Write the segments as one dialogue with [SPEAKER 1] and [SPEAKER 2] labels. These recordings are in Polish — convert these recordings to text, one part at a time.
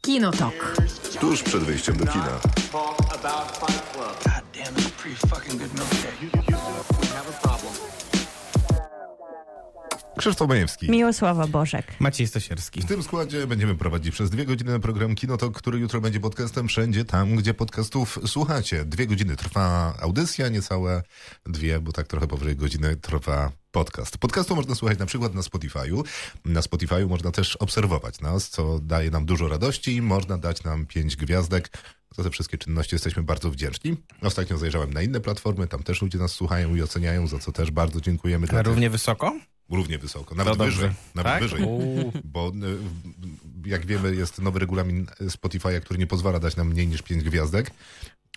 [SPEAKER 1] Kinotok.
[SPEAKER 2] Tuż przed wyjściem do kina.
[SPEAKER 3] God damn, it's a pretty fucking good no milkshake. You, you have a problem.
[SPEAKER 2] Krzysztof Majewski.
[SPEAKER 4] Miłosława Bożek.
[SPEAKER 5] Maciej Stosierski.
[SPEAKER 2] W tym składzie będziemy prowadzić przez dwie godziny program Kinotok, który jutro będzie podcastem wszędzie tam, gdzie podcastów słuchacie. Dwie godziny trwa audycja, niecałe dwie, bo tak trochę powyżej godziny trwa podcast. Podcastu można słuchać na przykład na Spotify'u. Na Spotify'u można też obserwować nas, co daje nam dużo radości. Można dać nam pięć gwiazdek. Za te wszystkie czynności jesteśmy bardzo wdzięczni. Ostatnio zajrzałem na inne platformy, tam też ludzie nas słuchają i oceniają, za co też bardzo dziękujemy.
[SPEAKER 5] A
[SPEAKER 2] dla tych-
[SPEAKER 5] równie wysoko?
[SPEAKER 2] Równie wysoko, nawet
[SPEAKER 5] dobrze.
[SPEAKER 2] wyżej. Nawet
[SPEAKER 5] Tak?
[SPEAKER 2] No, wyżej. Bo y, w- jak wiemy, jest nowy regulamin Spotify'a, który nie pozwala dać nam mniej niż 5 gwiazdek.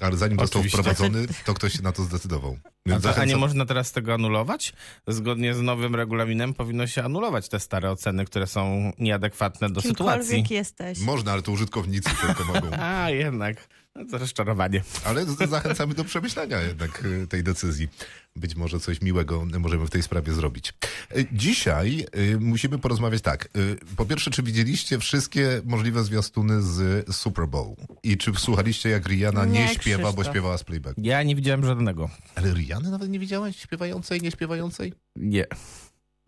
[SPEAKER 2] Ale zanim
[SPEAKER 5] Oczywiście.
[SPEAKER 2] został wprowadzony, to ktoś się na to zdecydował.
[SPEAKER 5] A,
[SPEAKER 2] Więc
[SPEAKER 5] to, a nie
[SPEAKER 2] zachęcam-
[SPEAKER 5] można teraz tego anulować? Zgodnie z nowym regulaminem powinno się anulować te stare oceny, które są nieadekwatne do sytuacji.
[SPEAKER 4] Kimkolwiek jesteś.
[SPEAKER 2] Można, ale to użytkownicy tylko mogą.
[SPEAKER 5] A, jednak. No to rozczarowanie.
[SPEAKER 2] Ale z- zachęcamy do przemyślenia jednak y, tej decyzji. Być może coś miłego możemy w tej sprawie zrobić. Y, Dzisiaj y, musimy porozmawiać tak. Y, Po pierwsze, czy widzieliście wszystkie możliwe zwiastuny z Super Bowl? I czy słuchaliście, jak Rihanna nie,
[SPEAKER 4] Nie,
[SPEAKER 2] śpiewa, bo
[SPEAKER 4] Krzysztof.
[SPEAKER 2] śpiewała z playback?
[SPEAKER 5] Ja nie widziałem żadnego.
[SPEAKER 2] Ale Rihanny nawet nie widziałeś śpiewającej, nie śpiewającej?
[SPEAKER 5] Nie.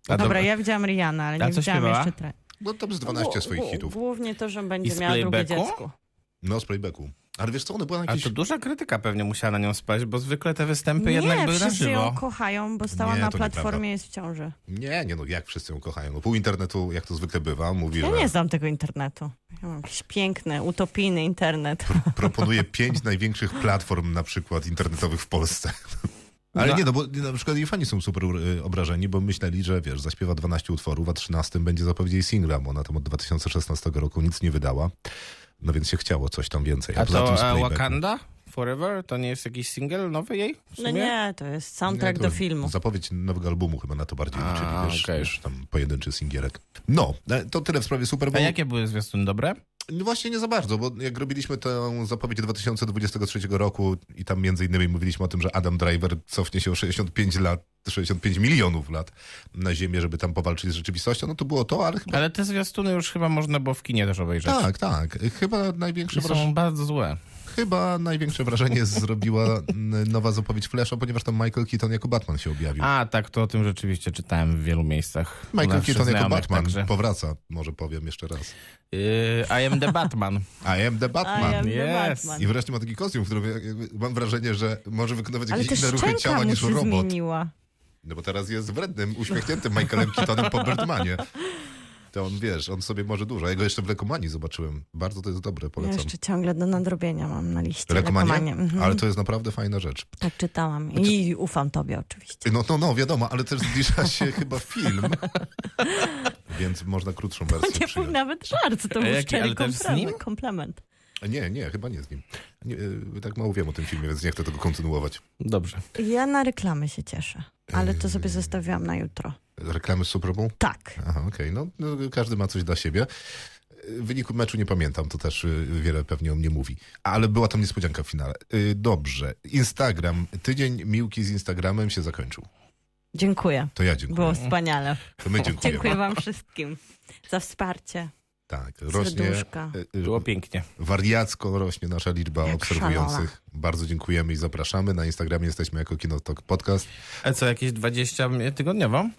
[SPEAKER 4] Dobra, ja widziałam Rihanna, ale
[SPEAKER 5] A
[SPEAKER 4] nie
[SPEAKER 5] co
[SPEAKER 4] widziałam
[SPEAKER 5] śpiewała?
[SPEAKER 4] jeszcze tre...
[SPEAKER 2] No tam z 12
[SPEAKER 4] Gł-
[SPEAKER 2] swoich
[SPEAKER 4] gł-
[SPEAKER 5] no.
[SPEAKER 2] hitów.
[SPEAKER 4] Głównie to, że
[SPEAKER 5] I
[SPEAKER 4] będzie
[SPEAKER 5] z
[SPEAKER 4] miała drugie
[SPEAKER 5] playbacku?
[SPEAKER 4] dziecko.
[SPEAKER 2] No, z playbacku. Ale wiesz co, one były na
[SPEAKER 5] A
[SPEAKER 2] jakiejś...
[SPEAKER 5] to duża krytyka pewnie musiała na nią spaść, bo zwykle te występy jednak
[SPEAKER 4] nie,
[SPEAKER 5] były na
[SPEAKER 4] wszyscy ją
[SPEAKER 5] żywo.
[SPEAKER 4] kochają, bo stała
[SPEAKER 2] Nie,
[SPEAKER 4] na
[SPEAKER 2] to nieprawda.
[SPEAKER 4] platformie, jest w ciąży.
[SPEAKER 2] Nie, nie no, jak wszyscy ją kochają. No pół internetu, jak to zwykle bywa, mówi,
[SPEAKER 4] Ja
[SPEAKER 2] że
[SPEAKER 4] nie znam tego internetu. Ja mam jakiś piękny, utopijny internet.
[SPEAKER 2] proponuje pięć największych platform na przykład internetowych w Polsce. Ale
[SPEAKER 5] No.
[SPEAKER 2] nie, no bo na przykład jej fani są super y, obrażeni, bo myśleli, że wiesz, zaśpiewa 12 utworów, a 13 będzie zapowiedź jej singla, bo ona tam od 2016 roku nic nie wydała. No więc się chciało coś tam więcej.
[SPEAKER 5] A
[SPEAKER 2] poza tym z
[SPEAKER 5] to e,
[SPEAKER 2] playbacku-
[SPEAKER 5] Wakanda Forever to nie jest jakiś single nowy jej? W
[SPEAKER 4] No
[SPEAKER 5] sumie?
[SPEAKER 4] nie, to jest soundtrack
[SPEAKER 2] Nie, to
[SPEAKER 4] do filmu.
[SPEAKER 2] Zapowiedź nowego albumu chyba na to bardziej
[SPEAKER 5] A,
[SPEAKER 2] liczyli, wiesz,
[SPEAKER 5] okej.
[SPEAKER 2] niż tam pojedynczy singierek. No, e, to tyle w sprawie Super
[SPEAKER 5] A
[SPEAKER 2] Bowl.
[SPEAKER 5] jakie były zwiastuny dobre?
[SPEAKER 2] No Właśnie nie za bardzo, bo jak robiliśmy tę zapowiedź 2023 roku i tam między innymi mówiliśmy o tym, że Adam Driver cofnie się o 65 lat, 65 milionów lat na Ziemię, żeby tam powalczyć z rzeczywistością, no to było to, ale chyba...
[SPEAKER 5] Ale te zwiastuny już chyba można było w kinie też obejrzeć.
[SPEAKER 2] Tak, tak. Chyba największe,
[SPEAKER 5] I
[SPEAKER 2] wraż...
[SPEAKER 5] są bardzo złe.
[SPEAKER 2] chyba największe wrażenie zrobiła n- nowa zapowiedź Flasha, ponieważ tam Michael Keaton jako Batman się objawił.
[SPEAKER 5] A, tak, to o tym rzeczywiście czytałem w wielu miejscach.
[SPEAKER 2] Michael
[SPEAKER 5] Naszych
[SPEAKER 2] Keaton jako
[SPEAKER 5] znajomych
[SPEAKER 2] Batman
[SPEAKER 5] także.
[SPEAKER 2] powraca, może powiem jeszcze raz.
[SPEAKER 5] Yy, I am the Batman.
[SPEAKER 2] I am the Batman.
[SPEAKER 4] I am the
[SPEAKER 5] Yes.
[SPEAKER 4] Batman.
[SPEAKER 2] I wreszcie ma taki kostium, w którym jakby mam wrażenie, że może wykonywać
[SPEAKER 4] Ale
[SPEAKER 2] jakieś
[SPEAKER 4] też
[SPEAKER 2] inne ruchy ciała
[SPEAKER 4] szczęka mu
[SPEAKER 2] niż
[SPEAKER 4] się
[SPEAKER 2] robot.
[SPEAKER 4] zmieniła.
[SPEAKER 2] No bo teraz jest wrednym, uśmiechniętym Michaelem Keatonem po Birdmanie. To on, wiesz, on sobie może dużo. Ja go jeszcze w Lekomanii zobaczyłem. Bardzo to jest dobre,
[SPEAKER 4] Ja
[SPEAKER 2] polecam.
[SPEAKER 4] jeszcze ciągle do nadrobienia mam na liście.
[SPEAKER 2] Lekomanie?
[SPEAKER 4] Lekomanie. Mhm.
[SPEAKER 2] Ale to jest naprawdę fajna rzecz.
[SPEAKER 4] Tak czytałam i ufam tobie oczywiście.
[SPEAKER 2] No, no, no, wiadomo, ale też zbliża się chyba film. Więc można krótszą wersję
[SPEAKER 4] Nie był
[SPEAKER 2] przyjąć.
[SPEAKER 4] nawet żart, to
[SPEAKER 5] jaki,
[SPEAKER 4] był
[SPEAKER 5] ale
[SPEAKER 4] szczery
[SPEAKER 5] też z nim?
[SPEAKER 4] komplement. komplement.
[SPEAKER 2] Nie, nie, chyba nie z nim. Nie, y, tak mało wiem o tym filmie, więc nie chcę tego kontynuować.
[SPEAKER 5] Dobrze.
[SPEAKER 4] Ja na reklamy się cieszę, ale to sobie zostawiłam na jutro.
[SPEAKER 2] Reklamy z Super Bowl?
[SPEAKER 4] Tak.
[SPEAKER 2] Aha, okej. No, no, każdy ma coś dla siebie. Y, Wyniku meczu nie pamiętam, to też y, wiele pewnie o mnie mówi. Ale była tam niespodzianka w finale. Y, Dobrze. Instagram. Tydzień miłki z Instagramem się zakończył.
[SPEAKER 4] Dziękuję.
[SPEAKER 2] To ja dziękuję.
[SPEAKER 5] Mhm.
[SPEAKER 4] Było wspaniale.
[SPEAKER 2] To my dziękujemy.
[SPEAKER 4] Dziękuję wam wszystkim za wsparcie.
[SPEAKER 2] Tak, rośnie.
[SPEAKER 4] serduszka.
[SPEAKER 2] y, y,
[SPEAKER 5] Było pięknie.
[SPEAKER 2] Wariacko rośnie nasza liczba
[SPEAKER 4] Jak
[SPEAKER 2] obserwujących. Bardzo dziękujemy i zapraszamy. Na Instagramie jesteśmy jako Kinotok Podcast.
[SPEAKER 5] A co, jakieś 20 mi- tygodniowo?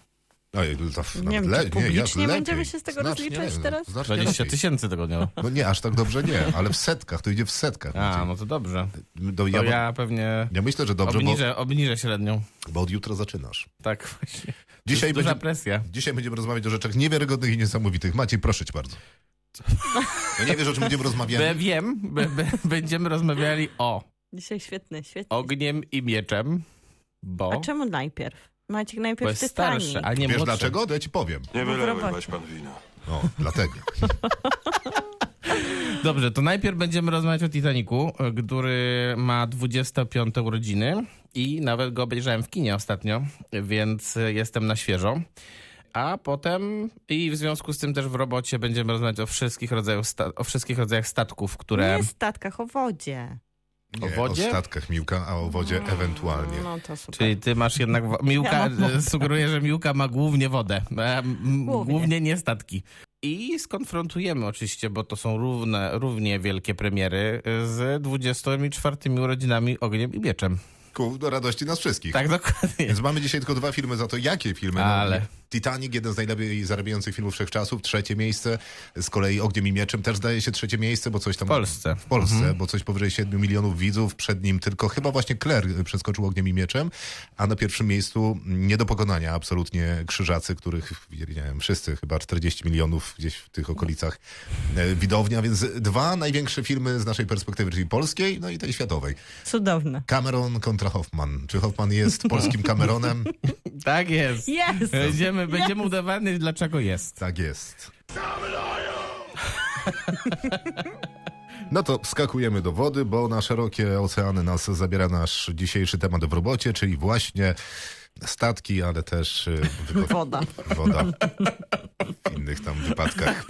[SPEAKER 2] Oj, No to w-
[SPEAKER 4] Nie wiem,
[SPEAKER 2] nawet
[SPEAKER 4] czy
[SPEAKER 2] jak
[SPEAKER 4] publicznie będziemy
[SPEAKER 2] lepiej.
[SPEAKER 4] się z tego
[SPEAKER 2] Znacznie
[SPEAKER 4] rozliczać
[SPEAKER 2] lepiej. no.
[SPEAKER 4] teraz?
[SPEAKER 2] Znacznie
[SPEAKER 5] 20
[SPEAKER 2] lepiej.
[SPEAKER 5] tysięcy tygodniowo.
[SPEAKER 2] No nie, aż tak dobrze nie, ale w setkach, to idzie w setkach.
[SPEAKER 5] A, no to dobrze.
[SPEAKER 2] Do,
[SPEAKER 5] To
[SPEAKER 2] ja, ja...
[SPEAKER 5] ja pewnie
[SPEAKER 2] myślę, że dobrze, bo,
[SPEAKER 5] obniżę, obniżę średnią.
[SPEAKER 2] bo od jutra zaczynasz.
[SPEAKER 5] Tak właśnie.
[SPEAKER 2] Dzisiaj,
[SPEAKER 5] Duża
[SPEAKER 2] będzie,
[SPEAKER 5] presja.
[SPEAKER 2] dzisiaj będziemy rozmawiać o rzeczach niewiarygodnych i niesamowitych. Maciej, proszę cię bardzo. No nie wiesz, o czym będziemy
[SPEAKER 5] Be,
[SPEAKER 2] rozmawiali?
[SPEAKER 5] wiem, be, be, będziemy rozmawiali o
[SPEAKER 4] Dzisiaj świetny, świetny.
[SPEAKER 5] ogniem i mieczem,
[SPEAKER 4] A
[SPEAKER 5] bo,
[SPEAKER 4] czemu najpierw? Maciek
[SPEAKER 5] bo
[SPEAKER 4] najpierw
[SPEAKER 5] jest
[SPEAKER 4] Titanic.
[SPEAKER 5] starszy, a nie
[SPEAKER 2] Wiesz
[SPEAKER 5] młodszy.
[SPEAKER 2] dlaczego? To ja ci powiem.
[SPEAKER 3] Nie
[SPEAKER 4] Bo w
[SPEAKER 3] wylewaj,
[SPEAKER 4] robocie.
[SPEAKER 3] weź pan wina.
[SPEAKER 2] O, dlatego.
[SPEAKER 5] Dobrze, to najpierw będziemy rozmawiać o Titaniku, e, który ma 25 urodziny i nawet go obejrzałem w kinie ostatnio, więc e, jestem na świeżo. A potem i w związku z tym też w robocie będziemy rozmawiać o wszystkich rodzajach, sta- o wszystkich rodzajach statków, które...
[SPEAKER 4] Nie w statkach, o wodzie.
[SPEAKER 2] Nie,
[SPEAKER 5] O wodzie?
[SPEAKER 2] O statkach Miłka, a o wodzie ewentualnie.
[SPEAKER 4] No to super.
[SPEAKER 5] Czyli ty masz jednak... wo- Miłka
[SPEAKER 4] Ja mam
[SPEAKER 5] e, sugeruje, że Miłka ma głównie wodę. E, m- m-
[SPEAKER 4] Głównie.
[SPEAKER 5] Głównie nie statki. I skonfrontujemy oczywiście, bo to są równe, równie wielkie premiery, z 24 urodzinami Ogniem i Mieczem.
[SPEAKER 2] Ku do radości nas wszystkich.
[SPEAKER 5] Tak, dokładnie.
[SPEAKER 2] Więc mamy dzisiaj tylko dwa filmy za to, jakie filmy. No,
[SPEAKER 5] Ale.
[SPEAKER 2] Titanic, jeden z najlepiej zarabiających filmów wszechczasów, trzecie miejsce. Z kolei Ogniem i Mieczem też zdaje się trzecie miejsce, bo coś tam...
[SPEAKER 5] W Polsce. Mhm.
[SPEAKER 2] W Polsce, bo coś powyżej 7 milionów widzów. Przed nim tylko chyba właśnie Claire y, przeskoczył Ogniem i Mieczem, a na pierwszym miejscu nie do pokonania absolutnie Krzyżacy, których, nie wiem, wszyscy chyba 40 milionów gdzieś w tych okolicach e, widownia, więc dwa największe filmy z naszej perspektywy, czyli polskiej, no i tej światowej.
[SPEAKER 4] Cudowne.
[SPEAKER 2] Cameron kontra Hoffman. Czy Hoffman jest polskim Cameronem?
[SPEAKER 5] Tak jest.
[SPEAKER 4] Jest!
[SPEAKER 5] Będziemy, będziemy udawany, dlaczego jest.
[SPEAKER 2] Tak jest. No to skakujemy do wody, bo na szerokie oceany nas zabiera nasz dzisiejszy temat w robocie, czyli właśnie statki, ale też y, wypo-
[SPEAKER 4] Woda.
[SPEAKER 2] woda w innych tam wypadkach.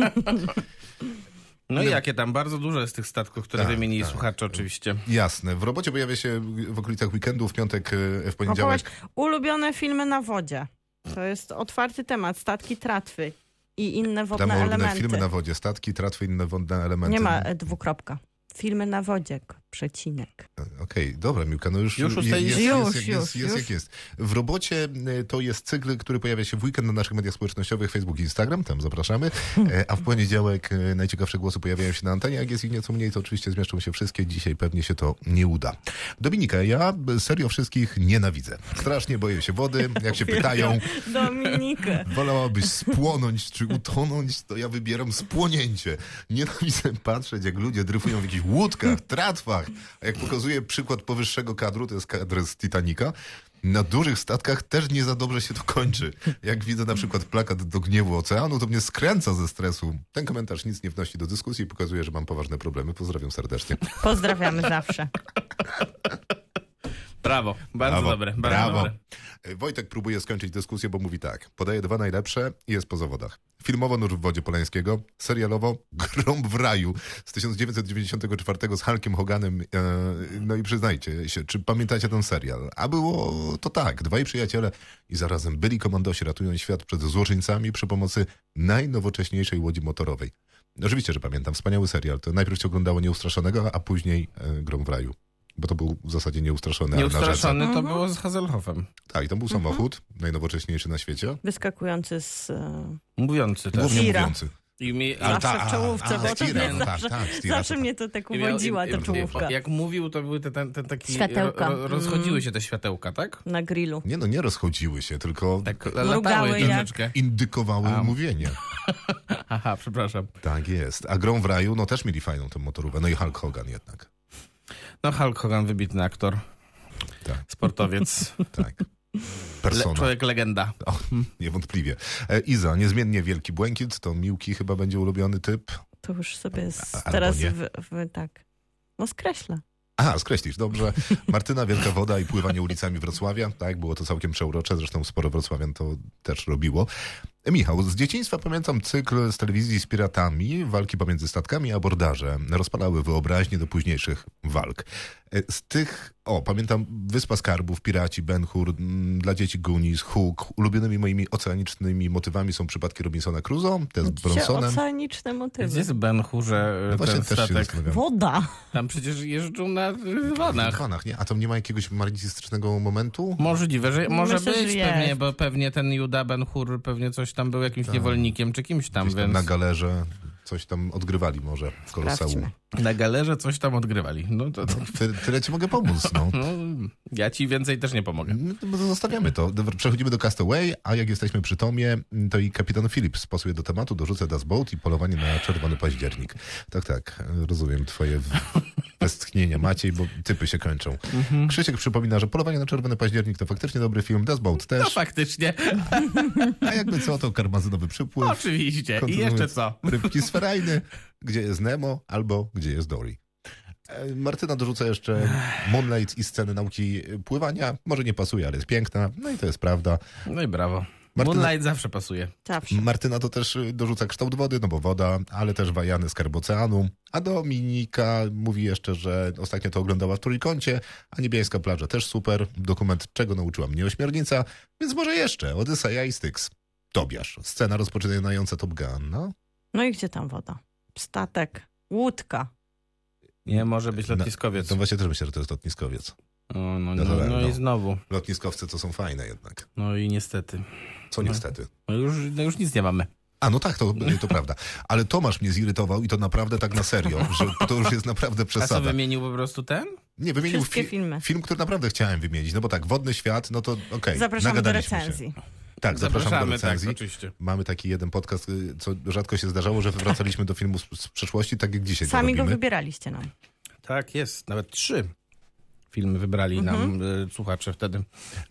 [SPEAKER 5] No i jakie tam? Bardzo dużo jest tych statków, które
[SPEAKER 2] Tak,
[SPEAKER 5] wymienili
[SPEAKER 2] tak.
[SPEAKER 5] słuchacze oczywiście.
[SPEAKER 2] Jasne. W robocie pojawia się w okolicach weekendu, w piątek, y, w
[SPEAKER 4] Opowiedz
[SPEAKER 2] poniedziałek.
[SPEAKER 4] ulubione filmy na wodzie. To jest otwarty temat. Statki tratwy i inne wodne
[SPEAKER 2] Tam różne
[SPEAKER 4] elementy.
[SPEAKER 2] filmy na wodzie, statki, tratwy, inne wodne elementy.
[SPEAKER 4] Nie ma e, dwukropka. Filmy na wodzie, k- przecinek.
[SPEAKER 2] Okej, dobra Miłka, no już,
[SPEAKER 5] Już
[SPEAKER 2] je-
[SPEAKER 5] ustaliliśmy.
[SPEAKER 2] jest,
[SPEAKER 4] Już,
[SPEAKER 2] jest, jest, jest,
[SPEAKER 4] już, już.
[SPEAKER 2] jak jest. W robocie y, to jest cykl, który pojawia się w weekend na naszych mediach społecznościowych, Facebook, Instagram, tam zapraszamy, E, a w poniedziałek y, najciekawsze głosy pojawiają się na antenie, jak jest ich nieco mniej, to oczywiście zmieszczą się wszystkie, dzisiaj pewnie się to nie uda. Dominika, ja serio wszystkich nienawidzę. Strasznie boję się wody, jak się pytają,
[SPEAKER 4] Dominikę.
[SPEAKER 2] Wolałabyś spłonąć czy utonąć, to ja wybieram spłonięcie. Nienawidzę patrzeć, jak ludzie dryfują w jakichś łódkach, tratwach. A jak pokazuje przykład powyższego kadru, to jest kadr z Titanica, na dużych statkach też nie za dobrze się to kończy. Jak widzę na przykład plakat do gniewu oceanu, to mnie skręca ze stresu. Ten komentarz nic nie wnosi do dyskusji i pokazuje, że mam poważne problemy. Pozdrawiam serdecznie.
[SPEAKER 4] Pozdrawiamy zawsze.
[SPEAKER 5] Brawo, bardzo dobre. Bardzo Dobre.
[SPEAKER 2] E, Wojtek próbuje skończyć dyskusję, bo mówi tak. Podaje dwa najlepsze i jest po zawodach. Filmowo Nóż w wodzie Poleńskiego, serialowo Grąb w raju z 1994 z Hulkiem Hoganem. E, No i przyznajcie się, czy pamiętacie ten serial? A było to tak. Dwaj przyjaciele i zarazem byli komandosi ratują świat przed złoczyńcami przy pomocy najnowocześniejszej łodzi motorowej. No, Oczywiście, że pamiętam. Wspaniały serial. To najpierw się oglądało Nieustraszonego, a później e, Grąb w raju. Bo to był w zasadzie nieustraszony, ale na rzece.
[SPEAKER 5] Nieustraszony
[SPEAKER 4] Mhm.
[SPEAKER 5] to było z Hazelhoffem.
[SPEAKER 2] Tak, i tam był samochód, najnowocześniejszy na świecie.
[SPEAKER 4] Wyskakujący z... e,
[SPEAKER 5] Mówiący też.
[SPEAKER 2] Głównie
[SPEAKER 4] Tira.
[SPEAKER 2] mówiący.
[SPEAKER 5] I mi,
[SPEAKER 4] Zawsze
[SPEAKER 2] ta-
[SPEAKER 4] w czołówce,
[SPEAKER 2] a,
[SPEAKER 4] bo to
[SPEAKER 2] Tira,
[SPEAKER 4] mnie
[SPEAKER 2] no tak,
[SPEAKER 4] zawsze,
[SPEAKER 2] tak, z Tira,
[SPEAKER 4] zawsze
[SPEAKER 2] to
[SPEAKER 4] mnie to tak
[SPEAKER 5] i miał-
[SPEAKER 4] uwodziła
[SPEAKER 5] i-
[SPEAKER 4] ta
[SPEAKER 5] i-
[SPEAKER 4] czołówka.
[SPEAKER 5] Jak mówił, to były te, ten, ten taki...
[SPEAKER 4] Światełka.
[SPEAKER 5] Ro, rozchodziły się te światełka, tak?
[SPEAKER 4] Na grillu.
[SPEAKER 2] Nie no, nie rozchodziły się, tylko
[SPEAKER 5] Tak
[SPEAKER 4] Mrugały
[SPEAKER 5] latały
[SPEAKER 4] jak-
[SPEAKER 5] troszeczkę.
[SPEAKER 2] indykowały mówienie.
[SPEAKER 5] Aha, przepraszam.
[SPEAKER 2] Tak jest. A grą w raju, no też mieli fajną tę motorówkę. No i Hulk Hogan jednak.
[SPEAKER 5] No Hulk Hogan, wybitny aktor.
[SPEAKER 2] Tak.
[SPEAKER 5] Sportowiec.
[SPEAKER 2] Tak.
[SPEAKER 5] Le,
[SPEAKER 2] Persona,
[SPEAKER 5] człowiek legenda.
[SPEAKER 2] o, niewątpliwie. E, Iza, niezmiennie Wielki Błękit, to Miłki chyba będzie ulubiony typ.
[SPEAKER 4] To już sobie z,
[SPEAKER 2] albo
[SPEAKER 4] teraz
[SPEAKER 2] nie.
[SPEAKER 4] w, w, tak... No skreśla.
[SPEAKER 2] Aha, skreślisz, dobrze. Martyna, Wielka Woda i pływanie ulicami Wrocławia. Tak, było to całkiem przeurocze, zresztą sporo wrocławian to też robiło. Michał, z dzieciństwa pamiętam cykl z telewizji z piratami, walki pomiędzy statkami a bordarze. Rozpalały wyobraźnię do późniejszych walk. E, Z tych, o, pamiętam Wyspa Skarbów, Piraci, Ben Hur, mm, dla dzieci Goonies, Hook. Ulubionymi moimi oceanicznymi motywami są przypadki Robinsona Crusoe, te z
[SPEAKER 4] No, Dzisiaj
[SPEAKER 2] Bronsonem.
[SPEAKER 4] oceaniczne
[SPEAKER 5] Gdzie
[SPEAKER 4] motywy.
[SPEAKER 5] jest Ben Hurze
[SPEAKER 2] No właśnie
[SPEAKER 5] ten
[SPEAKER 2] też się
[SPEAKER 5] statek?
[SPEAKER 2] zastanawiam.
[SPEAKER 4] Woda.
[SPEAKER 5] Tam przecież jeżdżą na y, vanach.
[SPEAKER 2] Panach, nie? A tam nie ma jakiegoś marnistycznego momentu?
[SPEAKER 5] Możliwe, że może
[SPEAKER 4] Myślę, że
[SPEAKER 5] być
[SPEAKER 4] jest.
[SPEAKER 5] pewnie, bo pewnie ten Juda Ben Hur pewnie coś tam był jakimś niewolnikiem czy kimś tam,
[SPEAKER 2] Tak. Gdzieś tam
[SPEAKER 5] więc
[SPEAKER 2] na
[SPEAKER 5] na,
[SPEAKER 2] galerze coś tam odgrywali może w koloseum.
[SPEAKER 4] Sprawdźmy.
[SPEAKER 5] galerze coś tam odgrywali. No to, to
[SPEAKER 2] Ty, tyle ci mogę pomóc, no.
[SPEAKER 5] no, ja ci więcej też nie pomogę.
[SPEAKER 2] No to Zostawiamy to. Dobra, Przechodzimy do Castaway, a jak jesteśmy przy Tomie, to i kapitan Phillips pasuje do tematu, dorzucę Das Boat i polowanie na czerwony październik. Tak, tak, rozumiem twoje w- westchnienia, Maciej, bo typy się kończą.
[SPEAKER 5] Mhm.
[SPEAKER 2] Krzysiek przypomina, że polowanie na czerwony październik to faktycznie dobry film, Das Boat
[SPEAKER 5] No
[SPEAKER 2] też,
[SPEAKER 5] faktycznie, No.
[SPEAKER 2] a jakby co, to karmazynowy przypływ,
[SPEAKER 5] oczywiście. I
[SPEAKER 2] Kontynuując.
[SPEAKER 5] jeszcze co?
[SPEAKER 2] rybki z ferajny, gdzie jest Nemo albo gdzie jest Dory. E, Martyna dorzuca jeszcze Moonlight i sceny nauki pływania. Może nie pasuje, ale jest piękna. No i to jest prawda.
[SPEAKER 5] No i brawo.
[SPEAKER 2] Martyna-
[SPEAKER 5] Moonlight zawsze pasuje.
[SPEAKER 4] Zawsze.
[SPEAKER 2] Martyna to też y, dorzuca kształt wody, no bo woda, ale też wajany skarb oceanu. A Dominika mówi jeszcze, że ostatnio to oglądała w trójkącie, a niebieska plaża też super. Dokument czego nauczyła mnie ośmiornica, więc może jeszcze Odyseja i Styx. Tobiasz, scena rozpoczynająca Top Gun, no.
[SPEAKER 4] No i gdzie tam woda? Statek, łódka.
[SPEAKER 5] Nie może być
[SPEAKER 2] Na-
[SPEAKER 5] lotniskowiec.
[SPEAKER 2] To właśnie też myślę, że to jest lotniskowiec.
[SPEAKER 5] O, no,
[SPEAKER 2] No
[SPEAKER 5] no,
[SPEAKER 2] dobra,
[SPEAKER 5] no,
[SPEAKER 2] no.
[SPEAKER 5] i znowu.
[SPEAKER 2] Lotniskowce to są fajne jednak.
[SPEAKER 5] No i niestety.
[SPEAKER 2] Co
[SPEAKER 5] No.
[SPEAKER 2] niestety.
[SPEAKER 5] No już, no już nic nie mamy.
[SPEAKER 2] A no tak, to, to prawda. Ale Tomasz mnie zirytował i to naprawdę tak na serio, że to już jest naprawdę
[SPEAKER 5] A co
[SPEAKER 2] przesada.
[SPEAKER 5] wymienił po prostu ten?
[SPEAKER 2] Nie, wymienił
[SPEAKER 4] Wszystkie
[SPEAKER 2] fi-
[SPEAKER 4] filmy.
[SPEAKER 2] film, który naprawdę chciałem wymienić. No bo tak, Wodny Świat, no to okej.
[SPEAKER 4] Zapraszamy do
[SPEAKER 2] nagadaliśmy się.
[SPEAKER 4] recenzji.
[SPEAKER 2] Tak, zapraszamy, do recenzji.
[SPEAKER 5] tak, oczywiście.
[SPEAKER 2] Mamy taki jeden podcast, y, co rzadko się zdarzało, że wracaliśmy do filmu z, z przeszłości, tak jak dzisiaj
[SPEAKER 4] Sami
[SPEAKER 2] to
[SPEAKER 4] go
[SPEAKER 2] robimy.
[SPEAKER 4] wybieraliście nam.
[SPEAKER 5] Tak, jest. Nawet trzy filmy wybrali nam
[SPEAKER 4] Mhm.
[SPEAKER 5] y, słuchacze wtedy.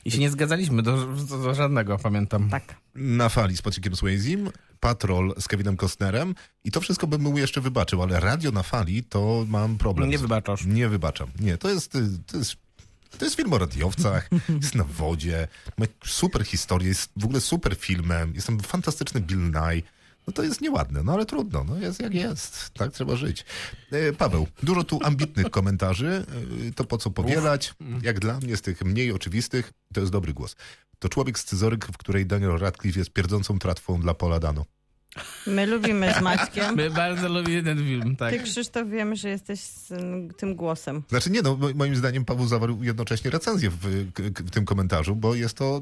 [SPEAKER 5] I się nie zgadzaliśmy do, do, do żadnego, pamiętam.
[SPEAKER 4] Tak.
[SPEAKER 2] Na fali z Patrickiem Swayzim, Patrol z Kevinem Costnerem i to wszystko bym mu jeszcze wybaczył, ale radio na fali to mam problem.
[SPEAKER 5] Nie
[SPEAKER 2] z-
[SPEAKER 5] wybaczasz.
[SPEAKER 2] Nie wybaczam. Nie, to jest, y, to jest, to jest film o radiowcach, jest na wodzie, ma super historię, jest w ogóle super filmem, jestem fantastyczny Bill Nye. No to jest nieładne, no ale trudno, no jest jak jest, tak trzeba żyć. E, Paweł, dużo tu ambitnych komentarzy, e, to po co powielać, jak dla mnie z tych mniej oczywistych, to jest dobry głos. To człowiek scyzoryk, w której Daniel Radcliffe jest pierdzącą tratwą dla Pola Dano.
[SPEAKER 4] My lubimy z Maćkiem.
[SPEAKER 5] My bardzo lubimy ten film, tak.
[SPEAKER 4] Ty, Krzysztof, wiemy, że jesteś z mm, tym głosem.
[SPEAKER 2] Znaczy nie, no mo- moim zdaniem Paweł zawarł jednocześnie recenzję w, k- k- w tym komentarzu, bo jest to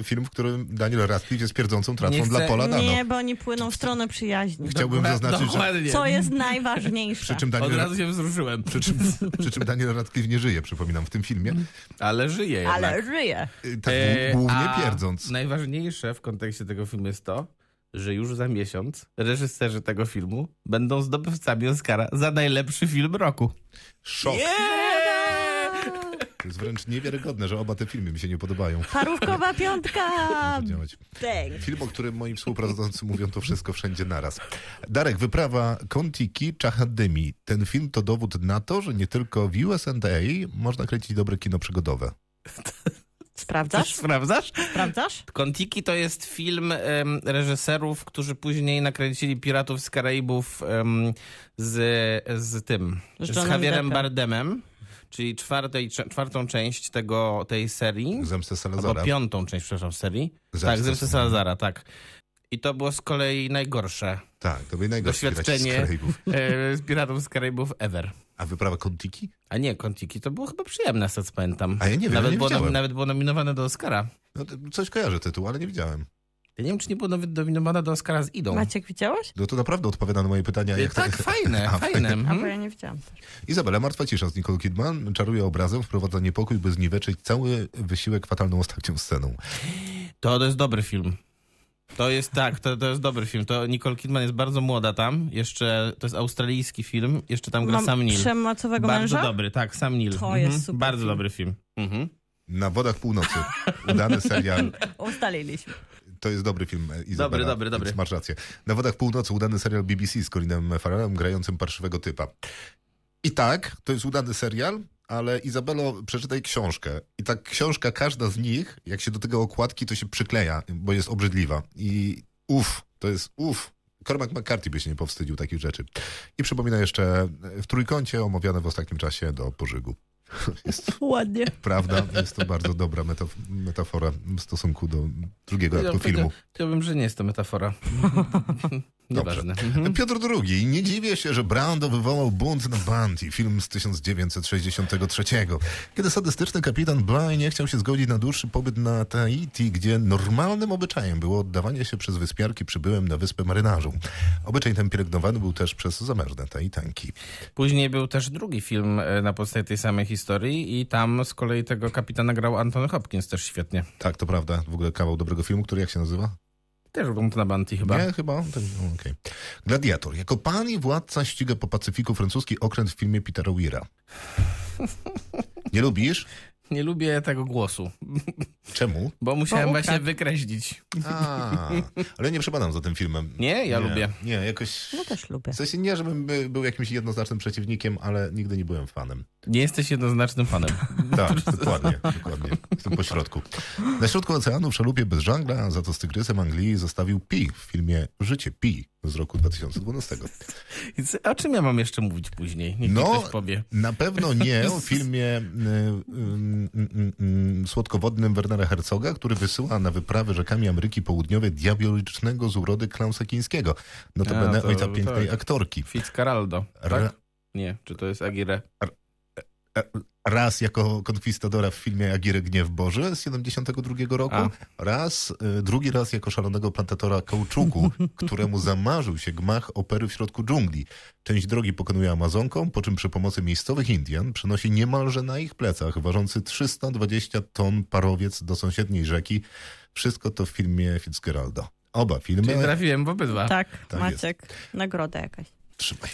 [SPEAKER 2] y, film, w którym Daniel Radcliffe jest pierdzącą tratwą
[SPEAKER 5] Nie chcę-
[SPEAKER 2] dla Pola Dano.
[SPEAKER 4] Nie, bo oni płyną w stronę przyjaźni. No,
[SPEAKER 2] Chciałbym
[SPEAKER 5] Dobra,
[SPEAKER 2] zaznaczyć, że
[SPEAKER 5] Dokładnie.
[SPEAKER 4] Tak. Co jest
[SPEAKER 2] przy
[SPEAKER 4] najważniejsze.
[SPEAKER 2] czym,
[SPEAKER 5] Od
[SPEAKER 2] Daniel,
[SPEAKER 5] razu się wzruszyłem.
[SPEAKER 2] przy czym Daniel Radcliffe nie żyje, przypominam, w tym filmie.
[SPEAKER 5] Ale żyje
[SPEAKER 4] Ale
[SPEAKER 5] jednak.
[SPEAKER 4] żyje.
[SPEAKER 2] Y, Tak
[SPEAKER 5] E,
[SPEAKER 2] głównie
[SPEAKER 5] a
[SPEAKER 2] pierdząc.
[SPEAKER 5] Najważniejsze w kontekście tego filmu jest to, że już za miesiąc reżyserzy tego filmu będą zdobywcami Oscara za najlepszy film roku.
[SPEAKER 2] Szok.
[SPEAKER 5] Yeah!
[SPEAKER 2] To jest wręcz niewiarygodne, że oba te filmy mi się nie podobają.
[SPEAKER 4] Parówkowa piątka!
[SPEAKER 2] Muszę działać.
[SPEAKER 4] Thanks.
[SPEAKER 2] Film, o którym moi współprowadzący mówią to wszystko wszędzie naraz. Darek, wyprawa Kontiki Czachademi. Ten film to dowód na to, że nie tylko w USA można kręcić dobre kino przygodowe.
[SPEAKER 5] Też
[SPEAKER 4] Sprawdzasz?
[SPEAKER 5] sprawdzasz?
[SPEAKER 4] Sprawdzasz?
[SPEAKER 5] Kontiki to jest film em, reżyserów, którzy później nakręcili Piratów z Karaibów em, z, z tym,
[SPEAKER 4] Z
[SPEAKER 5] z
[SPEAKER 4] Johnem
[SPEAKER 5] Javierem
[SPEAKER 4] Deppem.
[SPEAKER 5] Bardemem, czyli czwartej, cze- czwartą część tego, tej serii.
[SPEAKER 2] Zemstę
[SPEAKER 5] Albo
[SPEAKER 2] Salazara.
[SPEAKER 5] piątą część, przepraszam, serii.
[SPEAKER 2] Zemstę
[SPEAKER 5] tak, Zemsty
[SPEAKER 2] Salazara.
[SPEAKER 5] Salazara, tak. I to było z kolei najgorsze
[SPEAKER 2] Tak, to był najgorszy
[SPEAKER 5] Doświadczenie.
[SPEAKER 2] grać z Karaibów.
[SPEAKER 5] e, z Piratów z Karaibów ever.
[SPEAKER 2] A wyprawa Kontiki?
[SPEAKER 5] A nie, Kontiki to było chyba przyjemne, z tego, co pamiętam.
[SPEAKER 2] A ja nie wiem,
[SPEAKER 5] nawet,
[SPEAKER 2] nie
[SPEAKER 5] było,
[SPEAKER 2] widziałem.
[SPEAKER 5] nawet było nominowane do Oscara.
[SPEAKER 2] No, to coś kojarzę tytuł, ale nie widziałem.
[SPEAKER 5] Ja nie wiem, czy nie było nawet nominowane do Oscara z Idą.
[SPEAKER 4] Maciek, widziałeś?
[SPEAKER 2] No to naprawdę odpowiada na moje pytania.
[SPEAKER 5] E,
[SPEAKER 2] Jak
[SPEAKER 5] Tak, fajne,
[SPEAKER 2] A,
[SPEAKER 5] fajne.
[SPEAKER 4] A
[SPEAKER 5] mhm.
[SPEAKER 4] bo ja nie widziałam.
[SPEAKER 2] Izabela, martwa cisza z Nicole Kidman czaruje obrazem, wprowadza niepokój, by zniweczyć cały wysiłek fatalną ostatnią sceną.
[SPEAKER 5] To, to jest dobry film. To jest tak, to, to jest dobry film. To Nicole Kidman jest bardzo młoda tam. Jeszcze to jest australijski film. Jeszcze tam gra
[SPEAKER 4] Mam
[SPEAKER 5] Sam Neill.
[SPEAKER 4] przemocowego
[SPEAKER 5] Bardzo
[SPEAKER 4] męża?
[SPEAKER 5] dobry, tak, Sam Neill.
[SPEAKER 4] To
[SPEAKER 5] Mhm.
[SPEAKER 4] jest super
[SPEAKER 5] Bardzo
[SPEAKER 4] film.
[SPEAKER 5] dobry film. Mhm.
[SPEAKER 2] Na wodach północy. Udany serial.
[SPEAKER 4] Ustaliliśmy.
[SPEAKER 2] To jest dobry film, e, Izabela.
[SPEAKER 5] Dobry, dobry, dobry.
[SPEAKER 2] więc Masz rację. Na wodach północy udany serial BBC z Colinem Farrellem grającym parszywego typa. I tak, to jest udany serial, ale Izabelo, przeczytaj książkę. I tak książka, każda z nich, jak się do tego okładki, to się przykleja, bo jest obrzydliwa. I uff, to jest uff. Cormac McCarthy by się nie powstydził takich rzeczy. I przypomina jeszcze e, w trójkącie omawiane w ostatnim czasie do pożygu. Jest,
[SPEAKER 4] Ładnie.
[SPEAKER 2] prawda, jest to bardzo dobra metaf- metafora w stosunku do drugiego
[SPEAKER 5] Ja
[SPEAKER 2] aktu filmu.
[SPEAKER 5] Chciałbym, że nie jest to metafora. Nieważne. Mhm.
[SPEAKER 2] Piotr II. Nie dziwię się, że Brando wywołał bunt na Bounty, film z 1963, kiedy sadystyczny kapitan Bly nie chciał się zgodzić na dłuższy pobyt na Tahiti, gdzie normalnym obyczajem było oddawanie się przez wyspiarki przybyłym na wyspę marynarzom. Obyczaj ten pielęgnowany był też przez zamężne Tahitanki.
[SPEAKER 5] Później był też drugi film e, na podstawie tej samej historii i tam z kolei tego kapitana grał Anton Hopkins też świetnie.
[SPEAKER 2] Tak, to prawda. W ogóle kawał dobrego filmu, który jak się nazywa?
[SPEAKER 5] Też Bunt na Bounty chyba.
[SPEAKER 2] Nie, chyba. Tak, no, okej. Gladiator. Jako pan i władca ściga po Pacyfiku francuski okręt w filmie Petera Weira. Nie lubisz?
[SPEAKER 5] nie lubię tego głosu,
[SPEAKER 2] Czemu?
[SPEAKER 5] bo musiałem
[SPEAKER 4] Bo
[SPEAKER 5] właśnie
[SPEAKER 4] ukradł.
[SPEAKER 5] wykreślić.
[SPEAKER 2] A, ale nie przepadam za tym filmem.
[SPEAKER 5] Nie, ja lubię.
[SPEAKER 2] Nie, jakoś.
[SPEAKER 4] Ja też lubię.
[SPEAKER 2] W sensie nie, żebym by- był jakimś jednoznacznym przeciwnikiem, ale nigdy nie byłem fanem.
[SPEAKER 5] Nie jesteś jednoznacznym fanem.
[SPEAKER 4] No,
[SPEAKER 2] Tak, dokładnie, dokładnie. Jestem po środku. Na środku oceanu w szalupie bez żangla, za to z tygrysem Anglii zostawił Pi w filmie Życie Pi z roku 2012.
[SPEAKER 5] Więc O czym ja mam jeszcze mówić później? Niech
[SPEAKER 2] No.
[SPEAKER 5] mi ktoś powie.
[SPEAKER 2] na pewno nie o filmie y, y, y, y, y, słodkowodnym Wernera Herzoga, który wysyła na wyprawy rzekami Ameryki Południowej diabolicznego z urody Klausa Kińskiego. Notabene
[SPEAKER 5] A, to-
[SPEAKER 2] ojca pięknej
[SPEAKER 5] tak.
[SPEAKER 2] aktorki.
[SPEAKER 5] Fitzcarraldo,
[SPEAKER 2] Ra-
[SPEAKER 5] tak? Nie, czy to jest Aguirre?
[SPEAKER 2] Raz jako konkwistadora w filmie Agirę Gniew Boży z 72 roku,
[SPEAKER 5] A.
[SPEAKER 2] raz, y, drugi raz jako szalonego plantatora kauczuku, któremu zamarzył się gmach opery w środku dżungli. Część drogi pokonuje Amazonką, po czym przy pomocy miejscowych Indian przenosi niemalże na ich plecach ważący 320 ton parowiec do sąsiedniej rzeki. Wszystko to w filmie Fitzgeralda. Oba
[SPEAKER 5] Czyli
[SPEAKER 2] filmy...
[SPEAKER 5] trafiłem w obydwa.
[SPEAKER 4] Tak,
[SPEAKER 2] tak
[SPEAKER 4] Maciek, nagroda jakaś.
[SPEAKER 2] Trzymaj.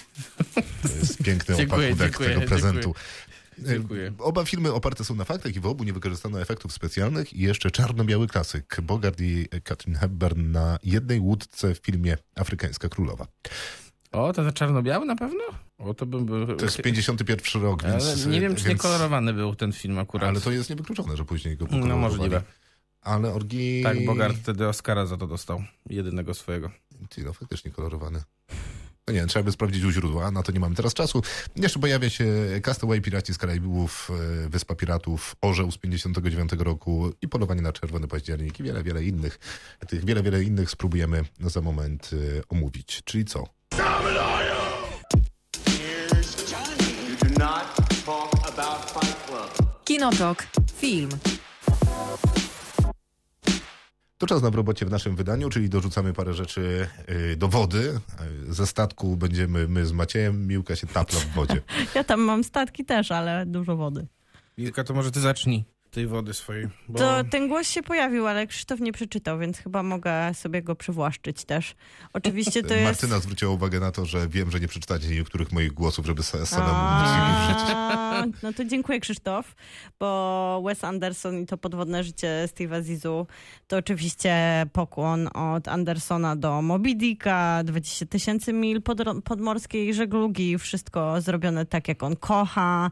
[SPEAKER 2] To jest piękny
[SPEAKER 5] Dziękuję,
[SPEAKER 2] opakunek
[SPEAKER 5] dziękuję,
[SPEAKER 2] tego prezentu. Y,
[SPEAKER 5] Dziękuję.
[SPEAKER 2] Oba filmy oparte są na faktach i w obu nie wykorzystano efektów specjalnych i jeszcze czarno-biały klasyk. Bogart i Katrin Hepburn na jednej łódce w filmie Afrykańska Królowa.
[SPEAKER 5] O, to za czarno-biały na pewno? O, to bym był...
[SPEAKER 2] To jest 51 rok,
[SPEAKER 5] Ale
[SPEAKER 2] więc...
[SPEAKER 5] nie wiem, czy
[SPEAKER 2] więc,
[SPEAKER 5] nie kolorowany był ten film akurat.
[SPEAKER 2] Ale to jest niewykluczone, że później go
[SPEAKER 5] No
[SPEAKER 2] pokolorowali.
[SPEAKER 5] możliwe.
[SPEAKER 2] Ale orgi...
[SPEAKER 5] Tak, Bogart wtedy Oscara za to dostał. Jedynego swojego.
[SPEAKER 2] Ty, no faktycznie kolorowany. No nie, trzeba by sprawdzić u źródła, a na to nie mamy teraz czasu. Jeszcze pojawia się Castaway, Piraci z Karaibów, e, Wyspa Piratów, Orzeł z 59 roku i Polowanie na Czerwony Październik i wiele, wiele innych. Tych wiele, wiele innych spróbujemy za moment e, omówić. Czyli co?
[SPEAKER 3] You do not talk about Fight Club.
[SPEAKER 1] Kinotok. Film.
[SPEAKER 2] To czas na w robocie w naszym wydaniu, czyli dorzucamy parę rzeczy e, do wody. E, Ze statku będziemy my z Maciejem, Miłka się tapla w wodzie.
[SPEAKER 4] Ja tam mam statki też, ale dużo wody.
[SPEAKER 5] Wilka, to może ty zacznij tej wody swojej. Bo...
[SPEAKER 4] To ten głos się pojawił, ale Krzysztof nie przeczytał, więc chyba mogę sobie go przywłaszczyć też. Oczywiście to jest...
[SPEAKER 2] Martyna zwróciła uwagę na to, że wiem, że nie przeczytacie niektórych moich głosów, żeby sa- samemu móc je użyć.
[SPEAKER 4] A, no to dziękuję Krzysztof, bo Wes Anderson i to podwodne życie Steve'a Zizu to oczywiście pokłon od Andersona do Moby Dicka, 20 tysięcy mil podro- podmorskiej żeglugi, wszystko zrobione tak jak on kocha.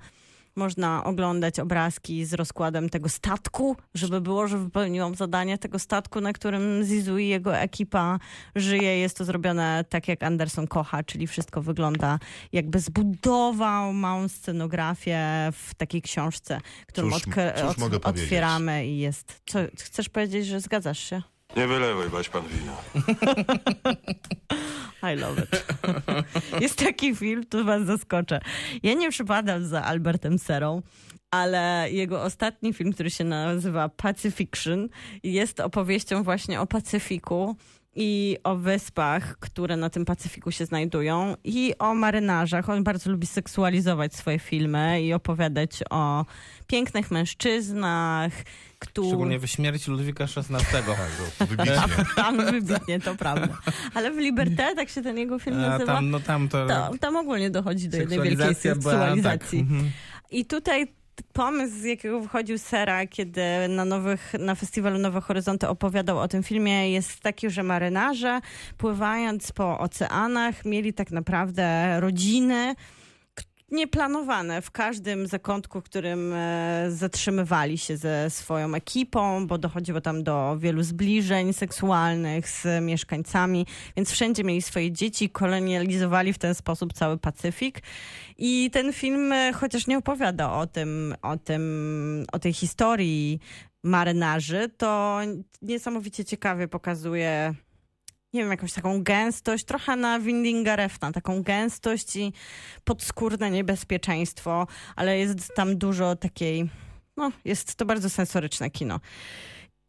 [SPEAKER 4] Można oglądać obrazki z rozkładem tego statku, żeby było, że wypełniłam zadanie tego statku, na którym Zizu i jego ekipa żyje. Jest to zrobione tak, jak Anderson kocha, czyli wszystko wygląda jakby zbudował małą scenografię w takiej książce, którą
[SPEAKER 2] Cóż-
[SPEAKER 4] odkry-
[SPEAKER 2] cóż
[SPEAKER 4] od-
[SPEAKER 2] mogę powiedzieć?
[SPEAKER 4] otwieramy i jest. Co, chcesz powiedzieć, że zgadzasz się?
[SPEAKER 6] Nie wylewaj, bać pan wina.
[SPEAKER 4] I love it. Jest taki film, tu was zaskoczę. Ja nie przypadam za Albertem Serą, ale jego ostatni film, który się nazywa Pacifiction, jest opowieścią właśnie o Pacyfiku i o wyspach, które na tym Pacyfiku się znajdują i o marynarzach. On bardzo lubi seksualizować swoje filmy i opowiadać o pięknych mężczyznach, którzy...
[SPEAKER 5] Szczególnie w śmierci Ludwika XVI.
[SPEAKER 2] Tak,
[SPEAKER 5] Tak.
[SPEAKER 2] Wybitnie.
[SPEAKER 4] Tam wybitnie, to prawda. Ale w Liberté, tak się ten jego film
[SPEAKER 5] A
[SPEAKER 4] nazywa.
[SPEAKER 5] tam, no tam to...
[SPEAKER 4] Tam, tam ogólnie dochodzi do jednej wielkiej
[SPEAKER 5] seksualizacja była, tak.
[SPEAKER 4] seksualizacji.
[SPEAKER 5] Mhm.
[SPEAKER 4] I tutaj t- pomysł, z jakiego wychodził Sera, kiedy na, nowych, na festiwalu Nowe Horyzonty opowiadał o tym filmie, jest taki, że marynarze pływając po oceanach mieli tak naprawdę rodziny k- nieplanowane w każdym zakątku, w którym e, zatrzymywali się ze swoją ekipą, bo dochodziło tam do wielu zbliżeń seksualnych z mieszkańcami, więc wszędzie mieli swoje dzieci, kolonializowali w ten sposób cały Pacyfik. I ten film, e, chociaż nie opowiada o tym, o tym, o tej historii marynarzy, to niesamowicie ciekawie pokazuje, nie wiem, jakąś taką gęstość, trochę na Windinga Refna, taką gęstość i podskórne niebezpieczeństwo, ale jest tam dużo takiej, no, jest to bardzo sensoryczne kino.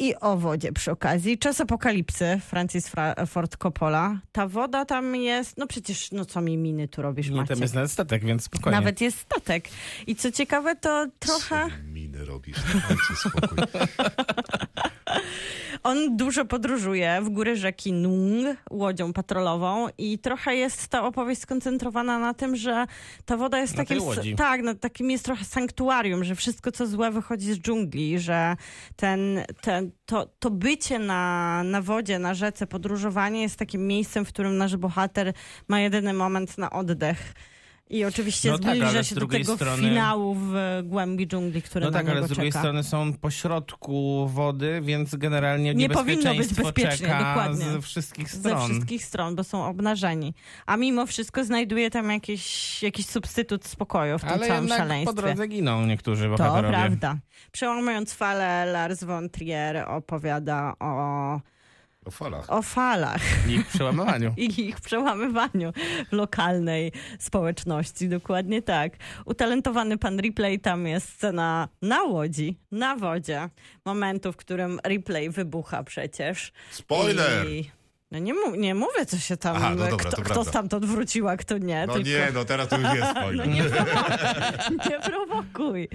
[SPEAKER 4] I o wodzie przy okazji. Czas apokalipsy, Francis Fra- Ford Coppola. Ta woda tam jest, no przecież, no co mi miny tu robisz,
[SPEAKER 5] Nie,
[SPEAKER 4] Maciek?
[SPEAKER 5] tam jest nawet statek, więc spokojnie.
[SPEAKER 4] Nawet jest statek. I co ciekawe, to trochę
[SPEAKER 2] Co Miny robisz, dajcie spokój.
[SPEAKER 4] on dużo podróżuje w góry rzeki Nung łodzią patrolową i trochę jest ta opowieść skoncentrowana na tym, że ta woda jest
[SPEAKER 5] Na tej
[SPEAKER 4] takim
[SPEAKER 5] łodzi.
[SPEAKER 4] tak, no, takim jest trochę sanktuarium, że wszystko co złe wychodzi z dżungli, że ten, ten to, to bycie na, na wodzie, na rzece, podróżowanie jest takim miejscem, w którym nasz bohater ma jedyny moment na oddech. I oczywiście
[SPEAKER 5] No tak,
[SPEAKER 4] zbliża
[SPEAKER 5] ale z
[SPEAKER 4] się do
[SPEAKER 5] drugiej
[SPEAKER 4] tego
[SPEAKER 5] strony-
[SPEAKER 4] finału w e, głębi dżungli, który
[SPEAKER 5] No
[SPEAKER 4] na
[SPEAKER 5] tak,
[SPEAKER 4] niego
[SPEAKER 5] ale z drugiej
[SPEAKER 4] czeka.
[SPEAKER 5] strony są pośrodku wody, więc generalnie
[SPEAKER 4] Nie powinno być
[SPEAKER 5] niebezpieczeństwo
[SPEAKER 4] bezpiecznie,
[SPEAKER 5] czeka
[SPEAKER 4] dokładnie.
[SPEAKER 5] z wszystkich
[SPEAKER 4] ze
[SPEAKER 5] stron.
[SPEAKER 4] wszystkich stron, bo są obnażeni. A mimo wszystko znajduje tam jakiś, jakiś substytut spokoju w tym
[SPEAKER 5] Ale
[SPEAKER 4] całym
[SPEAKER 5] jednak
[SPEAKER 4] szaleństwie.
[SPEAKER 5] po drodze giną niektórzy
[SPEAKER 4] To
[SPEAKER 5] bohaterowie.
[SPEAKER 4] prawda. Przełamując falę, Lars von Trier opowiada o,
[SPEAKER 2] O falach.
[SPEAKER 4] o falach
[SPEAKER 5] I ich przełamywaniu.
[SPEAKER 4] i ich przełamywaniu w lokalnej społeczności. Dokładnie tak. Utalentowany pan Ripley, tam jest scena na łodzi, na wodzie. Momentu, w którym Ripley wybucha przecież.
[SPEAKER 2] Spoiler!
[SPEAKER 4] I... No nie, mu- nie mówię, co się tam,
[SPEAKER 2] Aha, no dobra, to
[SPEAKER 4] kto, kto
[SPEAKER 2] prawda.
[SPEAKER 4] stamtąd wróciła, kto nie.
[SPEAKER 2] No
[SPEAKER 4] tylko...
[SPEAKER 2] nie, no teraz to już jest spoiler.
[SPEAKER 4] Nie prowokuj.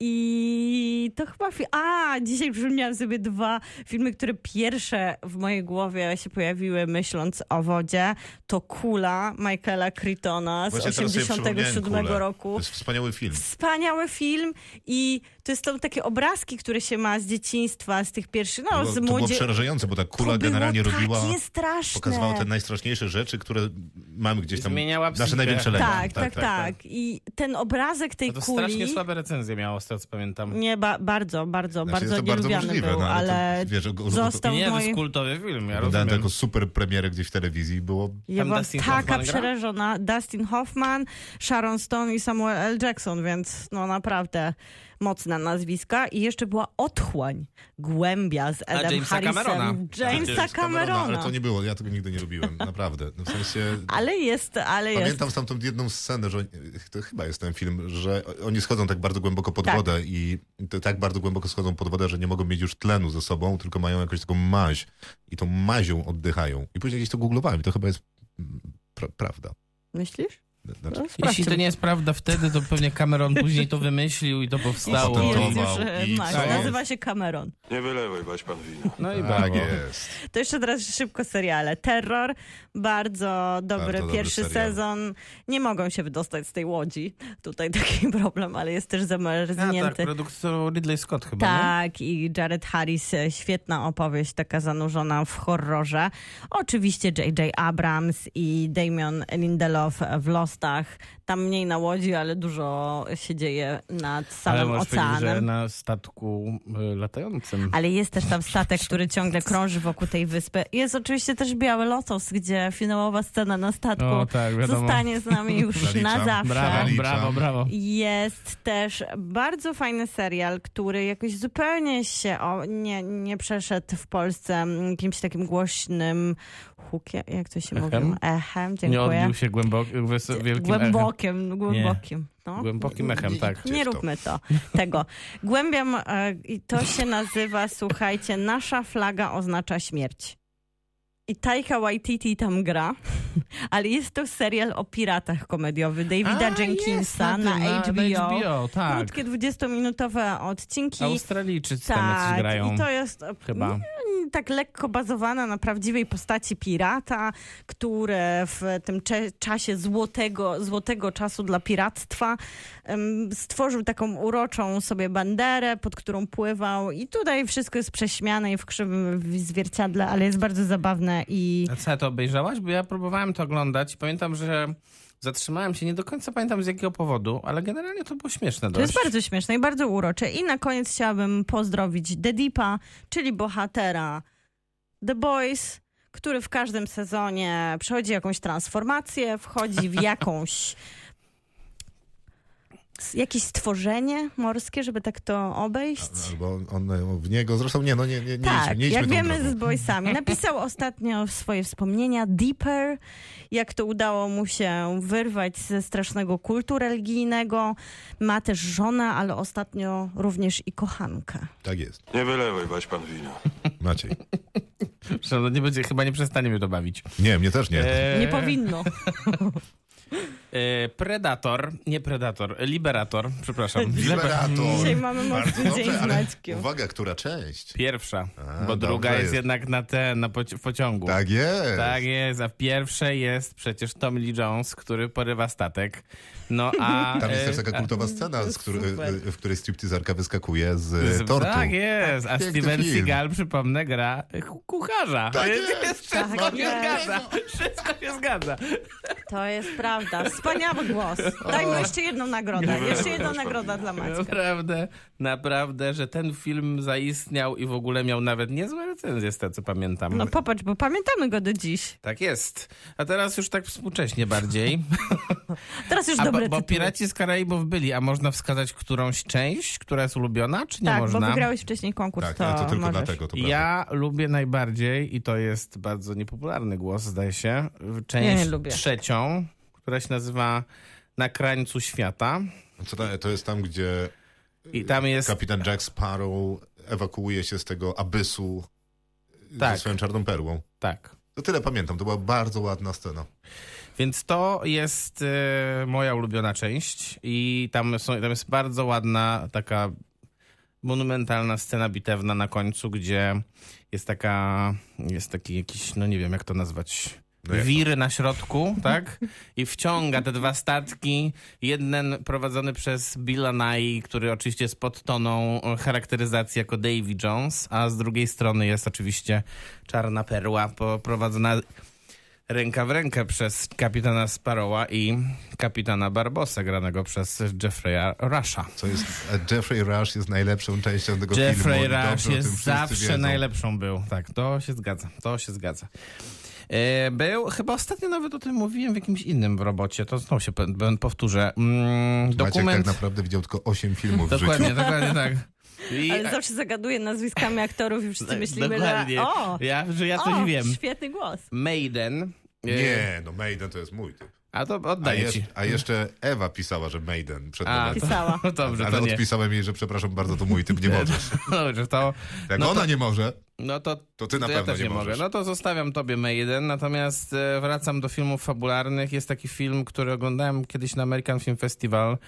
[SPEAKER 4] I to chyba. Fi- A, dzisiaj przypomniałam sobie dwa filmy, które pierwsze w mojej głowie się pojawiły, myśląc o wodzie. To Kula Michaela Crichtona z
[SPEAKER 2] Właśnie teraz sobie przypomniałem
[SPEAKER 4] 87
[SPEAKER 2] Kulę. To
[SPEAKER 4] roku.
[SPEAKER 2] jest wspaniały film.
[SPEAKER 4] Wspaniały film i to są takie obrazki, które się ma z dzieciństwa, z tych pierwszych,
[SPEAKER 2] to
[SPEAKER 4] no z
[SPEAKER 2] było, to było
[SPEAKER 4] młodzie...
[SPEAKER 2] przerażające, bo ta
[SPEAKER 4] To
[SPEAKER 2] kula
[SPEAKER 4] było tak
[SPEAKER 2] generalnie robiła,
[SPEAKER 4] Takie straszne.
[SPEAKER 2] pokazywała te najstraszniejsze rzeczy, które mamy gdzieś tam,
[SPEAKER 5] Zmieniała
[SPEAKER 2] nasze
[SPEAKER 5] psychikę.
[SPEAKER 2] największe lęki.
[SPEAKER 4] tak, tak, tak, I ten obrazek tej
[SPEAKER 5] No to
[SPEAKER 4] kuli.
[SPEAKER 5] strasznie słabe recenzje miało, z tego co pamiętam.
[SPEAKER 4] Nie, ba- bardzo, bardzo,
[SPEAKER 2] Znaczy,
[SPEAKER 4] bardzo
[SPEAKER 2] jest to bardzo
[SPEAKER 4] nielubiany
[SPEAKER 2] możliwe,
[SPEAKER 4] był,
[SPEAKER 2] no, ale
[SPEAKER 4] ale,
[SPEAKER 2] to, wiesz, o- o-
[SPEAKER 4] został
[SPEAKER 5] Nie,
[SPEAKER 4] w
[SPEAKER 5] to
[SPEAKER 4] mojej...
[SPEAKER 5] jest kultowy film, ja
[SPEAKER 2] Oglądałem
[SPEAKER 5] rozumiem.
[SPEAKER 2] to jako super premierę gdzieś w telewizji i było...
[SPEAKER 4] Ja
[SPEAKER 5] Pan
[SPEAKER 4] byłam
[SPEAKER 5] Dustin
[SPEAKER 4] taka
[SPEAKER 5] Hoffman gra?
[SPEAKER 4] przerażona. Dustin Hoffman, Sharon Stone i Samuel L. Jackson, więc no naprawdę mocne nazwiska. I jeszcze była Otchłań, Głębia z Edem
[SPEAKER 5] Jamesa
[SPEAKER 4] Harrisem.
[SPEAKER 5] Camerona.
[SPEAKER 4] Jamesa
[SPEAKER 5] Przecież
[SPEAKER 4] Camerona.
[SPEAKER 2] Znaczy, ale to nie było, ja tego nigdy nie robiłem, naprawdę. No, w sensie...
[SPEAKER 4] Ale jest, ale jest.
[SPEAKER 2] Pamiętam stamtąd jedną scenę, że oni- to chyba jest ten film, że oni schodzą tak bardzo głęboko pod
[SPEAKER 4] Tak.
[SPEAKER 2] wodę i to tak bardzo głęboko schodzą pod wodę, że nie mogą mieć już tlenu ze sobą, tylko mają jakąś taką maź i tą mazią oddychają. I później gdzieś to googlowałem i to chyba jest mm, pra prawda.
[SPEAKER 4] Myślisz?
[SPEAKER 2] Znaczy,
[SPEAKER 4] No,
[SPEAKER 5] Jeśli to
[SPEAKER 4] sprawdźmy.
[SPEAKER 5] nie jest prawda wtedy, to pewnie Cameron później to wymyślił i to powstało.
[SPEAKER 2] Jeśli
[SPEAKER 4] Jest już,
[SPEAKER 2] Wow,
[SPEAKER 4] e,
[SPEAKER 2] i
[SPEAKER 4] masz.
[SPEAKER 5] co jest?
[SPEAKER 4] Nazywa się Cameron.
[SPEAKER 6] Nie wylewaj bać pan wina.
[SPEAKER 5] No i
[SPEAKER 2] tak
[SPEAKER 5] brawo.
[SPEAKER 2] jest.
[SPEAKER 4] To jeszcze teraz szybko seriale. Terror, bardzo dobry
[SPEAKER 2] Bardzo dobry
[SPEAKER 4] pierwszy
[SPEAKER 2] serial.
[SPEAKER 4] sezon. Nie mogą się wydostać z tej łodzi. Tutaj taki problem, ale jest też
[SPEAKER 5] A, tak,
[SPEAKER 4] zamarznięty.
[SPEAKER 5] produkcją Ridley Scott chyba, nie?
[SPEAKER 4] Tak, i Jared Harris, e, świetna opowieść, taka zanurzona w horrorze. Oczywiście J.J. Abrams i Damian Lindelof w Lostach. Tam mniej na łodzi, ale dużo się dzieje nad
[SPEAKER 5] Ale
[SPEAKER 4] samym
[SPEAKER 5] możesz powiedzieć, że
[SPEAKER 4] oceanem.
[SPEAKER 5] na statku y, latającym.
[SPEAKER 4] Ale jest też tam statek, który ciągle krąży wokół tej wyspy. Jest oczywiście też Biały Lotos, gdzie finałowa scena na statku
[SPEAKER 5] O, tak, wiadomo.
[SPEAKER 4] zostanie z nami już na
[SPEAKER 2] Zaliczam.
[SPEAKER 4] zawsze.
[SPEAKER 5] Brawo,
[SPEAKER 2] Zaliczam.
[SPEAKER 5] brawo, brawo.
[SPEAKER 4] Jest też bardzo fajny serial, który jakoś zupełnie się o, nie, nie przeszedł w Polsce mm, jakimś takim głośnym hukiem, jak to się
[SPEAKER 5] Echem?
[SPEAKER 4] mówi? Echem,
[SPEAKER 5] Nie
[SPEAKER 4] dziękuję.
[SPEAKER 5] odbił się głębok, wys- wielkim echem.
[SPEAKER 4] Głębokim, głębokim. No.
[SPEAKER 5] Głębokim echem, tak.
[SPEAKER 4] Nie
[SPEAKER 2] Gdzieś to.
[SPEAKER 4] róbmy to. Tego. Głębiam e, i to się nazywa, słuchajcie, nasza flaga oznacza śmierć. I Taika Waititi tam gra, ale jest to serial o piratach komediowy Davida
[SPEAKER 5] A,
[SPEAKER 4] Jenkinsa
[SPEAKER 5] jest,
[SPEAKER 4] na,
[SPEAKER 5] tym,
[SPEAKER 4] HBO.
[SPEAKER 5] tak.
[SPEAKER 4] Krótkie 20-minutowe odcinki.
[SPEAKER 5] Australijczycy tam
[SPEAKER 4] tak,
[SPEAKER 5] jak grają.
[SPEAKER 4] i to jest e,
[SPEAKER 5] Chyba.
[SPEAKER 4] tak lekko bazowana na prawdziwej postaci pirata, który w tym cze- czasie złotego, złotego czasu dla piractwa em, stworzył taką uroczą sobie banderę, pod którą pływał i tutaj wszystko jest prześmiane i w krzywym w- zwierciadle, ale jest bardzo zabawne i...
[SPEAKER 5] A co, ja to obejrzałaś? Bo ja próbowałem to oglądać i pamiętam, że zatrzymałem się, nie do końca pamiętam z jakiego powodu, ale generalnie to było śmieszne
[SPEAKER 4] To
[SPEAKER 5] dość.
[SPEAKER 4] jest bardzo śmieszne i bardzo urocze. I na koniec chciałabym pozdrowić The Deepa, czyli bohatera The Boys, który w każdym sezonie przechodzi jakąś transformację, wchodzi w jakąś. s- jakieś stworzenie morskie, żeby tak to obejść.
[SPEAKER 2] Albo on w niego, zresztą nie, no nie, nie, nie idźmy,
[SPEAKER 4] Tak,
[SPEAKER 2] nie idźmy
[SPEAKER 4] jak
[SPEAKER 2] tą
[SPEAKER 4] wiemy z
[SPEAKER 2] drogą.
[SPEAKER 4] Boysami. Napisał ostatnio swoje wspomnienia, Deeper, jak to udało mu się wyrwać ze strasznego kultu religijnego. Ma też żonę, ale ostatnio również i kochankę.
[SPEAKER 2] Tak jest,
[SPEAKER 6] Nie wylewaj bać pan wina.
[SPEAKER 2] Maciej.
[SPEAKER 5] Że No nie będzie, chyba nie przestanie mnie to bawić.
[SPEAKER 2] Nie, mnie też nie.
[SPEAKER 5] E,
[SPEAKER 4] Nie powinno.
[SPEAKER 5] e, Predator, nie Predator, Liberator, przepraszam.
[SPEAKER 2] Liberator.
[SPEAKER 4] Dzisiaj mamy
[SPEAKER 2] Bardzo
[SPEAKER 4] mocny
[SPEAKER 2] dobrze,
[SPEAKER 4] dzień z
[SPEAKER 2] ale
[SPEAKER 4] Maćkiem.
[SPEAKER 2] Uwaga, która część?
[SPEAKER 5] Pierwsza,
[SPEAKER 2] A,
[SPEAKER 5] bo
[SPEAKER 2] dobrze
[SPEAKER 5] druga jest,
[SPEAKER 2] jest.
[SPEAKER 5] jednak na te, na poci- w pociągu.
[SPEAKER 2] Tak jest.
[SPEAKER 5] Tak jest, a w pierwszej jest przecież Tom Lee Jones, który porywa statek. No a...
[SPEAKER 2] Tam jest
[SPEAKER 5] e,
[SPEAKER 2] też taka
[SPEAKER 5] a-
[SPEAKER 2] kultowa scena, z który,
[SPEAKER 4] Super.
[SPEAKER 2] w której striptizarka wyskakuje z e,
[SPEAKER 5] Z-
[SPEAKER 2] tortu.
[SPEAKER 5] Tak jest, a
[SPEAKER 2] Piękny
[SPEAKER 5] Steven
[SPEAKER 2] film.
[SPEAKER 5] Seagal, przypomnę, gra ku- kucharza.
[SPEAKER 2] Tak
[SPEAKER 5] Więc
[SPEAKER 2] jest,
[SPEAKER 5] wszystko
[SPEAKER 4] tak
[SPEAKER 5] się
[SPEAKER 4] jest.
[SPEAKER 5] zgadza. Wszystko się zgadza.
[SPEAKER 4] To jest prawda. Wspaniały głos. Daj mu jeszcze jedną nagrodę. Jeszcze jedna nagroda dla Maćka.
[SPEAKER 5] Naprawdę, naprawdę, że ten film zaistniał i w ogóle miał nawet niezłe recenzje, z tego co pamiętam.
[SPEAKER 4] No popatrz, bo pamiętamy go do dziś.
[SPEAKER 5] Tak jest. A teraz już tak współcześnie bardziej.
[SPEAKER 4] Teraz już
[SPEAKER 5] A
[SPEAKER 4] dobre
[SPEAKER 5] bo, bo
[SPEAKER 4] tytuły.
[SPEAKER 5] Piraci z Karaibów byli, a tak, można wskazać którąś część, która jest ulubiona, czy nie
[SPEAKER 4] tak,
[SPEAKER 5] można?
[SPEAKER 4] bo wygrałeś wcześniej konkurs,
[SPEAKER 2] Tak,
[SPEAKER 4] to,
[SPEAKER 2] ale to tylko
[SPEAKER 4] możesz.
[SPEAKER 2] dlatego, to prawda.
[SPEAKER 5] Ja lubię najbardziej, i to jest bardzo niepopularny głos, zdaje się, w
[SPEAKER 4] Ja
[SPEAKER 5] część
[SPEAKER 4] nie lubię.
[SPEAKER 5] trzecią, która się nazywa Na krańcu świata.
[SPEAKER 2] Co to, to jest tam, gdzie
[SPEAKER 5] I tam jest.
[SPEAKER 2] kapitan Jack Sparrow ewakuuje się z tego abysu y,
[SPEAKER 5] Tak.
[SPEAKER 2] ze swoją czarną perłą.
[SPEAKER 5] tak.
[SPEAKER 2] To tyle pamiętam, to była bardzo ładna scena.
[SPEAKER 5] Więc to jest e, moja ulubiona część, i tam, są, tam jest bardzo ładna taka monumentalna scena bitewna na końcu, gdzie jest taka, jest taki jakiś, no nie wiem jak to nazwać,
[SPEAKER 2] No jak to?
[SPEAKER 5] wir na środku, tak? I wciąga te dwa statki, jeden prowadzony przez Billa Nye, który oczywiście jest pod toną charakteryzacji jako Davy Jones, a z drugiej strony jest oczywiście czarna perła po- prowadzona ręka w rękę przez kapitana Sparrowa i kapitana Barbosa granego przez Jeffrey'a Rusha.
[SPEAKER 2] Co jest, a Jeffrey Rush jest najlepszą częścią tego filmu.
[SPEAKER 5] Jeffrey
[SPEAKER 2] oni dobrze
[SPEAKER 5] Rush
[SPEAKER 2] o tym wszyscy
[SPEAKER 5] jest zawsze
[SPEAKER 2] wiedzą.
[SPEAKER 5] najlepszą był. Tak, to się zgadza, to się zgadza. E, Był, chyba ostatnio nawet o tym mówiłem w jakimś innym robocie, to znowu się pe- pe- powtórzę. Mm,
[SPEAKER 2] Maciek
[SPEAKER 5] Dokument,
[SPEAKER 2] tak naprawdę widział tylko 8 filmów w życiu.
[SPEAKER 5] dokładnie, dokładnie tak. I, tak,
[SPEAKER 4] Ale zawsze zagaduje nazwiskami aktorów i wszyscy myślimy, że
[SPEAKER 5] dokładnie.
[SPEAKER 4] o,
[SPEAKER 5] Ja, że ja coś
[SPEAKER 4] o
[SPEAKER 5] wiem.
[SPEAKER 4] świetny głos.
[SPEAKER 5] Maiden. e,
[SPEAKER 2] Nie, no Maiden to jest mój typ.
[SPEAKER 5] A to
[SPEAKER 2] A,
[SPEAKER 5] oddaję
[SPEAKER 2] jeszcze,
[SPEAKER 5] ci.
[SPEAKER 2] a jeszcze Ewa pisała, że Maiden przed
[SPEAKER 5] A,
[SPEAKER 2] momentem.
[SPEAKER 4] Pisała.
[SPEAKER 5] No dobrze,
[SPEAKER 2] Ale
[SPEAKER 5] to nie.
[SPEAKER 2] odpisałem jej, że przepraszam bardzo, to mój typ, nie możesz.
[SPEAKER 5] Dobrze, to,
[SPEAKER 2] Jak
[SPEAKER 5] No to-
[SPEAKER 2] ona nie może,
[SPEAKER 5] no to
[SPEAKER 2] to ty na
[SPEAKER 5] To ja
[SPEAKER 2] pewno
[SPEAKER 5] też
[SPEAKER 2] nie,
[SPEAKER 5] nie mogę.
[SPEAKER 2] możesz.
[SPEAKER 5] No to zostawiam tobie Maiden, natomiast e, wracam do filmów fabularnych. Jest taki film, który oglądałem kiedyś na American Film Festival.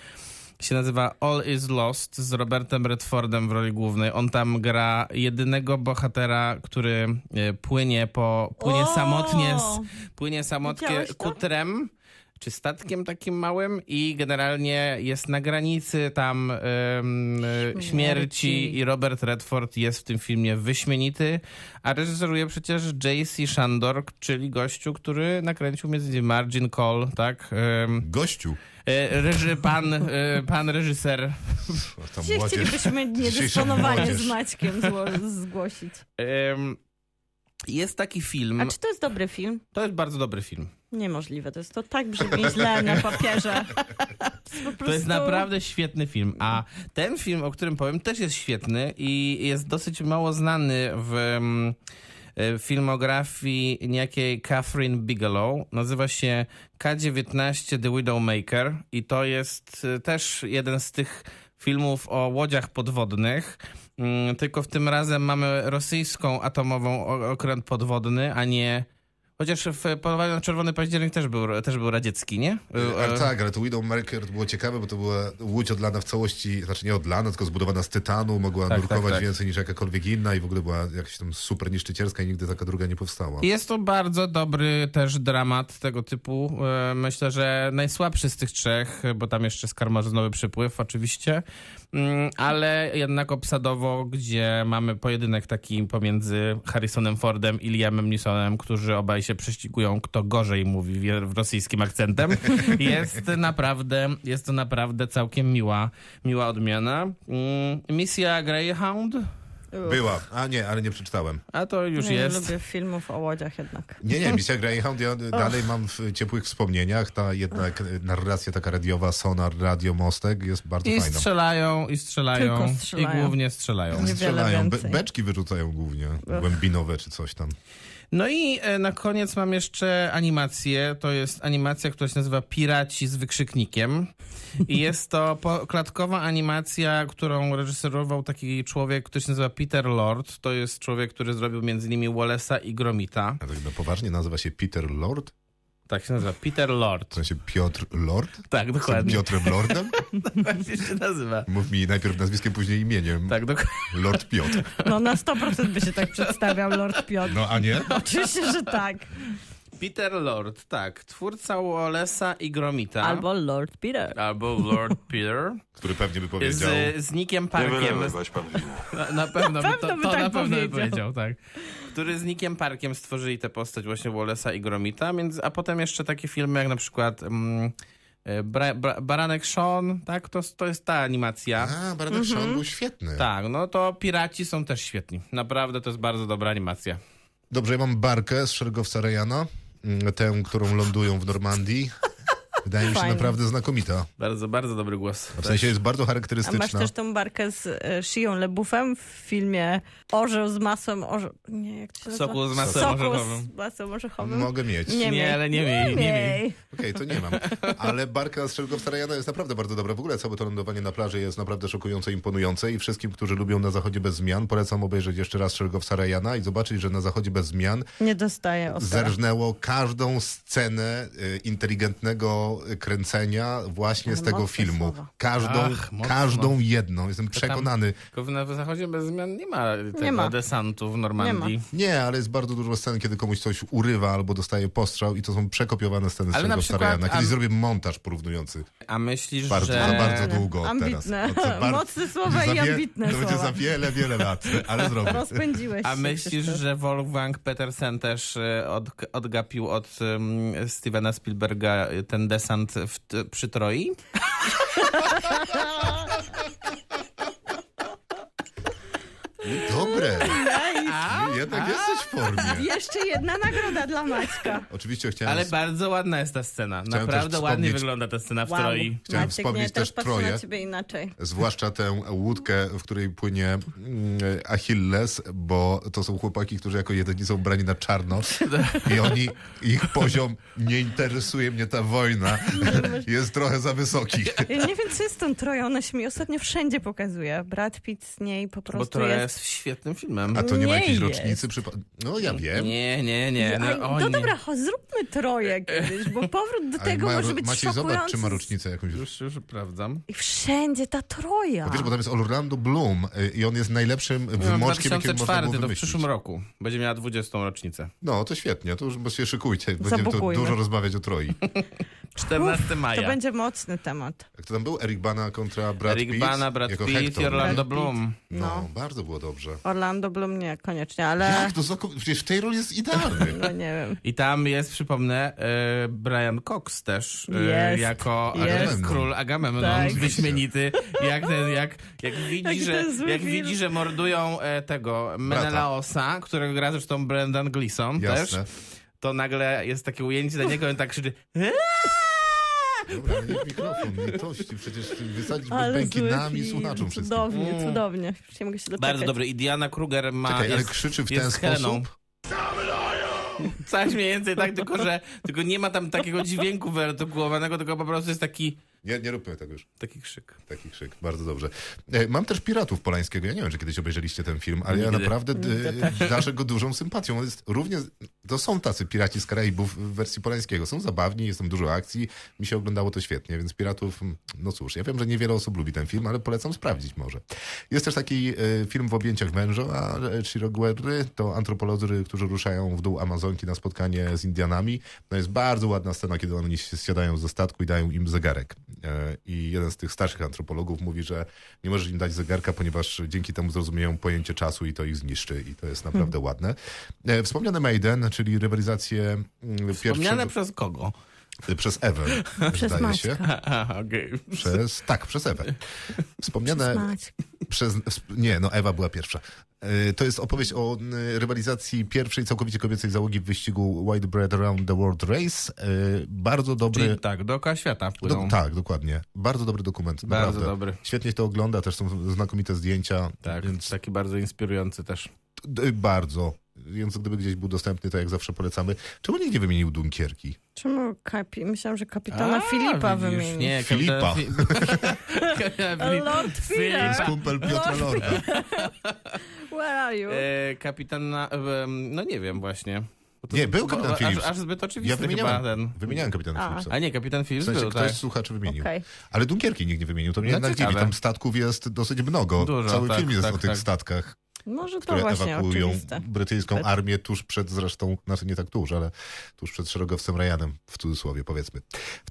[SPEAKER 5] Się nazywa All is Lost z Robertem Redfordem w roli głównej. On tam gra jedynego bohatera, który e, płynie po płynie
[SPEAKER 4] O!
[SPEAKER 5] samotnie z, płynie samotnie
[SPEAKER 4] Widziałeś to?
[SPEAKER 5] kutrem czy statkiem takim małym i generalnie jest na granicy tam em, e, śmierci i Robert Redford jest w tym filmie wyśmienity, a reżyseruje przecież J.C. Shandor, czyli gościu, który nakręcił między innymi Margin Call, tak? Em,
[SPEAKER 2] Gościu,
[SPEAKER 5] e, reży, pan, e, pan reżyser
[SPEAKER 2] O, ta
[SPEAKER 4] Dzisiaj
[SPEAKER 2] młodzież.
[SPEAKER 4] chcielibyśmy
[SPEAKER 2] Dzisiejsza
[SPEAKER 4] niedysponowanie
[SPEAKER 2] młodzież.
[SPEAKER 4] z Maćkiem zło- zgłosić.
[SPEAKER 5] em, jest taki film,
[SPEAKER 4] A czy to jest dobry film?
[SPEAKER 5] to jest bardzo dobry film.
[SPEAKER 4] Niemożliwe, to jest to tak brzmi źle na papierze.
[SPEAKER 5] To jest naprawdę świetny film. A ten film, o którym powiem, też jest świetny i jest dosyć mało znany w em, e, filmografii niejakiej Catherine Bigelow. Nazywa się K-19 The Widowmaker i to jest e, też jeden z tych filmów o łodziach podwodnych. Mm, Tylko w tym razem mamy rosyjską atomową o- okręt podwodny, a nie... Chociaż w Polowaniu na Czerwony Październik też był, też był radziecki, nie? E,
[SPEAKER 2] Ale tak, ale to Widowmaker było ciekawe, bo to była łódź odlana w całości, znaczy nie odlana, tylko zbudowana z tytanu, mogła
[SPEAKER 5] Tak,
[SPEAKER 2] nurkować
[SPEAKER 5] tak, tak.
[SPEAKER 2] więcej niż jakakolwiek inna i w ogóle była jakaś tam super niszczycielska i nigdy taka druga nie powstała.
[SPEAKER 5] Jest to bardzo dobry też dramat tego typu. E, Myślę, że najsłabszy z tych trzech, bo tam jeszcze skarmazynowy przypływ oczywiście, Mm, ale jednak obsadowo, gdzie mamy pojedynek taki pomiędzy Harrisonem Fordem i Liamem Neesonem, którzy obaj się prześcigują, kto gorzej mówi wie- w rosyjskim akcentem. Jest naprawdę, jest to naprawdę całkiem miła, miła odmiana. Mm, Misja Greyhound,
[SPEAKER 2] Była, a nie, ale nie przeczytałem.
[SPEAKER 5] a to już
[SPEAKER 4] no Nie, nie
[SPEAKER 5] jest.
[SPEAKER 4] lubię filmów o łodziach jednak.
[SPEAKER 2] Nie, nie, misja Greyhound ja dalej mam w ciepłych wspomnieniach, ta jednak e, narracja taka radiowa, sonar, radio, mostek jest bardzo
[SPEAKER 5] I
[SPEAKER 2] fajna.
[SPEAKER 5] strzelają, i strzelają,
[SPEAKER 4] Tylko strzelają.
[SPEAKER 5] i głównie strzelają.
[SPEAKER 4] Niewiele
[SPEAKER 2] Strzelają, be-
[SPEAKER 4] więcej.
[SPEAKER 2] beczki wyrzucają głównie, głębinowe czy coś tam.
[SPEAKER 5] No i e, na koniec mam jeszcze animację. To jest animacja, która się nazywa Piraci z wykrzyknikiem. I jest to po- klatkowa animacja, którą reżyserował taki człowiek, który się nazywa Peter Lord. To jest człowiek, który zrobił między innymi Wallace'a i Gromita.
[SPEAKER 2] A tak na poważnie nazywa się Peter Lord?
[SPEAKER 5] Tak się nazywa, Peter
[SPEAKER 2] W
[SPEAKER 5] Lord.
[SPEAKER 2] sensie Piotr Lord?
[SPEAKER 5] Tak,
[SPEAKER 2] Jestem
[SPEAKER 5] dokładnie.
[SPEAKER 2] Piotrem Lordem?
[SPEAKER 5] Właśnie się nazywa.
[SPEAKER 2] Mów mi najpierw nazwiskiem, później imieniem.
[SPEAKER 5] Tak, dokładnie.
[SPEAKER 2] Lord Piotr.
[SPEAKER 4] No na 100% by się tak przedstawiał Lord Piotr.
[SPEAKER 2] No a nie?
[SPEAKER 4] Oczywiście, że tak.
[SPEAKER 5] Peter Lord, tak. Twórca Wallace'a i Gromita.
[SPEAKER 4] Albo Lord Peter.
[SPEAKER 5] Albo Lord Peter.
[SPEAKER 2] Który pewnie by powiedział.
[SPEAKER 5] Z, z Nickiem
[SPEAKER 6] Nie
[SPEAKER 5] Parkiem.
[SPEAKER 6] wylewaj pan wina.
[SPEAKER 5] Na, na pewno, by
[SPEAKER 4] pewno
[SPEAKER 5] to,
[SPEAKER 4] by
[SPEAKER 5] to
[SPEAKER 4] tak
[SPEAKER 5] na pewno by
[SPEAKER 4] powiedział.
[SPEAKER 5] powiedział, tak. Który z Nickiem Parkiem stworzyli tę postać właśnie Wallace'a i Gromita, więc, a potem jeszcze takie filmy jak na przykład mm, E, Bra, bra, Baranek Sean, tak? To, to jest ta animacja.
[SPEAKER 2] A,
[SPEAKER 4] Mhm.
[SPEAKER 2] Baranek Sean był świetny.
[SPEAKER 5] Tak, no to piraci są też świetni. Naprawdę to jest bardzo dobra animacja.
[SPEAKER 2] Dobrze, ja mam barkę z Szeregowca Rejana, mm, tę, którą lądują w Normandii. Wydaje mi się
[SPEAKER 4] Fajne.
[SPEAKER 2] naprawdę znakomita.
[SPEAKER 5] Bardzo, bardzo dobry głos.
[SPEAKER 2] W sensie jest bardzo
[SPEAKER 4] A masz
[SPEAKER 2] charakterystyczna.
[SPEAKER 4] też tą barkę z e, Shią Lebufem w filmie Orzeł z masłem orze... Nie, jak to się nazywa?
[SPEAKER 5] Soku z masłem
[SPEAKER 4] Soku
[SPEAKER 5] orzechowym.
[SPEAKER 4] z masłem orzechowym.
[SPEAKER 2] Mogę mieć.
[SPEAKER 4] Nie, miej.
[SPEAKER 5] Nie, ale nie miej, nie miej.
[SPEAKER 2] Okej, to nie mam. Ale barka z Szeregowca Rejana jest naprawdę bardzo dobra. W ogóle całe to lądowanie na plaży jest naprawdę szokujące, imponujące i wszystkim, którzy lubią Na Zachodzie bez zmian, polecam obejrzeć jeszcze raz Szeregowca Rejana i zobaczyć, że Na Zachodzie bez zmian
[SPEAKER 4] Nie dostaję Oscara.
[SPEAKER 2] zerżnęło każdą scenę y, inteligentnego e, kręcenia właśnie z
[SPEAKER 4] Ale
[SPEAKER 2] tego
[SPEAKER 4] No, mocne
[SPEAKER 2] filmu.
[SPEAKER 4] słowa.
[SPEAKER 2] Każdą,
[SPEAKER 5] Ach, mocno.
[SPEAKER 2] każdą jedną. Jestem
[SPEAKER 5] tam-
[SPEAKER 2] przekonany.
[SPEAKER 5] Tylko w- na zachodzie bez zmian nie ma tego
[SPEAKER 4] Nie ma.
[SPEAKER 5] desantu w Normandii.
[SPEAKER 4] Nie
[SPEAKER 2] Nie, ale jest bardzo dużo scen, kiedy komuś coś urywa albo dostaje postrzał i to są przekopiowane sceny z
[SPEAKER 5] Ale na
[SPEAKER 2] tego
[SPEAKER 5] przykład-
[SPEAKER 2] Sarajana. Kiedyś
[SPEAKER 5] a-
[SPEAKER 2] zrobię montaż porównujący.
[SPEAKER 5] A myślisz,
[SPEAKER 2] Bardzo,
[SPEAKER 5] że...
[SPEAKER 2] za bardzo długo
[SPEAKER 4] ambitne.
[SPEAKER 2] teraz. No, to bar-
[SPEAKER 4] Mocne
[SPEAKER 2] za
[SPEAKER 4] słowa i
[SPEAKER 2] wie-
[SPEAKER 4] ambitne
[SPEAKER 2] To będzie
[SPEAKER 4] słowa.
[SPEAKER 2] za wiele, wiele lat, ale zrobię.
[SPEAKER 4] Rozpędziłeś
[SPEAKER 5] A
[SPEAKER 4] się,
[SPEAKER 5] myślisz,
[SPEAKER 4] Krzysztof.
[SPEAKER 5] że Wolfgang Petersen też e, od, odgapił od um, Stevena Spielberga e, ten desant w, t- przy Troi?
[SPEAKER 2] Dobre,
[SPEAKER 4] Aj,
[SPEAKER 2] jednak jesteś w formie.
[SPEAKER 4] Jeszcze jedna nagroda dla Maćka.
[SPEAKER 2] Oczywiście chciałem
[SPEAKER 5] Ale bardzo ładna jest ta scena.
[SPEAKER 2] Chciałem
[SPEAKER 5] Naprawdę
[SPEAKER 2] też
[SPEAKER 5] ładnie
[SPEAKER 2] wspomnieć-
[SPEAKER 5] wygląda ta scena w
[SPEAKER 4] Wow.
[SPEAKER 5] Troi.
[SPEAKER 2] Chciałem
[SPEAKER 4] Maciek,
[SPEAKER 2] wspomnieć
[SPEAKER 4] nie, teraz
[SPEAKER 2] też
[SPEAKER 4] patrzę
[SPEAKER 2] Troję.
[SPEAKER 4] na ciebie inaczej.
[SPEAKER 2] Zwłaszcza tę łódkę, w której płynie mm, Achilles, bo to są chłopaki, którzy jako jedyni są brani na czarno i oni, ich poziom, nie interesuje mnie ta wojna, jest trochę za wysoki.
[SPEAKER 4] Ja nie wiem, co jest z tą Troją. Ona się mi ostatnio wszędzie pokazuje. Brad Pitt z niej po
[SPEAKER 5] Bo
[SPEAKER 4] prostu
[SPEAKER 5] Troja
[SPEAKER 4] jest...
[SPEAKER 5] jest świetnym filmem.
[SPEAKER 2] A to nie ma
[SPEAKER 4] Nie
[SPEAKER 2] jakiejś
[SPEAKER 4] jest.
[SPEAKER 2] rocznicy? Przypa- no ja wiem.
[SPEAKER 5] Nie, nie, nie.
[SPEAKER 4] Aj,
[SPEAKER 5] No, o,
[SPEAKER 4] no
[SPEAKER 5] nie.
[SPEAKER 4] dobra, cho, zróbmy Troję kiedyś, bo powrót do
[SPEAKER 2] Ale
[SPEAKER 4] tego
[SPEAKER 2] ma-
[SPEAKER 4] może być
[SPEAKER 2] Maciej, zobacz,
[SPEAKER 4] szokujący.
[SPEAKER 2] czy ma rocznicę jakąś.
[SPEAKER 5] Już, już sprawdzam.
[SPEAKER 4] I wszędzie ta Troja.
[SPEAKER 2] Bo wiesz, bo tam jest Orlando Bloom y, i on jest najlepszym
[SPEAKER 5] No,
[SPEAKER 2] wymoczkiem, jakim można
[SPEAKER 5] 2004
[SPEAKER 2] było
[SPEAKER 5] to w
[SPEAKER 2] wymyślić.
[SPEAKER 5] przyszłym roku. Będzie miała 20. rocznicę.
[SPEAKER 2] No, to świetnie, to już bo się szykujcie, będziemy tu
[SPEAKER 4] Zabukujmy.
[SPEAKER 2] dużo rozmawiać o Troi.
[SPEAKER 5] 14
[SPEAKER 4] To
[SPEAKER 5] maja.
[SPEAKER 4] będzie mocny temat.
[SPEAKER 2] Jak to tam był? Eric Bana kontra Brad
[SPEAKER 5] Eric
[SPEAKER 2] Pitt?
[SPEAKER 5] Bana, Brad
[SPEAKER 2] jako
[SPEAKER 5] Pitt,
[SPEAKER 2] Hector,
[SPEAKER 5] i
[SPEAKER 2] nie?
[SPEAKER 5] Orlando
[SPEAKER 4] Brad Pitt.
[SPEAKER 5] Bloom.
[SPEAKER 2] No,
[SPEAKER 4] No.
[SPEAKER 2] bardzo było dobrze.
[SPEAKER 4] Orlando Bloom nie, koniecznie, ale
[SPEAKER 2] Jak to zako- Przecież w tej roli jest idealny.
[SPEAKER 4] no nie wiem.
[SPEAKER 5] I tam jest, przypomnę, e, Brian Cox też e,
[SPEAKER 4] Jest.
[SPEAKER 5] jako
[SPEAKER 4] Jest.
[SPEAKER 5] e, król Agamemnon,
[SPEAKER 4] Tak.
[SPEAKER 5] wyśmienity. Jak, ten, jak, jak, widzi,
[SPEAKER 4] Jak
[SPEAKER 5] że,
[SPEAKER 4] ten zły
[SPEAKER 5] jak
[SPEAKER 4] film.
[SPEAKER 5] widzi, że mordują e, tego Menelaosa, którego gra zresztą Brendan Gleeson
[SPEAKER 2] Jasne.
[SPEAKER 5] też, to nagle jest takie ujęcie na niego i on tak krzyczy "Eee!"
[SPEAKER 2] Dobra, niech mikrofon, litości, przecież ty wysadzisz bez
[SPEAKER 4] Ale zły
[SPEAKER 2] bękinami
[SPEAKER 4] film.
[SPEAKER 2] słuchaczom wszystkim.
[SPEAKER 4] Cudownie, cudownie. Już nie mogę się doczekać.
[SPEAKER 5] Mm. Bardzo dobry. I Diana Kruger ma...
[SPEAKER 2] Czekaj, ale
[SPEAKER 5] jest,
[SPEAKER 2] krzyczy w
[SPEAKER 5] jest
[SPEAKER 2] ten
[SPEAKER 5] Heleną.
[SPEAKER 2] sposób?
[SPEAKER 5] Coś mniej więcej tak, tylko że tylko nie ma tam takiego dźwięku wyartykułowanego, tylko po prostu jest taki,
[SPEAKER 2] Nie, nie róbmy tego już.
[SPEAKER 5] taki krzyk.
[SPEAKER 2] Taki krzyk, bardzo dobrze. E, Mam też Piratów Polańskiego. Ja nie wiem, czy kiedyś obejrzeliście ten film, ale ja
[SPEAKER 5] Nigdy.
[SPEAKER 2] naprawdę d- darzę go dużą sympatią. On jest również, to są tacy Piraci z Karaibów w wersji Polańskiego. Są zabawni, jest tam dużo akcji. Mi się oglądało to świetnie, więc Piratów, mm, no cóż, ja wiem, że niewiele osób lubi ten film, ale polecam sprawdzić może. Jest też taki e, film w objęciach męża, a Shiro Guerry to antropolodzy, którzy ruszają w dół Amazonki na spotkanie z Indianami. No jest bardzo ładna scena, kiedy oni się zsiadają ze statku i dają im zegarek. E, I jeden z tych starszych antropologów mówi, że nie możesz im dać zegarka, ponieważ dzięki temu zrozumieją pojęcie czasu i to ich zniszczy. I to jest naprawdę ładne. E, Wspomniane Maiden, czyli rywalizację mm,
[SPEAKER 5] Wspomniane
[SPEAKER 2] pierwszego,
[SPEAKER 5] przez kogo?
[SPEAKER 2] przez Ewę, zdaje się.
[SPEAKER 5] Aha, okej.
[SPEAKER 2] Przez, tak, przez Ewę. Wspomniane
[SPEAKER 4] Maćku.
[SPEAKER 2] przez, sp- nie, no Ewa była pierwsza. E, To jest opowieść o n, rywalizacji pierwszej całkowicie kobiecej załogi w wyścigu Widebread Around the World Race. E, Bardzo dobry...
[SPEAKER 5] Czyli tak, dookoła świata
[SPEAKER 2] Do,
[SPEAKER 5] płyną.
[SPEAKER 2] tak, dokładnie. Bardzo dobry dokument.
[SPEAKER 5] Bardzo
[SPEAKER 2] naprawdę.
[SPEAKER 5] dobry.
[SPEAKER 2] Świetnie się to ogląda, też są znakomite zdjęcia.
[SPEAKER 5] Tak,
[SPEAKER 2] Więc
[SPEAKER 5] taki bardzo inspirujący też.
[SPEAKER 2] d- bardzo. Więc gdyby gdzieś był dostępny, to jak zawsze polecamy. Czemu nikt nie wymienił Dunkierki?
[SPEAKER 4] Czemu kapi... Myślałam, że kapitana Filipa
[SPEAKER 5] widzisz,
[SPEAKER 4] wymienił.
[SPEAKER 5] Nie,
[SPEAKER 2] Filipa.
[SPEAKER 5] Kapitan,
[SPEAKER 4] Lord Filip.
[SPEAKER 2] Jest kumpel Piotra
[SPEAKER 4] Lord-
[SPEAKER 2] Lorda.
[SPEAKER 4] Where are you?
[SPEAKER 5] E, kapitan, na, em, no nie wiem właśnie. Bo to-
[SPEAKER 2] Nie, był
[SPEAKER 5] bo-
[SPEAKER 2] kapitan
[SPEAKER 5] aż-
[SPEAKER 2] Phillips.
[SPEAKER 5] Aż zbyt
[SPEAKER 2] Ja
[SPEAKER 5] oczywisty chyba ten.
[SPEAKER 2] wymieniałem, wymieniałem kapitana
[SPEAKER 4] A.
[SPEAKER 2] Philipsa.
[SPEAKER 5] A nie, kapitan
[SPEAKER 2] W
[SPEAKER 5] Phillips
[SPEAKER 2] sensie
[SPEAKER 5] był,
[SPEAKER 2] ktoś
[SPEAKER 5] tak.
[SPEAKER 2] z słuchaczy wymienił.
[SPEAKER 4] Okej.
[SPEAKER 2] Ale Dunkierki nikt nie wymienił, to mnie
[SPEAKER 5] No,
[SPEAKER 2] jednak dziwi.
[SPEAKER 5] ciekawe.
[SPEAKER 2] Tam statków jest dosyć mnogo.
[SPEAKER 5] Dużo,
[SPEAKER 2] Cały
[SPEAKER 5] tak,
[SPEAKER 2] film jest
[SPEAKER 5] tak,
[SPEAKER 2] o tych
[SPEAKER 5] tak.
[SPEAKER 2] statkach,
[SPEAKER 4] Może to
[SPEAKER 2] które
[SPEAKER 4] właśnie
[SPEAKER 2] ewakuują
[SPEAKER 4] oczywiste.
[SPEAKER 2] brytyjską
[SPEAKER 4] Tak.
[SPEAKER 2] armię tuż przed zresztą, znaczy nie tak tuż, ale tuż przed szeregowcem Ryanem, w cudzysłowie powiedzmy. W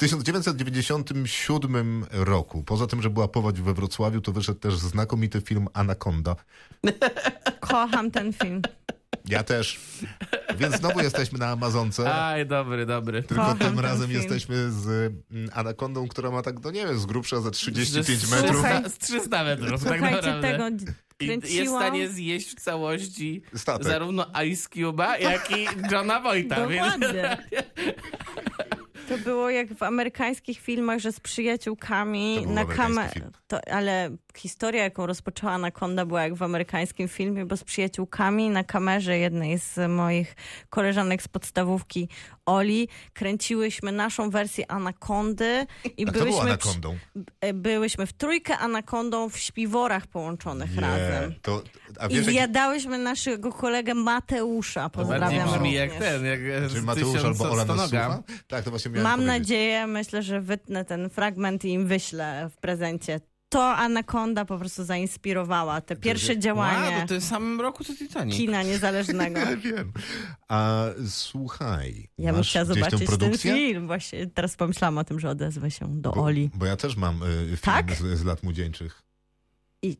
[SPEAKER 2] 1997 roku, poza tym, że była powódź we Wrocławiu, to wyszedł też znakomity film Anaconda.
[SPEAKER 4] Kocham ten film.
[SPEAKER 2] Ja też. Więc znowu jesteśmy na Amazonce.
[SPEAKER 5] Aj, dobry, dobry.
[SPEAKER 2] Tylko
[SPEAKER 4] Kocham
[SPEAKER 2] tym
[SPEAKER 4] ten
[SPEAKER 2] razem
[SPEAKER 4] film.
[SPEAKER 2] jesteśmy z mm, anakondą, która ma tak, no nie wiem, z grubsza za 35
[SPEAKER 5] Z-
[SPEAKER 2] metrów.
[SPEAKER 4] Słuchaj.
[SPEAKER 5] Z 300 metrów, tak
[SPEAKER 4] Słuchajcie,
[SPEAKER 5] naprawdę.
[SPEAKER 4] tego
[SPEAKER 5] I jest w
[SPEAKER 4] kręciłam.
[SPEAKER 5] stanie zjeść w całości
[SPEAKER 2] Statek.
[SPEAKER 5] zarówno Ice Cube'a, jak i Johna Wojta. więc-
[SPEAKER 4] Dokładnie. To było jak w amerykańskich filmach, że z przyjaciółkami
[SPEAKER 2] To był
[SPEAKER 4] na
[SPEAKER 2] amerykański
[SPEAKER 4] kamerę.
[SPEAKER 2] film.
[SPEAKER 4] Ale historia, jaką rozpoczęła Anaconda, była jak w amerykańskim filmie, bo z przyjaciółkami na kamerze jednej z moich koleżanek z podstawówki Oli kręciłyśmy naszą wersję Anakondy i
[SPEAKER 2] A kto był
[SPEAKER 4] byłyśmy, przy-
[SPEAKER 2] anakondą?
[SPEAKER 4] e, byłyśmy w trójkę Anakondą w śpiworach połączonych no razem.
[SPEAKER 2] To, a
[SPEAKER 4] I
[SPEAKER 2] wiesz, jak,
[SPEAKER 4] zjadałyśmy naszego kolegę Mateusza.
[SPEAKER 5] Bardziej
[SPEAKER 4] Pozdrawiam.
[SPEAKER 5] brzmi
[SPEAKER 4] również.
[SPEAKER 5] jak ten, jak
[SPEAKER 2] czy
[SPEAKER 5] z
[SPEAKER 2] Mateusz albo Ola nas
[SPEAKER 5] noga.
[SPEAKER 2] słucha? Tak, to właśnie miałem
[SPEAKER 4] Mam
[SPEAKER 2] powiedzieć.
[SPEAKER 4] nadzieję, myślę, że wytnę ten fragment i im wyślę w prezencie. To Anakonda po prostu zainspirowała te pierwsze działanie
[SPEAKER 5] Wow, to w samym roku co Titanic.
[SPEAKER 4] kina niezależnego.
[SPEAKER 2] Ja wiem. A słuchaj,
[SPEAKER 4] Ja bym
[SPEAKER 2] masz
[SPEAKER 4] chciała
[SPEAKER 2] gdzieś tą
[SPEAKER 4] zobaczyć ten
[SPEAKER 2] produkcję?
[SPEAKER 4] film. Właśnie teraz pomyślałam o tym, że odezwę się do
[SPEAKER 2] Bo,
[SPEAKER 4] Oli.
[SPEAKER 2] bo ja też mam y, film
[SPEAKER 4] Tak?
[SPEAKER 2] z, z lat młodzieńczych.
[SPEAKER 4] I-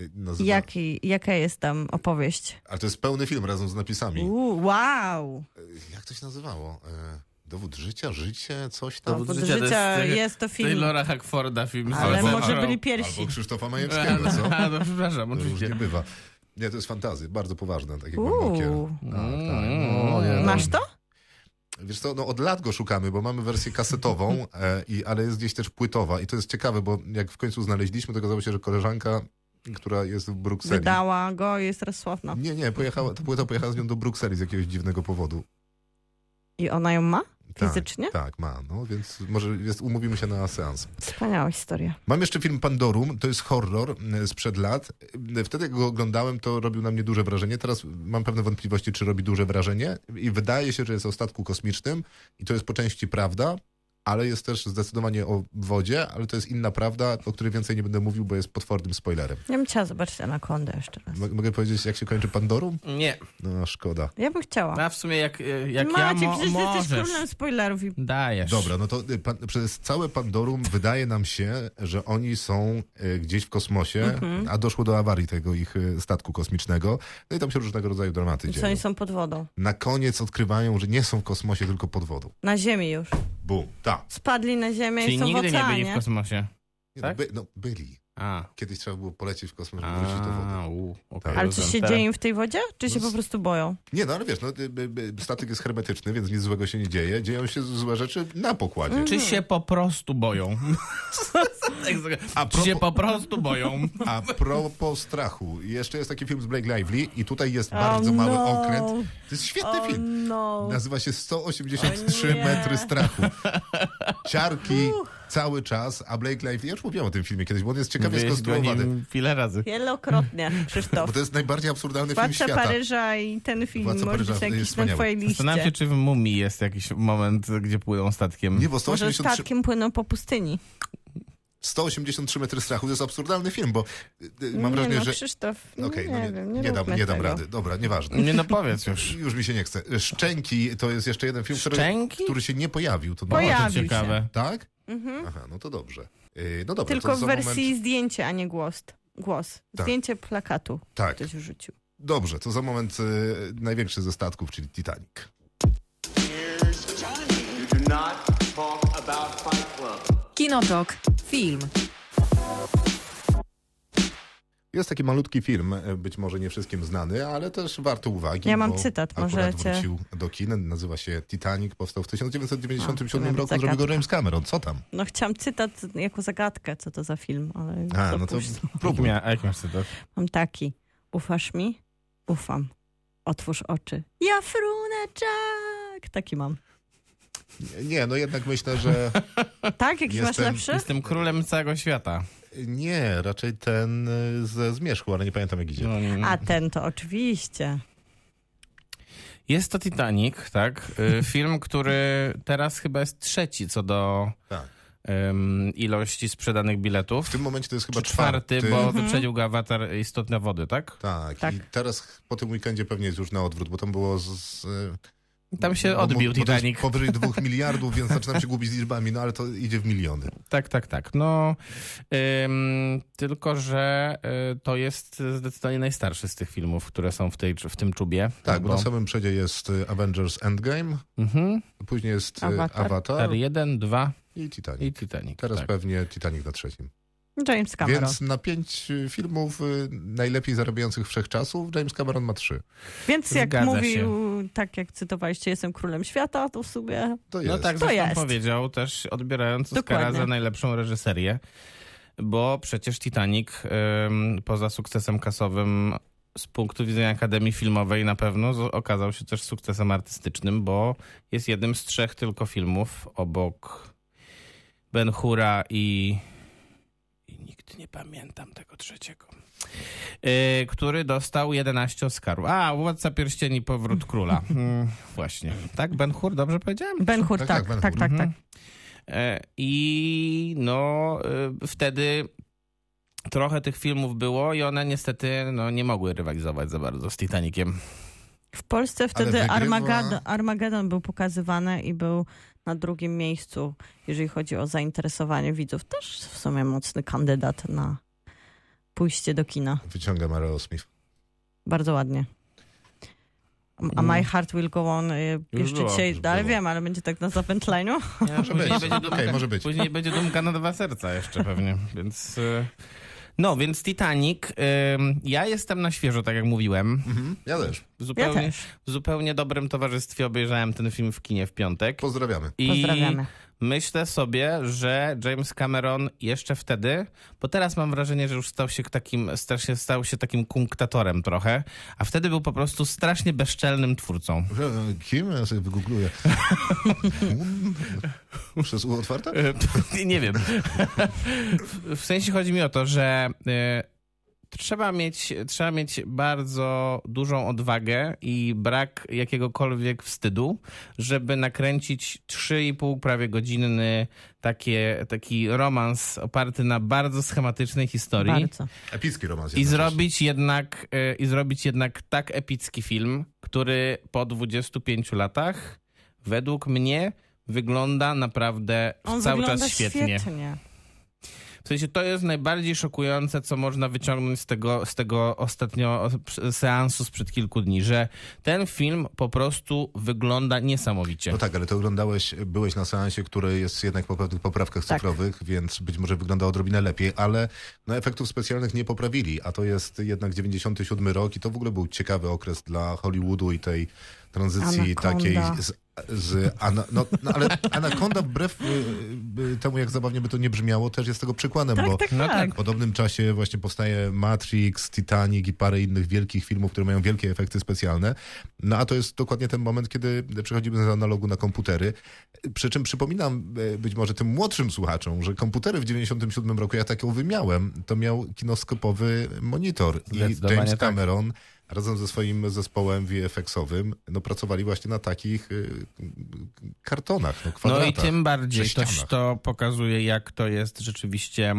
[SPEAKER 2] Y, Nazywa,
[SPEAKER 4] Jaki, jaka jest tam opowieść?
[SPEAKER 2] A to jest pełny film razem z napisami.
[SPEAKER 4] Uuu, wow!
[SPEAKER 2] Y, Jak to się nazywało? Y, Dowód życia, życie, coś tam.
[SPEAKER 5] Dowód
[SPEAKER 4] Pod
[SPEAKER 5] życia to
[SPEAKER 4] życia
[SPEAKER 5] jest-
[SPEAKER 4] jest to film.
[SPEAKER 5] Taylora Hackforda film. z
[SPEAKER 4] Ale
[SPEAKER 5] Albo-
[SPEAKER 4] może
[SPEAKER 5] Albo-
[SPEAKER 4] byli pierwsi.
[SPEAKER 2] Albo Krzysztofa
[SPEAKER 5] A,
[SPEAKER 2] Majewskiego, co?
[SPEAKER 5] no, no, przepraszam,
[SPEAKER 2] Różnie Tak,
[SPEAKER 5] oczywiście.
[SPEAKER 2] bywa. Nie, to jest fantazy, bardzo poważne, takie głębokie.
[SPEAKER 4] Uuu.
[SPEAKER 2] Tak, tak.
[SPEAKER 5] Mm.
[SPEAKER 2] No, nie, no.
[SPEAKER 4] Masz to?
[SPEAKER 2] Wiesz co, no od lat go szukamy, bo mamy wersję kasetową, e, i, ale jest gdzieś też płytowa. I to jest ciekawe, bo jak w końcu znaleźliśmy, to okazało się, że koleżanka, która jest w Brukseli...
[SPEAKER 4] Wydała no. go i jest teraz sławna.
[SPEAKER 2] Nie, nie, pojechała, ta płyta pojechała z nią do Brukseli z jakiegoś dziwnego powodu.
[SPEAKER 4] I ona ją ma?
[SPEAKER 2] Tak,
[SPEAKER 4] Fizycznie?
[SPEAKER 2] Tak, ma, no, więc może jest, umówimy się na seans.
[SPEAKER 4] Wspaniała historia.
[SPEAKER 2] Mam jeszcze film Pandorum, to jest horror m, sprzed lat. M, Wtedy jak go oglądałem, to robił na mnie duże wrażenie. Teraz mam pewne wątpliwości, czy robi duże wrażenie. I wydaje się, że jest o statku kosmicznym i to jest po części prawda, ale jest też zdecydowanie o wodzie, ale to jest inna prawda, o której więcej nie będę mówił, bo jest potwornym spoilerem.
[SPEAKER 4] Ja bym chciała zobaczyć Anakondę jeszcze raz.
[SPEAKER 2] M- mogę powiedzieć, jak się kończy Pandorum?
[SPEAKER 5] Nie,
[SPEAKER 2] No, szkoda.
[SPEAKER 4] Ja bym chciała.
[SPEAKER 5] a w sumie jak, Tak, jak ja
[SPEAKER 4] Maciek,
[SPEAKER 5] mo-
[SPEAKER 4] przecież jesteś
[SPEAKER 5] możesz.
[SPEAKER 4] królem spoilerów i
[SPEAKER 5] Dajesz.
[SPEAKER 2] Dobra, no to y, pan, przez całe Pandorum wydaje nam się, że oni są y, gdzieś w kosmosie,
[SPEAKER 5] Mhm.
[SPEAKER 2] a doszło do awarii tego ich y, statku kosmicznego. No i tam się różnego rodzaju dramaty
[SPEAKER 4] co
[SPEAKER 2] dzieją.
[SPEAKER 4] oni są pod wodą.
[SPEAKER 2] Na koniec odkrywają, że nie są w kosmosie, tylko pod wodą.
[SPEAKER 4] Na ziemi już.
[SPEAKER 2] Bum, tak.
[SPEAKER 4] Spadli na ziemię
[SPEAKER 5] Czyli
[SPEAKER 4] i są w
[SPEAKER 5] nigdy nie
[SPEAKER 4] oceanie.
[SPEAKER 5] byli w kosmosie.
[SPEAKER 2] Nie,
[SPEAKER 5] Tak?
[SPEAKER 2] No, by, no byli.
[SPEAKER 5] A.
[SPEAKER 2] Kiedyś trzeba było polecieć w kosmos, żeby wrócić do wody.
[SPEAKER 5] A, u, okej,
[SPEAKER 2] Tak.
[SPEAKER 4] Ale coś
[SPEAKER 5] rozumiem.
[SPEAKER 4] się
[SPEAKER 5] Teraz-
[SPEAKER 4] dzieje im w tej wodzie? Czy
[SPEAKER 2] No
[SPEAKER 4] się po prostu boją?
[SPEAKER 2] Nie, no ale wiesz, no, y, y, y, statek jest hermetyczny, więc nic złego się nie dzieje. Dzieją się złe rzeczy na pokładzie.
[SPEAKER 5] Czy się po prostu boją? Tak,
[SPEAKER 2] A
[SPEAKER 5] Czy się
[SPEAKER 2] propos-
[SPEAKER 5] po prostu boją?
[SPEAKER 2] A propos strachu, jeszcze jest taki film z Blake Lively i tutaj jest bardzo mały
[SPEAKER 4] no.
[SPEAKER 2] okręt. To jest świetny film.
[SPEAKER 4] no.
[SPEAKER 2] Nazywa się 183
[SPEAKER 4] O nie.
[SPEAKER 2] metry strachu. Ciarki cały czas, a Blake Lively, ja już mówiłem o tym filmie kiedyś, bo on jest ciekawie
[SPEAKER 5] Mówiłeś go
[SPEAKER 2] skonstruowany.
[SPEAKER 5] nim wiele razy.
[SPEAKER 4] Wielokrotnie,
[SPEAKER 2] Bo
[SPEAKER 4] Krzysztof.
[SPEAKER 2] to jest najbardziej absurdalny film
[SPEAKER 4] Władca
[SPEAKER 2] świata.
[SPEAKER 4] Paryża i ten film
[SPEAKER 2] Władca
[SPEAKER 4] może
[SPEAKER 2] Paryża
[SPEAKER 4] być
[SPEAKER 2] jest
[SPEAKER 4] jakiś na
[SPEAKER 2] wspaniały.
[SPEAKER 4] twojej liście.
[SPEAKER 5] Zastanawiam się, czy w Mumii jest jakiś moment, gdzie płyną statkiem.
[SPEAKER 2] Nie, bo
[SPEAKER 4] Może tak
[SPEAKER 2] 183,
[SPEAKER 4] statkiem płyną po pustyni.
[SPEAKER 2] 183 metry strachu to jest absurdalny film, bo y, y, mam
[SPEAKER 4] nie
[SPEAKER 2] wrażenie,
[SPEAKER 4] no,
[SPEAKER 2] że...
[SPEAKER 4] Krzysztof,
[SPEAKER 2] Okej,
[SPEAKER 4] nie,
[SPEAKER 2] no
[SPEAKER 4] wiem, nie,
[SPEAKER 2] nie dam,
[SPEAKER 4] róbmy
[SPEAKER 2] nie dam
[SPEAKER 4] tego.
[SPEAKER 2] rady. Dobra, nieważne.
[SPEAKER 5] Nie no powiedz już.
[SPEAKER 2] Już mi się nie chce. Szczęki to jest jeszcze jeden film, który,
[SPEAKER 5] Szczęki?
[SPEAKER 2] który się nie pojawił. To
[SPEAKER 5] O,
[SPEAKER 4] Pojawił
[SPEAKER 5] to
[SPEAKER 4] się.
[SPEAKER 5] ciekawe.
[SPEAKER 2] Tak? Aha, no to dobrze. Yy, no dobra,
[SPEAKER 4] Mhm. Tylko
[SPEAKER 2] to
[SPEAKER 4] w
[SPEAKER 2] za
[SPEAKER 4] wersji
[SPEAKER 2] Moment...
[SPEAKER 4] zdjęcie, a nie głos. Głos.
[SPEAKER 2] Tak.
[SPEAKER 4] Zdjęcie plakatu
[SPEAKER 2] Tak,
[SPEAKER 4] ktoś rzucił.
[SPEAKER 2] dobrze, to za moment yy, największy ze statków, czyli Titanic.
[SPEAKER 3] Here's Johnny. You do not talk about Fight Club.
[SPEAKER 1] Kinotok. Film.
[SPEAKER 2] Jest taki malutki film, yy, być może nie wszystkim znany, ale też warto uwagi.
[SPEAKER 4] Ja mam
[SPEAKER 2] bo
[SPEAKER 4] cytat,
[SPEAKER 2] akurat
[SPEAKER 4] może cię-
[SPEAKER 2] wrócił do kin, nazywa się Titanic, powstał w 1997
[SPEAKER 4] A, to
[SPEAKER 2] roku,
[SPEAKER 4] zagadka.
[SPEAKER 2] zrobił go James Cameron. Co tam?
[SPEAKER 4] No chciałam cytat jako zagadkę, co to za film, ale
[SPEAKER 2] A, no to
[SPEAKER 4] zapuść-
[SPEAKER 5] Jaki
[SPEAKER 2] próbuj.
[SPEAKER 5] mia- A jak masz tak? cytat?
[SPEAKER 4] Mam taki. Ufasz mi? Ufam. Otwórz oczy. Ja frunę Jack! Taki mam.
[SPEAKER 2] Nie, no jednak myślę, że
[SPEAKER 4] Tak? Jakiś masz
[SPEAKER 2] Jestem-
[SPEAKER 4] lepszy?
[SPEAKER 5] Jestem królem całego świata.
[SPEAKER 2] nie, raczej ten yy, ze Zmierzchu, ale nie pamiętam jak idzie.
[SPEAKER 5] No, nie-
[SPEAKER 4] A ten to oczywiście.
[SPEAKER 5] Jest to Titanic, tak? Y, Film, który teraz chyba jest trzeci co do
[SPEAKER 2] Tak.
[SPEAKER 5] ym, ilości sprzedanych biletów.
[SPEAKER 2] W tym momencie to jest chyba
[SPEAKER 5] Czy czwarty,
[SPEAKER 2] czwarty
[SPEAKER 5] bo wyprzedził go awatar istotne wody, tak?
[SPEAKER 2] Tak,
[SPEAKER 4] Tak.
[SPEAKER 2] i teraz po tym weekendzie pewnie jest już na odwrót, bo tam było z, z,
[SPEAKER 5] Tam się
[SPEAKER 2] Bo mu-
[SPEAKER 5] odbił
[SPEAKER 2] bo to jest
[SPEAKER 5] Titanic.
[SPEAKER 2] powyżej dwóch miliardów, więc zaczynam się gubić z liczbami, no ale to idzie w miliony.
[SPEAKER 5] Tak, tak, tak. No, ym, tylko, że y, to jest zdecydowanie najstarszy z tych filmów, które są w, tej, w tym czubie.
[SPEAKER 2] Tak, bo
[SPEAKER 5] No bo
[SPEAKER 2] na samym przedzie jest y, Avengers Endgame,
[SPEAKER 5] mhm.
[SPEAKER 2] później jest y,
[SPEAKER 4] Avatar.
[SPEAKER 2] Avatar
[SPEAKER 5] 1, 2
[SPEAKER 2] i Titanic.
[SPEAKER 5] i Titanic.
[SPEAKER 2] Teraz
[SPEAKER 5] tak.
[SPEAKER 2] pewnie Titanic na trzecim.
[SPEAKER 4] James Cameron. Więc,
[SPEAKER 2] Więc na pięć y, filmów y, najlepiej zarabiających wszechczasów James Cameron ma trzy.
[SPEAKER 4] jak
[SPEAKER 5] Zgadza
[SPEAKER 4] mówił, tak jak cytowaliście, jestem królem świata, to w sumie
[SPEAKER 2] To jest.
[SPEAKER 5] No tak,
[SPEAKER 4] To
[SPEAKER 5] zresztą
[SPEAKER 4] jest.
[SPEAKER 5] powiedział też odbierając Oscara
[SPEAKER 4] Dokładnie.
[SPEAKER 5] za najlepszą reżyserię, bo przecież Titanic ym, poza sukcesem kasowym z punktu widzenia Akademii Filmowej na pewno z- okazał się też sukcesem artystycznym, bo jest jednym z trzech tylko filmów obok Ben Hura i, i nikt nie pamiętam tego trzeciego. Yy, który dostał 11 Oscarów. A, Władca Pierścieni, Powrót Króla. Mm, właśnie. Tak, Ben Hur, dobrze powiedziałem?
[SPEAKER 4] Ben Hur,
[SPEAKER 2] Tak,
[SPEAKER 4] tak,
[SPEAKER 2] tak,
[SPEAKER 4] tak,
[SPEAKER 2] Ben
[SPEAKER 4] tak, tak,
[SPEAKER 2] Hur.
[SPEAKER 4] tak,
[SPEAKER 5] Mhm. E, I no e, wtedy trochę tych filmów było i one niestety no, nie mogły rywalizować za bardzo z Titaniciem.
[SPEAKER 4] W Polsce wtedy
[SPEAKER 2] wygrywa-
[SPEAKER 4] Armageddon, Armageddon był pokazywany i był na drugim miejscu, jeżeli chodzi o zainteresowanie widzów. Też w sumie mocny kandydat na pójście do kina.
[SPEAKER 2] Wyciągam Aerosmith.
[SPEAKER 4] Bardzo ładnie. A- A My Heart Will Go On y,
[SPEAKER 5] Już
[SPEAKER 4] jeszcze
[SPEAKER 5] było,
[SPEAKER 4] dzisiaj,
[SPEAKER 2] No. już
[SPEAKER 4] ale
[SPEAKER 2] było.
[SPEAKER 4] wiem, ale będzie tak na zapętleniu.
[SPEAKER 2] Może
[SPEAKER 5] Później
[SPEAKER 2] być.
[SPEAKER 5] będzie dumka-
[SPEAKER 2] Okej, może być.
[SPEAKER 5] Później będzie dumka na dwa serca jeszcze pewnie, więc... e, No, więc Titanic. em, Ja jestem na świeżo, tak jak mówiłem.
[SPEAKER 2] Mhm, ja też.
[SPEAKER 5] W
[SPEAKER 4] Ja
[SPEAKER 5] zupełnie,
[SPEAKER 4] też.
[SPEAKER 5] w zupełnie dobrym towarzystwie obejrzałem ten film w kinie w piątek.
[SPEAKER 2] Pozdrawiamy.
[SPEAKER 5] I
[SPEAKER 4] Pozdrawiamy.
[SPEAKER 5] Myślę sobie, że James Cameron jeszcze wtedy, bo teraz mam wrażenie, że już stał się takim, strasznie stał się takim kunktatorem trochę, a wtedy był po prostu strasznie bezczelnym twórcą.
[SPEAKER 2] Że, e, Kim? Ja sobie wygoogluję. Um, Przez U otwarte?
[SPEAKER 5] Y, Nie wiem. W- W sensie chodzi mi o to, że y, trzeba mieć, trzeba mieć bardzo dużą odwagę i brak jakiegokolwiek wstydu, żeby nakręcić 3,5 prawie godzinny takie, taki romans oparty na bardzo schematycznej historii.
[SPEAKER 4] Bardzo.
[SPEAKER 2] Epicki romans.
[SPEAKER 5] I
[SPEAKER 2] jednocześnie.
[SPEAKER 5] zrobić, jednak, y, I zrobić jednak tak epicki film, który po 25 latach według mnie wygląda naprawdę
[SPEAKER 4] On
[SPEAKER 5] cały
[SPEAKER 4] wygląda
[SPEAKER 5] czas świetnie.
[SPEAKER 4] świetnie.
[SPEAKER 5] W sensie to jest najbardziej szokujące, co można wyciągnąć z tego, z tego ostatnio seansu sprzed kilku dni, że ten film po prostu wygląda niesamowicie.
[SPEAKER 2] No tak, ale to oglądałeś, byłeś na seansie, który jest jednak po pewnych poprawkach
[SPEAKER 4] Tak.
[SPEAKER 2] cyfrowych, więc być może wygląda odrobinę lepiej, ale no, efektów specjalnych nie poprawili, a to jest jednak 97 rok i to w ogóle był ciekawy okres dla Hollywoodu i tej tranzycji
[SPEAKER 4] Anaconda.
[SPEAKER 2] takiej z, z ana, no, no, ale Anaconda wbrew y, y, temu, jak zabawnie by to nie brzmiało, też jest tego przykładem, bo
[SPEAKER 4] Tak,
[SPEAKER 5] No
[SPEAKER 4] tak.
[SPEAKER 2] w podobnym czasie właśnie powstaje Matrix, Titanic i parę innych wielkich filmów, które mają wielkie efekty specjalne. No a to jest dokładnie ten moment, kiedy przechodzimy z analogu na komputery. Przy czym przypominam e, być może tym młodszym słuchaczom, że komputery w 97 roku, ja taką wymiałem, to miał kinoskopowy monitor. I
[SPEAKER 5] Zdecydowanie
[SPEAKER 2] James
[SPEAKER 5] tak.
[SPEAKER 2] Cameron razem ze swoim zespołem VFX-owym no, pracowali właśnie na takich e, kartonach, no,
[SPEAKER 5] No
[SPEAKER 2] kwadratach.
[SPEAKER 5] i tym bardziej to,
[SPEAKER 2] sześcianach.
[SPEAKER 5] to pokazuje, jak to jest rzeczywiście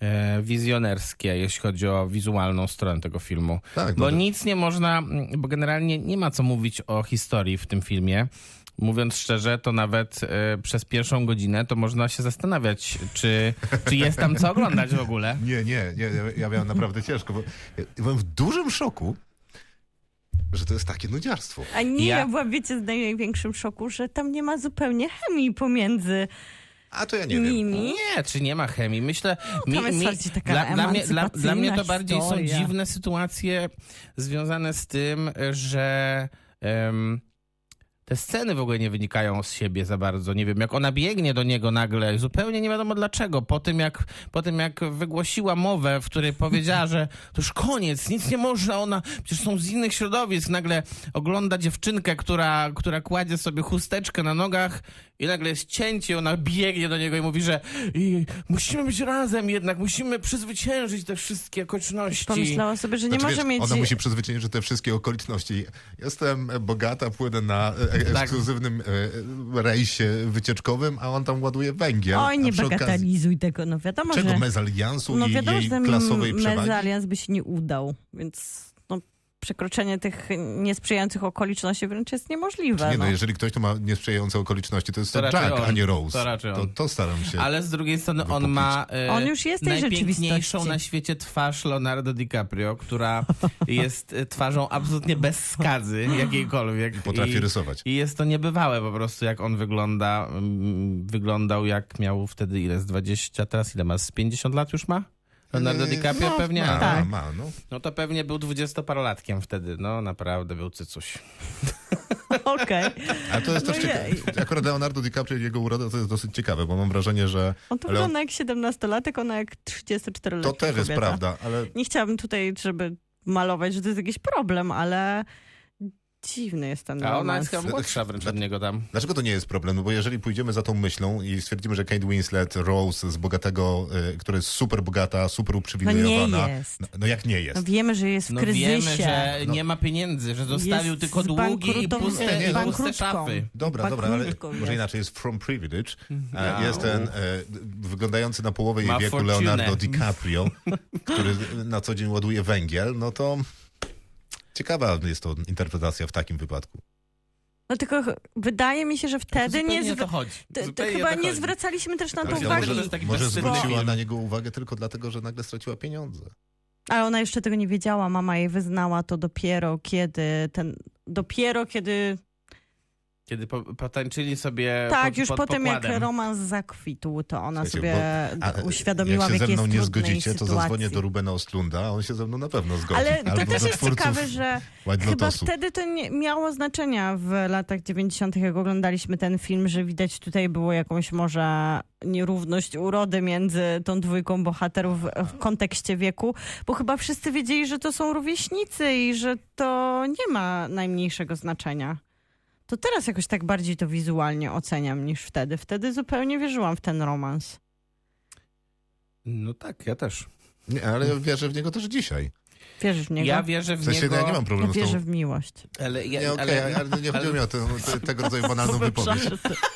[SPEAKER 5] e, wizjonerskie, jeśli chodzi o wizualną stronę tego filmu.
[SPEAKER 2] Tak,
[SPEAKER 5] bo
[SPEAKER 2] no,
[SPEAKER 5] nic nie można, mm, bo generalnie nie ma co mówić o historii w tym filmie. Mówiąc szczerze, to nawet e, przez pierwszą godzinę to można się zastanawiać, czy, czy jest tam co oglądać w ogóle.
[SPEAKER 2] Nie, nie, nie, ja- ja miałem naprawdę ciężko, bo ja byłem w dużym szoku, że to jest takie nudziarstwo.
[SPEAKER 4] A nie,
[SPEAKER 5] Ja-
[SPEAKER 4] ja byłam, wiecie, w największym szoku, że tam nie ma zupełnie chemii pomiędzy
[SPEAKER 2] A to ja nie wiem.
[SPEAKER 4] nimi.
[SPEAKER 5] Nie, czy nie ma chemii? Myślę,
[SPEAKER 4] No, tam jest bardziej taka
[SPEAKER 5] dla, dla, mnie, dla, dla mnie to
[SPEAKER 4] emancypacyjna
[SPEAKER 5] bardziej są
[SPEAKER 4] historia.
[SPEAKER 5] dziwne sytuacje związane z tym, e, że em, te sceny w ogóle nie wynikają z siebie za bardzo. Nie wiem, jak ona biegnie do niego nagle, zupełnie nie wiadomo dlaczego, po tym jak, po tym jak wygłosiła mowę, w której powiedziała, że to już koniec, nic nie można, ona przecież są z innych środowisk, nagle ogląda dziewczynkę, która, która kładzie sobie chusteczkę na nogach i nagle jest cięcie, i ona biegnie do niego i mówi, że i, musimy być razem jednak, musimy przezwyciężyć te wszystkie okoliczności.
[SPEAKER 4] Pomyślała sobie, że nie
[SPEAKER 2] Znaczy,
[SPEAKER 4] może
[SPEAKER 2] wiesz,
[SPEAKER 4] mieć...
[SPEAKER 2] Ona musi przezwyciężyć te wszystkie okoliczności. Jestem bogata, płynę na e, e,
[SPEAKER 5] Tak.
[SPEAKER 2] ekskluzywnym e, rejsie wycieczkowym, a on tam ładuje węgiel.
[SPEAKER 4] Oj,
[SPEAKER 2] A
[SPEAKER 4] nie
[SPEAKER 2] przy okazji-
[SPEAKER 4] bagatelizuj tego, no wiadomo,
[SPEAKER 2] Czego
[SPEAKER 4] że...
[SPEAKER 2] mezaliansu
[SPEAKER 4] No
[SPEAKER 2] i
[SPEAKER 4] wiadomo,
[SPEAKER 2] jej
[SPEAKER 4] że ten
[SPEAKER 2] klasowej przewagi?
[SPEAKER 4] mezalians by się nie udał, więc no, przekroczenie tych niesprzyjających okoliczności wręcz jest niemożliwe.
[SPEAKER 2] Nie no,
[SPEAKER 4] no.
[SPEAKER 2] jeżeli ktoś to ma niesprzyjające okoliczności, to jest
[SPEAKER 5] To
[SPEAKER 2] to
[SPEAKER 5] raczej
[SPEAKER 2] Jack,
[SPEAKER 5] on.
[SPEAKER 2] a nie Rose.
[SPEAKER 5] To raczej on.
[SPEAKER 2] To, to staram się.
[SPEAKER 5] Ale z drugiej strony on
[SPEAKER 2] Wypopić.
[SPEAKER 5] ma e,
[SPEAKER 4] On już jest tej
[SPEAKER 5] najpiękniejszą
[SPEAKER 4] rzeczywistości.
[SPEAKER 5] na świecie twarz Leonardo DiCaprio, która jest e, twarzą absolutnie bez skazy jakiejkolwiek.
[SPEAKER 2] Potrafi rysować.
[SPEAKER 5] I jest to niebywałe po prostu, jak on wygląda. Mm, Wyglądał jak miał wtedy ile? Z 20, teraz ile ma? Z 50 lat już ma? Leonardo
[SPEAKER 2] Yy,
[SPEAKER 5] DiCaprio
[SPEAKER 2] no,
[SPEAKER 5] pewnie?
[SPEAKER 2] Ma,
[SPEAKER 4] Tak.
[SPEAKER 2] ma, no.
[SPEAKER 5] No to pewnie był dwudziestoparolatkiem wtedy. No naprawdę był cycuś.
[SPEAKER 4] Okej.
[SPEAKER 2] A to jest też
[SPEAKER 4] No
[SPEAKER 2] ciekawe.
[SPEAKER 4] jej.
[SPEAKER 2] Akurat Leonardo DiCaprio i jego uroda to jest dosyć ciekawe, bo mam wrażenie, że
[SPEAKER 4] On to
[SPEAKER 2] Ale on-
[SPEAKER 4] wygląda jak 17-latek, ona jak 34
[SPEAKER 2] to też jest prawda, ale
[SPEAKER 4] Nie chciałabym tutaj, żeby malować, że to jest jakiś problem, ale dziwny jest ten
[SPEAKER 5] A ona
[SPEAKER 4] romans.
[SPEAKER 5] jest chyba młodsza wręcz od niego tam.
[SPEAKER 2] Dlaczego to nie jest problem? No bo jeżeli pójdziemy za tą myślą i stwierdzimy, że Kate Winslet, Rose z bogatego, y, która jest super bogata, super uprzywilejowana.
[SPEAKER 4] No nie jest.
[SPEAKER 2] No, no jak nie jest?
[SPEAKER 4] No wiemy, że jest w
[SPEAKER 5] No
[SPEAKER 4] kryzysie.
[SPEAKER 5] wiemy, że nie ma pieniędzy, że zostawił
[SPEAKER 4] Jest
[SPEAKER 5] tylko długi i
[SPEAKER 4] zbankrutow-
[SPEAKER 5] puste,
[SPEAKER 2] nie,
[SPEAKER 5] i
[SPEAKER 2] no.
[SPEAKER 5] puste
[SPEAKER 4] bankrutką.
[SPEAKER 5] szafy.
[SPEAKER 2] Dobra, dobra, ale
[SPEAKER 4] Bakrutką
[SPEAKER 2] może
[SPEAKER 4] jest. Mhm.
[SPEAKER 2] inaczej jest From Privilege.
[SPEAKER 5] No.
[SPEAKER 2] E, Jest ten e, wyglądający na połowę jej
[SPEAKER 5] Ma
[SPEAKER 2] wieku
[SPEAKER 5] fortunę.
[SPEAKER 2] Leonardo DiCaprio, który na co dzień ładuje węgiel. No to ciekawa jest to interpretacja w takim wypadku.
[SPEAKER 4] No tylko ch- wydaje mi się, że wtedy
[SPEAKER 5] Zupełnie
[SPEAKER 4] nie,
[SPEAKER 5] o
[SPEAKER 4] zw...
[SPEAKER 5] to chodzi.
[SPEAKER 4] to, to
[SPEAKER 5] Zupełnie o
[SPEAKER 4] chyba
[SPEAKER 5] to
[SPEAKER 4] nie
[SPEAKER 5] chodzi.
[SPEAKER 4] zwracaliśmy też na
[SPEAKER 5] Tak,
[SPEAKER 4] No to
[SPEAKER 5] ja
[SPEAKER 4] uwagi.
[SPEAKER 5] może to jest taki
[SPEAKER 2] może
[SPEAKER 5] bezcenny
[SPEAKER 2] zwróciła
[SPEAKER 5] film.
[SPEAKER 2] na niego uwagę tylko dlatego, że nagle straciła pieniądze.
[SPEAKER 4] Ale ona jeszcze tego nie wiedziała, mama jej wyznała to dopiero kiedy ten... Dopiero kiedy...
[SPEAKER 5] Kiedy po, potańczyli
[SPEAKER 2] E,
[SPEAKER 5] sobie
[SPEAKER 4] tak,
[SPEAKER 5] pod,
[SPEAKER 4] już
[SPEAKER 5] pod
[SPEAKER 4] po tym jak
[SPEAKER 5] pokładem.
[SPEAKER 4] romans zakwitł, to ona
[SPEAKER 2] Słuchajcie,
[SPEAKER 4] sobie
[SPEAKER 2] A, e,
[SPEAKER 4] d- uświadomiła,
[SPEAKER 2] jak się
[SPEAKER 4] w jakiej
[SPEAKER 2] ze mną
[SPEAKER 4] jest
[SPEAKER 2] nie
[SPEAKER 4] trudnej
[SPEAKER 2] zgodzicie, to
[SPEAKER 4] sytuacji.
[SPEAKER 2] zadzwonię do Rubena Ostlunda, a on się ze mną na pewno zgodzi.
[SPEAKER 4] Ale to
[SPEAKER 2] Albo
[SPEAKER 4] też
[SPEAKER 2] do
[SPEAKER 4] jest
[SPEAKER 2] twórców
[SPEAKER 4] ciekawe, że
[SPEAKER 2] White
[SPEAKER 4] Chyba
[SPEAKER 2] Lotosu.
[SPEAKER 4] wtedy to nie miało znaczenia w latach 90., jak oglądaliśmy ten film, że widać tutaj było jakąś może nierówność urody między tą dwójką bohaterów w kontekście wieku, bo chyba wszyscy wiedzieli, że to są rówieśnicy i że to nie ma najmniejszego znaczenia. To teraz jakoś tak bardziej to wizualnie oceniam niż wtedy. Wtedy zupełnie wierzyłam w ten romans.
[SPEAKER 5] No tak, ja też.
[SPEAKER 2] Nie, ale ja wierzę w niego też dzisiaj.
[SPEAKER 4] Wierzysz w niego?
[SPEAKER 5] Ja wierzę
[SPEAKER 2] W
[SPEAKER 5] w
[SPEAKER 2] sensie no
[SPEAKER 5] niego.
[SPEAKER 2] ja nie mam
[SPEAKER 4] Ja
[SPEAKER 2] problemu z
[SPEAKER 4] wierzę
[SPEAKER 2] tą...
[SPEAKER 4] w miłość.
[SPEAKER 5] Ale, ja,
[SPEAKER 2] Nie, okej,
[SPEAKER 5] ale,
[SPEAKER 2] ale nie chodzi mi o tę- te- tego rodzaju banalną wypowiedź.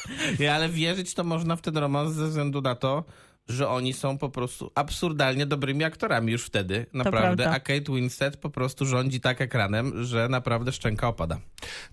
[SPEAKER 5] ale, wierzyć to można w ten romans ze względu na to, że oni są po prostu absurdalnie dobrymi aktorami już wtedy, naprawdę.
[SPEAKER 4] prawda.
[SPEAKER 5] A Kate Winslet po prostu rządzi tak ekranem, że naprawdę szczęka opada.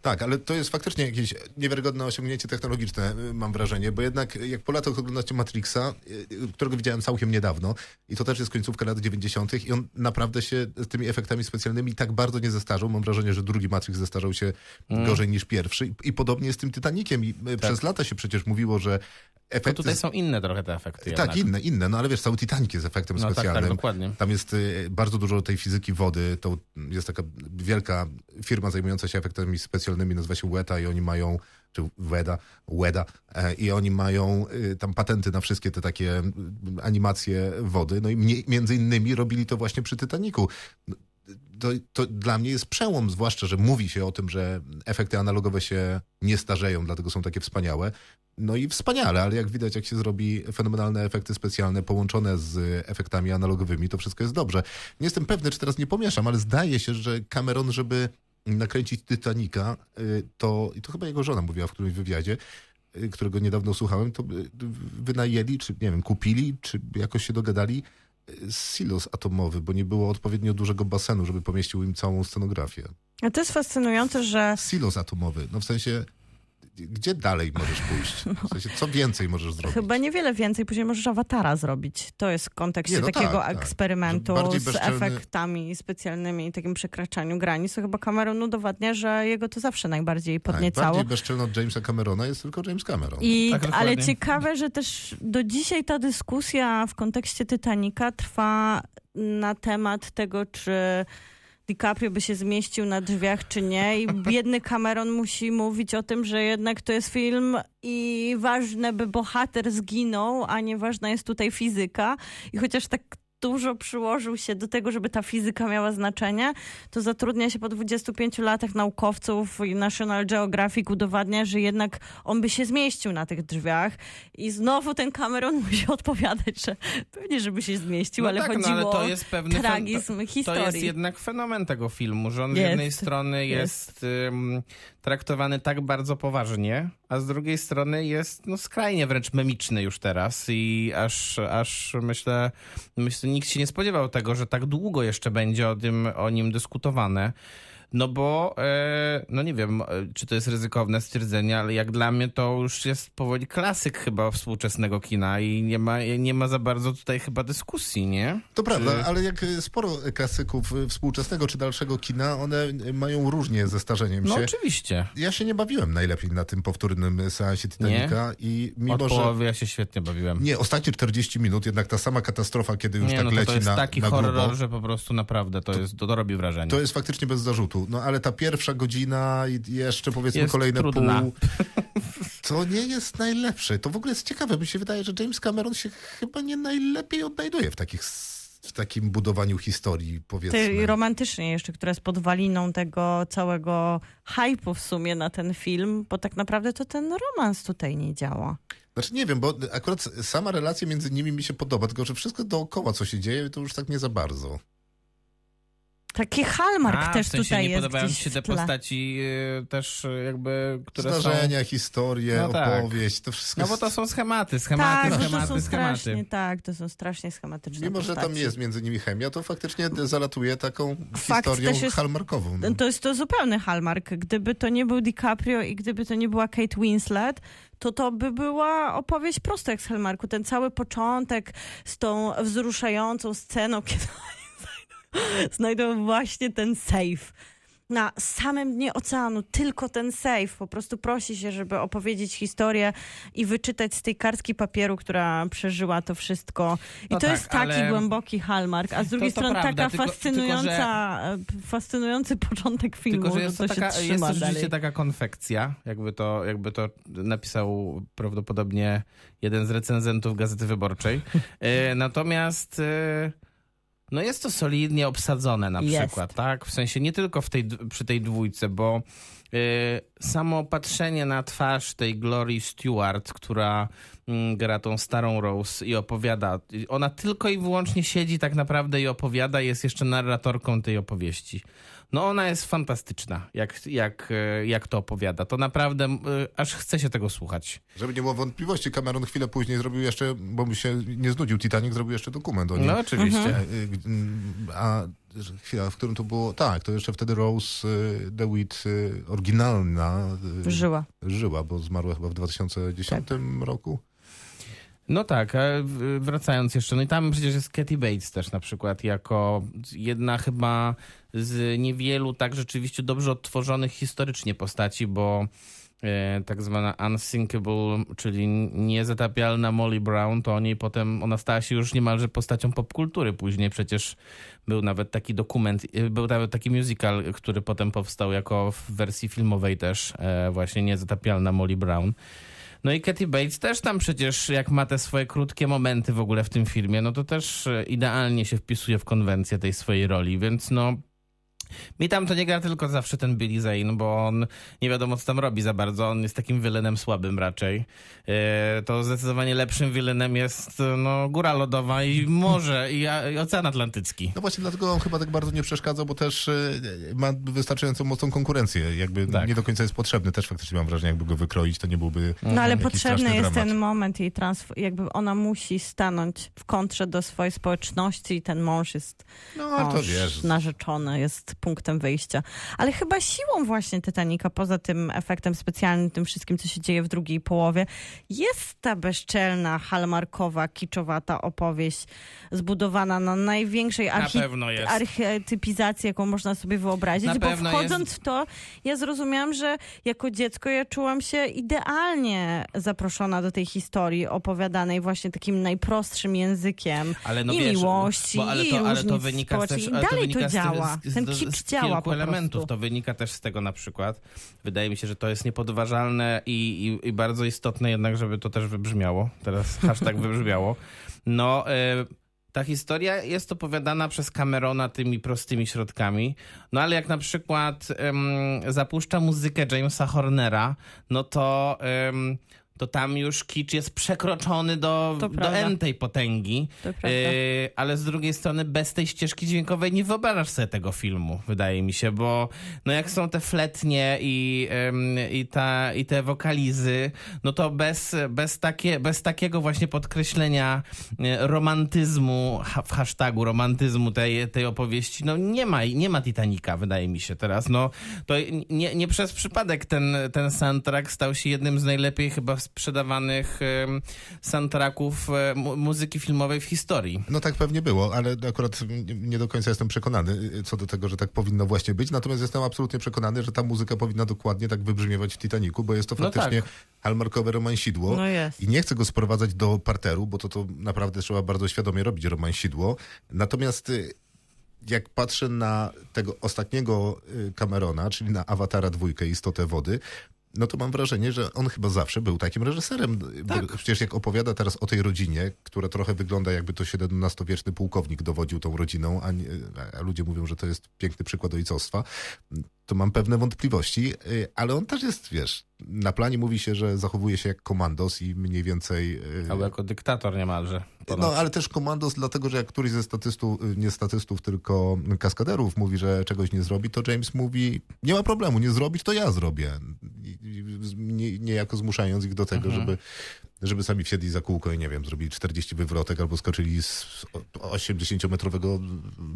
[SPEAKER 2] Tak, ale to jest faktycznie jakieś niewiarygodne osiągnięcie technologiczne, y, mam wrażenie, bo jednak y, jak po latach oglądacie Matrixa, y, y, którego widziałem całkiem niedawno, i to też jest końcówka lat 90., i on naprawdę się z tymi efektami specjalnymi tak bardzo nie zestarzał. Mam wrażenie, że drugi Matrix zestarzał się gorzej niż pierwszy. I, i podobnie jest z tym Titanikiem. I y, przez lata się przecież mówiło, że
[SPEAKER 5] To
[SPEAKER 2] efekty
[SPEAKER 5] tutaj są inne trochę te efekty.
[SPEAKER 2] Tak,
[SPEAKER 5] jednak.
[SPEAKER 2] inne, inne, no ale wiesz, cały Titanic jest efektem
[SPEAKER 5] No tak, tak,
[SPEAKER 2] specjalnym.
[SPEAKER 5] dokładnie.
[SPEAKER 2] Tam jest y, bardzo dużo tej fizyki wody. To jest taka wielka firma zajmująca się efektami specjalnymi, nazywa się Weta i oni mają, czy Weda, Weda, e, i oni mają y, tam patenty na wszystkie te takie mm, animacje wody. No i mnie, między innymi robili to właśnie przy Titanicu. To, to dla mnie jest przełom, zwłaszcza, że mówi się o tym, że efekty analogowe się nie starzeją, dlatego są takie wspaniałe. No i wspaniale, ale jak widać, jak się zrobi fenomenalne efekty specjalne połączone z efektami analogowymi, to wszystko jest dobrze. Nie jestem pewny, czy teraz nie pomieszam, ale zdaje się, że Cameron, żeby nakręcić Titanica, y, to, i to chyba jego żona mówiła w którymś wywiadzie, y, którego niedawno słuchałem, to y, wynajęli, czy nie wiem, kupili, czy jakoś się dogadali y, silos atomowy, bo nie było odpowiednio dużego basenu, żeby pomieścił im całą scenografię.
[SPEAKER 4] A to jest fascynujące, że
[SPEAKER 2] Silos atomowy, no w sensie, gdzie dalej możesz pójść? W sensie, co więcej możesz zrobić?
[SPEAKER 4] No. Chyba niewiele więcej, później możesz awatara zrobić. To jest w kontekście
[SPEAKER 2] Nie, no
[SPEAKER 4] takiego
[SPEAKER 2] tak, tak.
[SPEAKER 4] eksperymentu
[SPEAKER 2] Że bardziej
[SPEAKER 4] z
[SPEAKER 2] bezczelny-
[SPEAKER 4] efektami specjalnymi i takim przekraczaniu granic. To chyba Cameron udowadnia, że jego to zawsze najbardziej
[SPEAKER 2] Tak,
[SPEAKER 4] podniecało.
[SPEAKER 2] Najbardziej bezczelny od Jamesa Camerona jest tylko James Cameron.
[SPEAKER 4] I,
[SPEAKER 5] Tak, dokładnie.
[SPEAKER 4] ale ciekawe, że też do dzisiaj ta dyskusja w kontekście Titanica trwa na temat tego, czy DiCaprio by się zmieścił na drzwiach, czy nie. I biedny Cameron musi mówić o tym, że jednak to jest film i ważne, by bohater zginął, a nie ważna jest tutaj fizyka. I chociaż tak dużo przyłożył się do tego, żeby ta fizyka miała znaczenie, to zatrudnia się po 25 latach naukowców i National Geographic udowadnia, że jednak on by się zmieścił na tych drzwiach i znowu ten Cameron musi odpowiadać, że pewnie, żeby się zmieścił,
[SPEAKER 5] No
[SPEAKER 4] ale
[SPEAKER 5] tak, no
[SPEAKER 4] chodziło
[SPEAKER 5] ale to
[SPEAKER 4] o
[SPEAKER 5] jest pewny fen-
[SPEAKER 4] tragizm historii.
[SPEAKER 5] To jest jednak fenomen tego filmu, że on z
[SPEAKER 4] Jest.
[SPEAKER 5] jednej strony jest, ym, traktowany tak bardzo poważnie, a z drugiej strony jest no, skrajnie wręcz memiczny już teraz i aż, aż myślę, myślę, nikt się nie spodziewał tego, że tak długo jeszcze będzie o, tym, o nim dyskutowane. No bo, e, no nie wiem, e, czy to jest ryzykowne stwierdzenie, ale jak dla mnie to już jest powoli klasyk chyba współczesnego kina i nie ma, nie ma za bardzo tutaj chyba dyskusji, nie?
[SPEAKER 2] To prawda, ale jak y, sporo klasyków y, współczesnego czy dalszego kina, one y, mają różnie ze starzeniem
[SPEAKER 5] No
[SPEAKER 2] się.
[SPEAKER 5] oczywiście.
[SPEAKER 2] Ja się nie bawiłem najlepiej na tym powtórnym seansie Titanica i
[SPEAKER 5] Od
[SPEAKER 2] mimo, że...
[SPEAKER 5] połowy ja się świetnie bawiłem.
[SPEAKER 2] Nie, ostatnie 40 minut jednak ta sama katastrofa, kiedy już
[SPEAKER 5] Nie,
[SPEAKER 2] tak
[SPEAKER 5] no to,
[SPEAKER 2] leci
[SPEAKER 5] to jest
[SPEAKER 2] na,
[SPEAKER 5] taki
[SPEAKER 2] na
[SPEAKER 5] horror,
[SPEAKER 2] grubo.
[SPEAKER 5] że po prostu naprawdę to, jest, to, to robi wrażenie.
[SPEAKER 2] To jest faktycznie bez zarzutu. No ale ta pierwsza godzina i jeszcze powiedzmy
[SPEAKER 5] Jest
[SPEAKER 2] kolejne
[SPEAKER 5] trudna.
[SPEAKER 2] pół. To nie jest najlepsze. To w ogóle jest ciekawe. Mi się wydaje, że James Cameron się chyba nie najlepiej odnajduje w takich s- w takim budowaniu historii,
[SPEAKER 4] Ty,
[SPEAKER 2] powiedzmy.
[SPEAKER 4] romantycznie jeszcze, która jest podwaliną tego całego hypu w sumie na ten film, bo tak naprawdę to ten romans tutaj nie działa.
[SPEAKER 2] Znaczy nie wiem, bo akurat sama relacja między nimi mi się podoba, tylko że wszystko dookoła, co się dzieje, to już tak nie za bardzo.
[SPEAKER 4] Taki Hallmark
[SPEAKER 5] A,
[SPEAKER 4] też
[SPEAKER 5] w sensie
[SPEAKER 4] tutaj
[SPEAKER 5] nie
[SPEAKER 4] jest
[SPEAKER 5] podobają
[SPEAKER 4] gdzieś
[SPEAKER 5] ci się
[SPEAKER 4] w
[SPEAKER 5] te
[SPEAKER 4] tle.
[SPEAKER 5] postaci y, też y, jakby, które są...
[SPEAKER 2] Zdarzenia, historie,
[SPEAKER 5] No tak.
[SPEAKER 2] opowieść, to wszystko
[SPEAKER 5] No bo
[SPEAKER 2] jest-
[SPEAKER 5] to są schematy, schematy, no
[SPEAKER 4] Tak, bo to
[SPEAKER 5] schematy,
[SPEAKER 4] są
[SPEAKER 5] schematy.
[SPEAKER 4] strasznie, tak, to są strasznie schematyczne
[SPEAKER 2] Mimo, że tam
[SPEAKER 4] postaci.
[SPEAKER 2] jest między nimi chemia, to faktycznie zalatuje taką
[SPEAKER 4] Fakt
[SPEAKER 2] historią
[SPEAKER 4] też jest-
[SPEAKER 2] halmarkową.
[SPEAKER 5] Mm.
[SPEAKER 4] To jest to zupełny Hallmark. Gdyby to nie był DiCaprio i gdyby to nie była Kate Winslet, to to by była opowieść prosto jak z Hallmarku. Ten cały początek z tą wzruszającą sceną, kiedy oni znajdą, znajdą właśnie ten safe. Na samym dnie oceanu tylko ten safe. Po prostu prosi się, żeby opowiedzieć historię i wyczytać z tej kartki papieru, która przeżyła to wszystko. I
[SPEAKER 5] No
[SPEAKER 4] to
[SPEAKER 5] tak,
[SPEAKER 4] jest taki
[SPEAKER 5] ale-
[SPEAKER 4] głęboki Hallmark, a z drugiej
[SPEAKER 5] to
[SPEAKER 4] strony taka
[SPEAKER 5] prawda, tylko- tylko, że-
[SPEAKER 4] fascynująca a, p- e, fascynujący początek filmu, no
[SPEAKER 5] Tylko, że jest to,
[SPEAKER 4] to, się
[SPEAKER 5] taka, jest
[SPEAKER 4] trzyma
[SPEAKER 5] to rzeczywiście
[SPEAKER 4] dalej.
[SPEAKER 5] taka konfekcja, jakby to, jakby to napisał prawdopodobnie jeden z recenzentów Gazety Wyborczej. E, Natomiast e, no jest to solidnie obsadzone na
[SPEAKER 4] Jest.
[SPEAKER 5] przykład, tak? W sensie nie tylko w tej, d- przy tej dwójce, bo e, samo patrzenie na twarz tej Glory Stewart, która mm, gra tą starą Rose i opowiada, i ona tylko i wyłącznie siedzi tak naprawdę i opowiada, jest jeszcze narratorką tej opowieści. No ona jest fantastyczna, jak, jak, e, jak to opowiada. To naprawdę m, e, aż chce się tego słuchać.
[SPEAKER 2] Żeby nie było wątpliwości, Cameron chwilę później zrobił jeszcze, bo mu się nie znudził Titanic, zrobił jeszcze dokument o nim.
[SPEAKER 5] No oczywiście.
[SPEAKER 2] E, y, y, A że- chwila, w którym to było... Tak, to jeszcze wtedy Rose y, DeWitt y, oryginalna y,
[SPEAKER 4] Żyła.
[SPEAKER 2] żyła, Tak. bo zmarła chyba w 2010 roku.
[SPEAKER 5] No tak, a w- wracając jeszcze, no i tam przecież jest Katie Bates też na przykład, jako jedna chyba z niewielu tak rzeczywiście dobrze odtworzonych historycznie postaci, bo e, tak zwana unsinkable, czyli niezatapialna Molly Brown, to o niej potem, ona stała się już niemalże postacią popkultury później, przecież był nawet taki dokument, e, był nawet taki musical, który potem powstał jako w wersji filmowej też, e, właśnie niezatapialna Molly Brown. No i Katy Bates też tam przecież, jak ma te swoje krótkie momenty w ogóle w tym filmie, no to też e, idealnie się wpisuje w konwencję tej swojej roli, więc no... Mi tam to nie gra tylko zawsze ten Billy Zane, bo on nie wiadomo co tam robi za bardzo, on jest takim wilenem słabym raczej. E, To zdecydowanie lepszym wilenem jest e, no, Góra Lodowa i morze i, a- i Ocean Atlantycki.
[SPEAKER 2] No właśnie dlatego on chyba tak bardzo nie przeszkadzał, bo też y, ma wystarczająco mocną konkurencję. Jakby
[SPEAKER 5] Tak.
[SPEAKER 2] nie do końca jest potrzebny. Też faktycznie mam wrażenie, jakby go wykroić, to nie byłby...
[SPEAKER 4] No ale
[SPEAKER 2] Jaki
[SPEAKER 4] potrzebny
[SPEAKER 2] straszny
[SPEAKER 4] jest
[SPEAKER 2] dramat.
[SPEAKER 4] ten moment jej transf- jakby ona musi stanąć w kontrze do swojej społeczności i ten mąż jest
[SPEAKER 2] No, ale to
[SPEAKER 4] mąż
[SPEAKER 2] wiesz.
[SPEAKER 4] narzeczony, jest punktem wyjścia. Ale chyba siłą właśnie Titanica, poza tym efektem specjalnym, tym wszystkim, co się dzieje w drugiej połowie, jest ta bezczelna, halmarkowa, kiczowata opowieść zbudowana na największej
[SPEAKER 5] Na
[SPEAKER 4] archi-
[SPEAKER 5] pewno jest.
[SPEAKER 4] archetypizacji, jaką można sobie wyobrazić,
[SPEAKER 5] Na
[SPEAKER 4] bo
[SPEAKER 5] pewno
[SPEAKER 4] wchodząc w to, ja zrozumiałam, że jako dziecko ja czułam się idealnie zaproszona do tej historii opowiadanej właśnie takim najprostszym językiem
[SPEAKER 5] Ale no
[SPEAKER 4] i
[SPEAKER 5] wiesz,
[SPEAKER 4] miłości,
[SPEAKER 5] bo, ale
[SPEAKER 4] i
[SPEAKER 5] to, ale to
[SPEAKER 4] różnic
[SPEAKER 5] wynika
[SPEAKER 4] społecznych.
[SPEAKER 5] też,
[SPEAKER 4] I
[SPEAKER 5] ale to
[SPEAKER 4] dalej to,
[SPEAKER 5] wynika z-
[SPEAKER 4] działa.
[SPEAKER 5] z- z-
[SPEAKER 4] Ten
[SPEAKER 5] z-
[SPEAKER 4] kicz
[SPEAKER 5] z
[SPEAKER 4] działa
[SPEAKER 5] kilku
[SPEAKER 4] po
[SPEAKER 5] elementów.
[SPEAKER 4] prostu.
[SPEAKER 5] To wynika też z tego na przykład. Wydaje mi się, że to jest niepodważalne i, i, i bardzo istotne jednak, żeby to też wybrzmiało. Teraz hashtag wybrzmiało. No, e, ta historia jest opowiadana przez Camerona tymi prostymi środkami, no ale jak na przykład em, zapuszcza muzykę Jamesa Hornera, no to em, to tam już kicz jest przekroczony do,
[SPEAKER 4] To
[SPEAKER 5] do
[SPEAKER 4] prawda.
[SPEAKER 5] N tej potęgi.
[SPEAKER 4] To prawda.
[SPEAKER 5] Yy, ale z drugiej strony bez tej ścieżki dźwiękowej nie wyobrażasz sobie tego filmu, wydaje mi się, bo no jak są te fletnie i, ym, i, ta, i te wokalizy, no to bez, bez, takie, bez takiego właśnie podkreślenia yy, romantyzmu, ha, w hashtagu romantyzmu tej, tej opowieści, no nie ma, nie ma Titanica, wydaje mi się teraz. No to nie, nie przez przypadek ten, ten soundtrack stał się jednym z najlepiej chyba sprzedawanych ym, soundtracków y, mu- muzyki filmowej w historii.
[SPEAKER 2] No tak pewnie było, ale akurat nie- nie do końca jestem przekonany y, co do tego, że tak powinno właśnie być. Natomiast jestem absolutnie przekonany, że ta muzyka powinna dokładnie tak wybrzmiewać w Titaniku, bo jest to
[SPEAKER 5] No
[SPEAKER 2] faktycznie halmarkowe romansidło.
[SPEAKER 4] No jest.
[SPEAKER 2] I nie chcę go sprowadzać do parteru, bo to, to naprawdę trzeba bardzo świadomie robić romansidło. Natomiast y, jak patrzę na tego ostatniego y, Camerona, czyli na Awatara dwójkę Istotę Wody, no to mam wrażenie, że on chyba zawsze był takim reżyserem. Y, Bo przecież jak opowiada teraz o tej rodzinie, która trochę wygląda jakby to XVII-wieczny pułkownik dowodził tą rodziną, a, nie, a ludzie mówią, że to jest piękny przykład ojcostwa, to mam pewne wątpliwości, y, ale on też jest, wiesz, na planie mówi się, że zachowuje się jak komandos i mniej więcej... y,
[SPEAKER 5] Albo jako dyktator niemalże.
[SPEAKER 2] no, ale też komandos, dlatego że jak któryś ze statystów, y, nie statystów, tylko kaskaderów mówi, że czegoś nie zrobi, to James mówi, nie ma problemu, nie zrobić, to ja zrobię. I- i z- nie- Niejako zmuszając ich do tego,
[SPEAKER 5] Mhm.
[SPEAKER 2] żeby, żeby sami wsiedli za kółko i nie wiem, zrobili 40 wywrotek albo skoczyli z o- 80-metrowego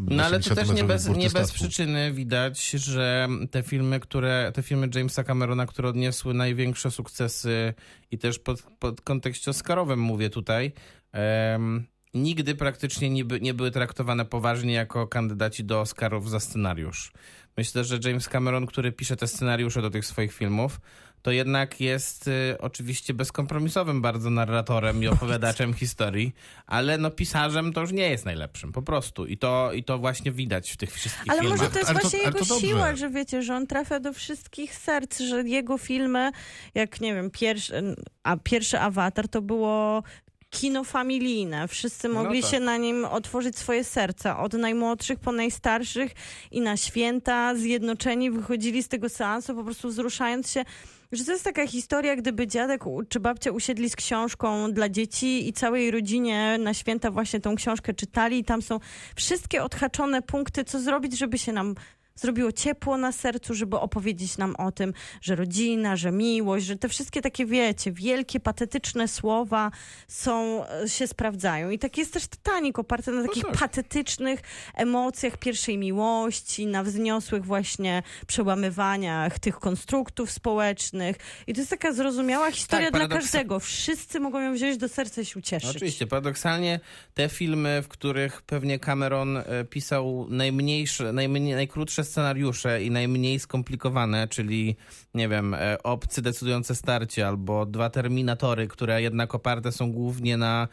[SPEAKER 5] No ale to też nie
[SPEAKER 2] 80-metrowej
[SPEAKER 5] bez,
[SPEAKER 2] burty
[SPEAKER 5] nie bez
[SPEAKER 2] statku.
[SPEAKER 5] przyczyny widać, że te filmy, które, te filmy Jamesa Camerona, które odniosły największe sukcesy i też pod, pod kontekście Oscarowym mówię tutaj, em, nigdy praktycznie nie, by, nie były traktowane poważnie jako kandydaci do Oscarów za scenariusz. Myślę, że James Cameron, który pisze te scenariusze do tych swoich filmów, to jednak jest y, oczywiście bezkompromisowym bardzo narratorem i opowiadaczem historii, ale no pisarzem to już nie jest najlepszym, po prostu. I to, i to właśnie widać w tych wszystkich
[SPEAKER 4] Ale
[SPEAKER 5] filmach.
[SPEAKER 4] może to jest
[SPEAKER 2] Ale to-
[SPEAKER 4] właśnie
[SPEAKER 2] ale to
[SPEAKER 4] jego
[SPEAKER 2] dobrze.
[SPEAKER 4] siła, że wiecie, że on trafia do wszystkich serc, że jego filmy, jak nie wiem, pierwszy, a pierwszy awatar to było kino familijne. Wszyscy
[SPEAKER 5] No
[SPEAKER 4] mogli
[SPEAKER 5] tak.
[SPEAKER 4] się na nim otworzyć swoje serca, od najmłodszych po najstarszych i na święta zjednoczeni wychodzili z tego seansu, po prostu wzruszając się. Że to jest taka historia, gdyby dziadek u- czy babcia usiedli z książką dla dzieci i całej rodzinie na święta właśnie tą książkę czytali i tam są wszystkie odhaczone punkty, co zrobić, żeby się nam zrobiło ciepło na sercu, żeby opowiedzieć nam o tym, że rodzina, że miłość, że te wszystkie takie, wiecie, wielkie, patetyczne słowa są, e, się sprawdzają. I tak jest też Titanic, oparty na takich
[SPEAKER 5] tak.
[SPEAKER 4] patetycznych emocjach pierwszej miłości, na wzniosłych właśnie przełamywaniach tych konstruktów społecznych. I to jest taka zrozumiała historia dla
[SPEAKER 5] paradoksa-
[SPEAKER 4] każdego. Wszyscy mogą ją wziąć do serca i się
[SPEAKER 5] Tak, No
[SPEAKER 4] ucieszyć.
[SPEAKER 5] Oczywiście, paradoksalnie te filmy, w których pewnie Cameron e, pisał najmniejsze, najmniej, najkrótsze scenariusze i najmniej skomplikowane, czyli nie wiem, e, obcy decydujące starcie albo dwa terminatory, które jednak oparte są głównie na,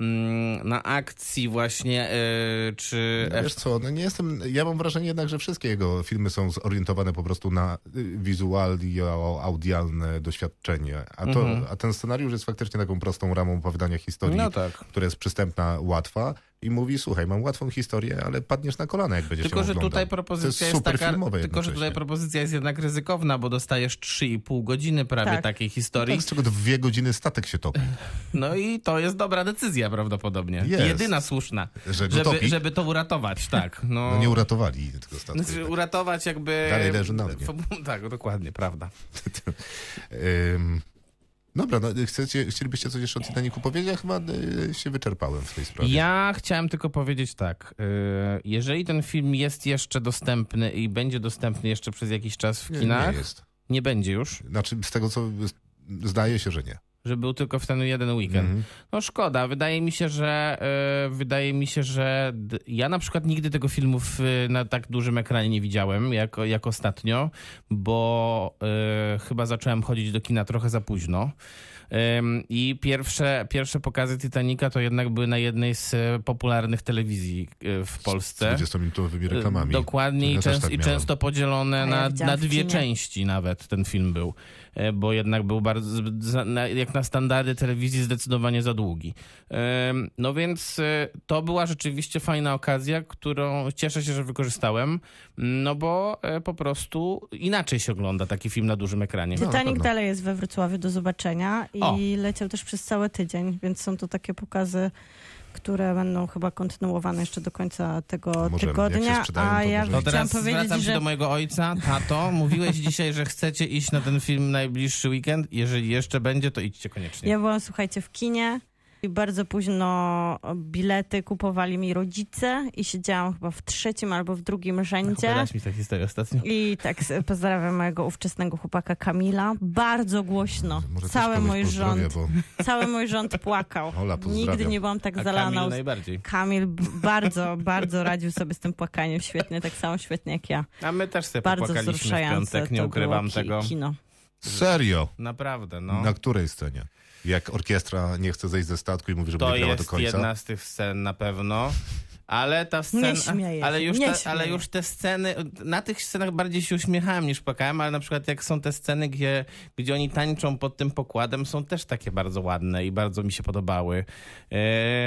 [SPEAKER 5] mm, na akcji właśnie e, czy
[SPEAKER 2] No Wiesz co, no nie jestem, ja mam wrażenie jednak, że wszystkie jego filmy są zorientowane po prostu na y, wizualno-audialne doświadczenie, a, to, a ten scenariusz jest faktycznie taką prostą ramą opowiadania historii,
[SPEAKER 5] Mhm. No tak.
[SPEAKER 2] która jest przystępna, łatwa i mówi, słuchaj, mam łatwą historię, ale padniesz na kolana, jak będziesz
[SPEAKER 5] Tylko,
[SPEAKER 2] ją
[SPEAKER 5] że
[SPEAKER 2] oglądał.
[SPEAKER 5] tutaj
[SPEAKER 2] to
[SPEAKER 5] propozycja
[SPEAKER 2] jest
[SPEAKER 5] jest,
[SPEAKER 2] super
[SPEAKER 5] taka.
[SPEAKER 2] filmowe
[SPEAKER 5] Tylko, że tutaj
[SPEAKER 2] jednocześnie.
[SPEAKER 5] propozycja jest jednak ryzykowna, bo dostajesz 3,5 godziny prawie
[SPEAKER 4] Tak.
[SPEAKER 5] takiej historii.
[SPEAKER 2] Tak, z czego dwie godziny statek się topi.
[SPEAKER 5] No i to jest dobra decyzja prawdopodobnie.
[SPEAKER 2] Jest.
[SPEAKER 5] Jedyna słuszna.
[SPEAKER 2] Że go topi?
[SPEAKER 5] żeby, żeby to uratować, tak. No,
[SPEAKER 2] No nie uratowali tego statku.
[SPEAKER 5] Znaczy, uratować jakby.
[SPEAKER 2] Dalej leży na dnie.
[SPEAKER 5] Po- Tak, dokładnie, prawda.
[SPEAKER 2] Ym, Dobra, no, chcecie, chcielibyście coś jeszcze o Titanicu powiedzieć? Ja chyba y, się wyczerpałem w tej sprawie.
[SPEAKER 5] Ja chciałem tylko powiedzieć tak. y, Jeżeli ten film jest jeszcze dostępny i będzie dostępny jeszcze przez jakiś czas w
[SPEAKER 2] Nie,
[SPEAKER 5] kinach,
[SPEAKER 2] nie jest.
[SPEAKER 5] nie będzie już,
[SPEAKER 2] Znaczy, z tego co z- zdaje się, że nie.
[SPEAKER 5] że był tylko w ten jeden weekend. No szkoda, wydaje mi się, że y, wydaje mi się, że d- ja na przykład nigdy tego filmu w, y, na tak dużym ekranie nie widziałem jak, jak ostatnio, bo y, chyba zacząłem chodzić do kina trochę za późno. Ym, I pierwsze, pierwsze pokazy Titanica to jednak były na jednej z y, popularnych telewizji y, w Polsce.
[SPEAKER 2] 20-minutowymi reklamami.
[SPEAKER 5] Y, Dokładnie
[SPEAKER 2] Ja
[SPEAKER 5] i,
[SPEAKER 2] też
[SPEAKER 5] częst,
[SPEAKER 2] tak
[SPEAKER 5] i
[SPEAKER 2] miałem.
[SPEAKER 5] często podzielone
[SPEAKER 4] ja
[SPEAKER 5] na,
[SPEAKER 4] widziałam
[SPEAKER 5] na
[SPEAKER 4] w
[SPEAKER 5] dwie
[SPEAKER 4] kinie.
[SPEAKER 5] części nawet ten film był. e, bo jednak był bardzo, zbyt- za- na- jak na standardy telewizji, zdecydowanie za długi. Em, No więc e, to była rzeczywiście fajna okazja, którą cieszę się, że wykorzystałem, no bo e, po prostu inaczej się ogląda taki film na dużym ekranie.
[SPEAKER 2] No, na
[SPEAKER 4] Titanic
[SPEAKER 2] pewno.
[SPEAKER 4] dalej jest we Wrocławiu do zobaczenia i
[SPEAKER 5] O.
[SPEAKER 4] leciał też przez cały tydzień, więc są to takie pokazy, które będą chyba kontynuowane jeszcze do końca tego
[SPEAKER 2] Może jak się
[SPEAKER 4] tygodnia.
[SPEAKER 2] sprzedają, to
[SPEAKER 4] a ja
[SPEAKER 2] może
[SPEAKER 5] To
[SPEAKER 2] i-
[SPEAKER 4] chciałam
[SPEAKER 5] teraz zwracam
[SPEAKER 4] powiedzieć,
[SPEAKER 5] się
[SPEAKER 4] że
[SPEAKER 5] do mojego ojca. Tato, mówiłeś dzisiaj, że chcecie iść na ten film najbliższy weekend. Jeżeli jeszcze będzie, to idźcie koniecznie.
[SPEAKER 4] ja byłam, słuchajcie, w kinie. I bardzo późno bilety kupowali mi rodzice i siedziałam chyba w trzecim albo w drugim rzędzie.
[SPEAKER 5] Opowiadałaś mi tę historię ostatnio.
[SPEAKER 4] I tak s- pozdrawiam mojego ówczesnego chłopaka Kamila. Bardzo głośno.
[SPEAKER 2] Może też
[SPEAKER 4] Cały
[SPEAKER 2] kogoś
[SPEAKER 4] mój
[SPEAKER 2] pozdrowię,
[SPEAKER 4] rząd,
[SPEAKER 2] Bo
[SPEAKER 4] cały mój rząd płakał.
[SPEAKER 2] Ola, pozdrawiam.
[SPEAKER 4] Nigdy nie byłam tak
[SPEAKER 5] A
[SPEAKER 4] zalana
[SPEAKER 5] Kamil no
[SPEAKER 4] łzami.
[SPEAKER 5] najbardziej.
[SPEAKER 4] Kamil b- bardzo, bardzo radził sobie z tym płakaniem świetnie, tak samo świetnie jak ja.
[SPEAKER 5] A my też sobie
[SPEAKER 4] Bardzo
[SPEAKER 5] popłakaliśmy w
[SPEAKER 4] wzruszające.
[SPEAKER 5] piątek, nie
[SPEAKER 4] to
[SPEAKER 5] ukrywam
[SPEAKER 4] było ki-
[SPEAKER 5] tego.
[SPEAKER 4] Kino.
[SPEAKER 2] Serio?
[SPEAKER 5] Naprawdę, no.
[SPEAKER 2] Na której scenie? Jak orkiestra nie chce zejść ze statku i mówi, że
[SPEAKER 5] To
[SPEAKER 2] będzie grała do
[SPEAKER 5] jest
[SPEAKER 2] końca?
[SPEAKER 5] jedna z tych scen na pewno. Ale ta scena.
[SPEAKER 4] Nie śmieję
[SPEAKER 5] ale,
[SPEAKER 4] się,
[SPEAKER 5] już
[SPEAKER 4] nie
[SPEAKER 5] te,
[SPEAKER 4] śmieję.
[SPEAKER 5] ale już te sceny. Na tych scenach bardziej się uśmiechałem niż płakałem, ale na przykład jak są te sceny, gdzie, gdzie oni tańczą pod tym pokładem, są też takie bardzo ładne i bardzo mi się podobały. Yy,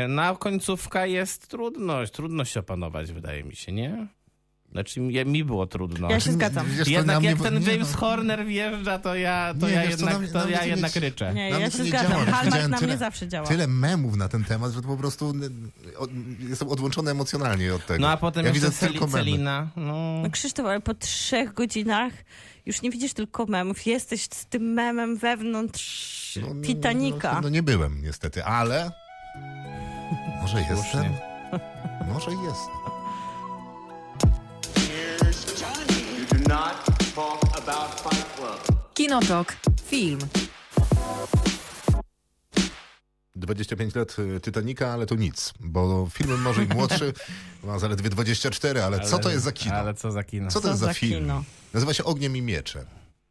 [SPEAKER 5] no a końcówka jest trudność. Trudno się opanować, wydaje mi się, nie? Znaczy mi- mi było trudno.
[SPEAKER 4] Ja się zgadzam.
[SPEAKER 2] Wiesz co,
[SPEAKER 5] jednak
[SPEAKER 2] na
[SPEAKER 5] jak
[SPEAKER 2] mnie-
[SPEAKER 5] ten
[SPEAKER 2] nie,
[SPEAKER 5] James
[SPEAKER 2] no.
[SPEAKER 5] Horner wjeżdża, to ja, to
[SPEAKER 2] Nie,
[SPEAKER 5] ja
[SPEAKER 2] wiesz co, na mnie-
[SPEAKER 5] jednak,
[SPEAKER 2] na
[SPEAKER 5] to
[SPEAKER 2] mnie
[SPEAKER 5] ja
[SPEAKER 2] to nie
[SPEAKER 5] jednak
[SPEAKER 2] dzi-
[SPEAKER 5] ryczę.
[SPEAKER 4] Nie,
[SPEAKER 2] Na
[SPEAKER 4] ja
[SPEAKER 2] mnie to
[SPEAKER 4] się
[SPEAKER 2] nie
[SPEAKER 4] zgadzam.
[SPEAKER 2] działa.
[SPEAKER 4] Hallmark
[SPEAKER 2] Widziałem
[SPEAKER 4] na
[SPEAKER 2] tyle-
[SPEAKER 4] mnie zawsze działa.
[SPEAKER 2] Tyle memów na ten temat, że to po prostu y, od, jestem odłączony emocjonalnie od tego.
[SPEAKER 5] No a potem
[SPEAKER 2] ja
[SPEAKER 5] jeszcze
[SPEAKER 2] widzę
[SPEAKER 5] Celi,
[SPEAKER 2] tylko memy.
[SPEAKER 5] Celina. No.
[SPEAKER 4] No Krzysztof, ale po trzech godzinach już nie widzisz tylko memów. Jesteś z tym memem wewnątrz
[SPEAKER 2] No, no,
[SPEAKER 4] Titanica.
[SPEAKER 2] No, no nie byłem niestety, ale może jestem. Może jestem.
[SPEAKER 3] Here's Johnny. You do not talk about Fight Club.
[SPEAKER 1] Kinotok. Film.
[SPEAKER 2] 25 lat y, Titanica, ale to nic, bo film może i młodszy ma zaledwie 24, ale, co to jest za kino?
[SPEAKER 5] Ale co za kino?
[SPEAKER 2] Co to
[SPEAKER 4] Co
[SPEAKER 2] jest za,
[SPEAKER 4] za
[SPEAKER 2] film?
[SPEAKER 4] kino?
[SPEAKER 2] Nazywa się Ogniem i Mieczem.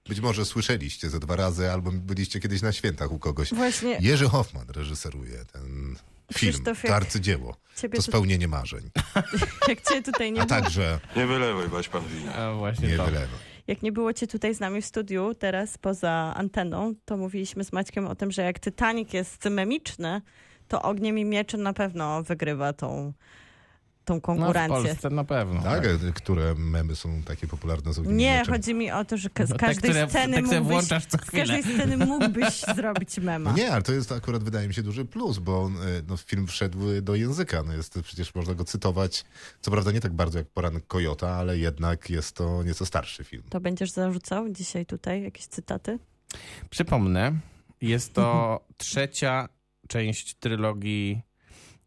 [SPEAKER 2] Być może słyszeliście ze dwa razy, albo byliście kiedyś na świętach u kogoś.
[SPEAKER 4] Właśnie
[SPEAKER 2] Jerzy Hoffman reżyseruje ten film,
[SPEAKER 4] Krzysztof, jak
[SPEAKER 2] to arcydzieło,
[SPEAKER 4] ciebie
[SPEAKER 2] to
[SPEAKER 4] tu,
[SPEAKER 2] spełnienie marzeń,
[SPEAKER 4] jak cię tutaj nie
[SPEAKER 2] a
[SPEAKER 4] było,
[SPEAKER 2] także
[SPEAKER 6] Nie wylewaj, bać pan wina.
[SPEAKER 5] A właśnie
[SPEAKER 2] nie
[SPEAKER 5] to.
[SPEAKER 2] wylewa.
[SPEAKER 4] jak nie było cię tutaj z nami w studiu, teraz poza anteną, to mówiliśmy z Maćkiem o tym, że jak Titanic jest memiczny, to ogniem i mieczem na pewno wygrywa tą, tą
[SPEAKER 5] No, w
[SPEAKER 4] konkurencję.
[SPEAKER 5] Polsce na pewno.
[SPEAKER 2] Tak, e, które memy są takie popularne z Ogniem i
[SPEAKER 4] Nie,
[SPEAKER 2] Mieczem?
[SPEAKER 4] chodzi mi o to, że ka- z
[SPEAKER 5] No, te,
[SPEAKER 4] każdej
[SPEAKER 5] które-
[SPEAKER 4] sceny
[SPEAKER 5] te, które
[SPEAKER 4] mógłbyś,
[SPEAKER 5] włączasz co
[SPEAKER 4] z każdej sceny mógłbyś zrobić mema.
[SPEAKER 2] No nie, ale to jest akurat wydaje mi się duży plus, bo e, no, film wszedł e, do języka. No jest, przecież można go cytować, co prawda nie tak bardzo jak Poranek Kojota, ale jednak jest to nieco starszy film.
[SPEAKER 4] To będziesz zarzucał dzisiaj tutaj jakieś cytaty?
[SPEAKER 5] Przypomnę, jest
[SPEAKER 2] Mhm.
[SPEAKER 5] to trzecia część trylogii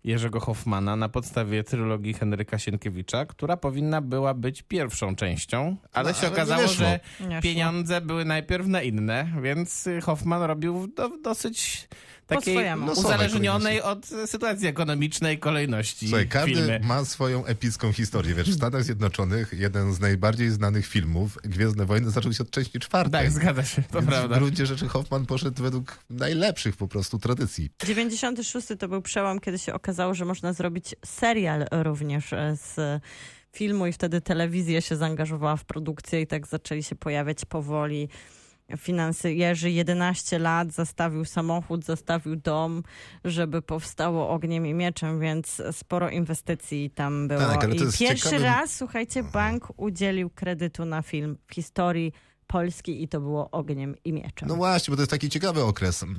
[SPEAKER 5] Jerzego Hoffmana na podstawie trylogii Henryka Sienkiewicza, która powinna była być pierwszą częścią, ale
[SPEAKER 2] No,
[SPEAKER 5] się
[SPEAKER 2] ale nie
[SPEAKER 5] okazało,
[SPEAKER 2] wyszło.
[SPEAKER 5] że
[SPEAKER 4] Nie
[SPEAKER 5] pieniądze były najpierw na inne, więc Hoffman robił w do, dosyć takiej
[SPEAKER 4] swojemu.
[SPEAKER 2] Losowej
[SPEAKER 5] uzależnionej od sytuacji ekonomicznej kolejności
[SPEAKER 2] Słuchaj,
[SPEAKER 5] filmy.
[SPEAKER 2] każdy ma swoją epicką historię. Wiesz, w Stanach Zjednoczonych jeden z najbardziej znanych filmów, Gwiezdne Wojny, zaczął się od części czwartej.
[SPEAKER 5] Tak, zgadza się, to
[SPEAKER 2] Więc
[SPEAKER 5] prawda.
[SPEAKER 2] W gruncie rzeczy Hoffman poszedł według najlepszych po prostu tradycji.
[SPEAKER 4] 96 to był przełom, kiedy się okazało, że można zrobić serial również e, z filmu i wtedy telewizja się zaangażowała w produkcję i tak zaczęli się pojawiać powoli finanse. Jerzy 11 lat zastawił samochód, zastawił dom, żeby powstało Ogniem i Mieczem, więc sporo inwestycji tam było.
[SPEAKER 2] Tak, ale to
[SPEAKER 4] I
[SPEAKER 2] jest
[SPEAKER 4] pierwszy
[SPEAKER 2] ciekawe- Mhm.
[SPEAKER 4] raz, słuchajcie, bank udzielił kredytu na film w historii Polski i to było Ogniem i Mieczem.
[SPEAKER 5] Tak.
[SPEAKER 2] No właśnie, bo to jest taki ciekawy okres m,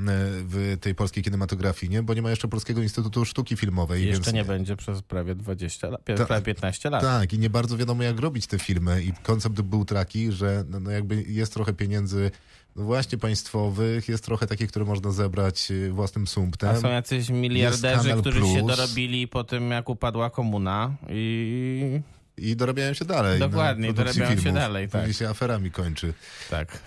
[SPEAKER 2] w tej polskiej kinematografii, nie? bo nie ma jeszcze Polskiego Instytutu Sztuki Filmowej.
[SPEAKER 5] Jeszcze
[SPEAKER 2] więc...
[SPEAKER 5] nie będzie przez prawie 20 lat,
[SPEAKER 2] Ta-
[SPEAKER 5] prawie 15 lat.
[SPEAKER 2] Tak, i nie bardzo wiadomo, jak robić te filmy. I koncept był taki, że no, no jakby jest trochę pieniędzy no właśnie państwowych, jest trochę takich, które można zebrać y, własnym
[SPEAKER 5] A
[SPEAKER 2] sumptem.
[SPEAKER 5] są jacyś
[SPEAKER 2] jest
[SPEAKER 5] miliarderzy,
[SPEAKER 2] Kanal
[SPEAKER 5] którzy się
[SPEAKER 2] Plus.
[SPEAKER 5] dorobili po tym, jak upadła komuna i
[SPEAKER 2] I dorabiają się dalej.
[SPEAKER 5] Dokładnie,
[SPEAKER 2] na produkcji
[SPEAKER 5] dorabiają się
[SPEAKER 2] filmów.
[SPEAKER 5] dalej,
[SPEAKER 2] Później
[SPEAKER 5] tak.
[SPEAKER 2] się aferami kończy.
[SPEAKER 5] tak.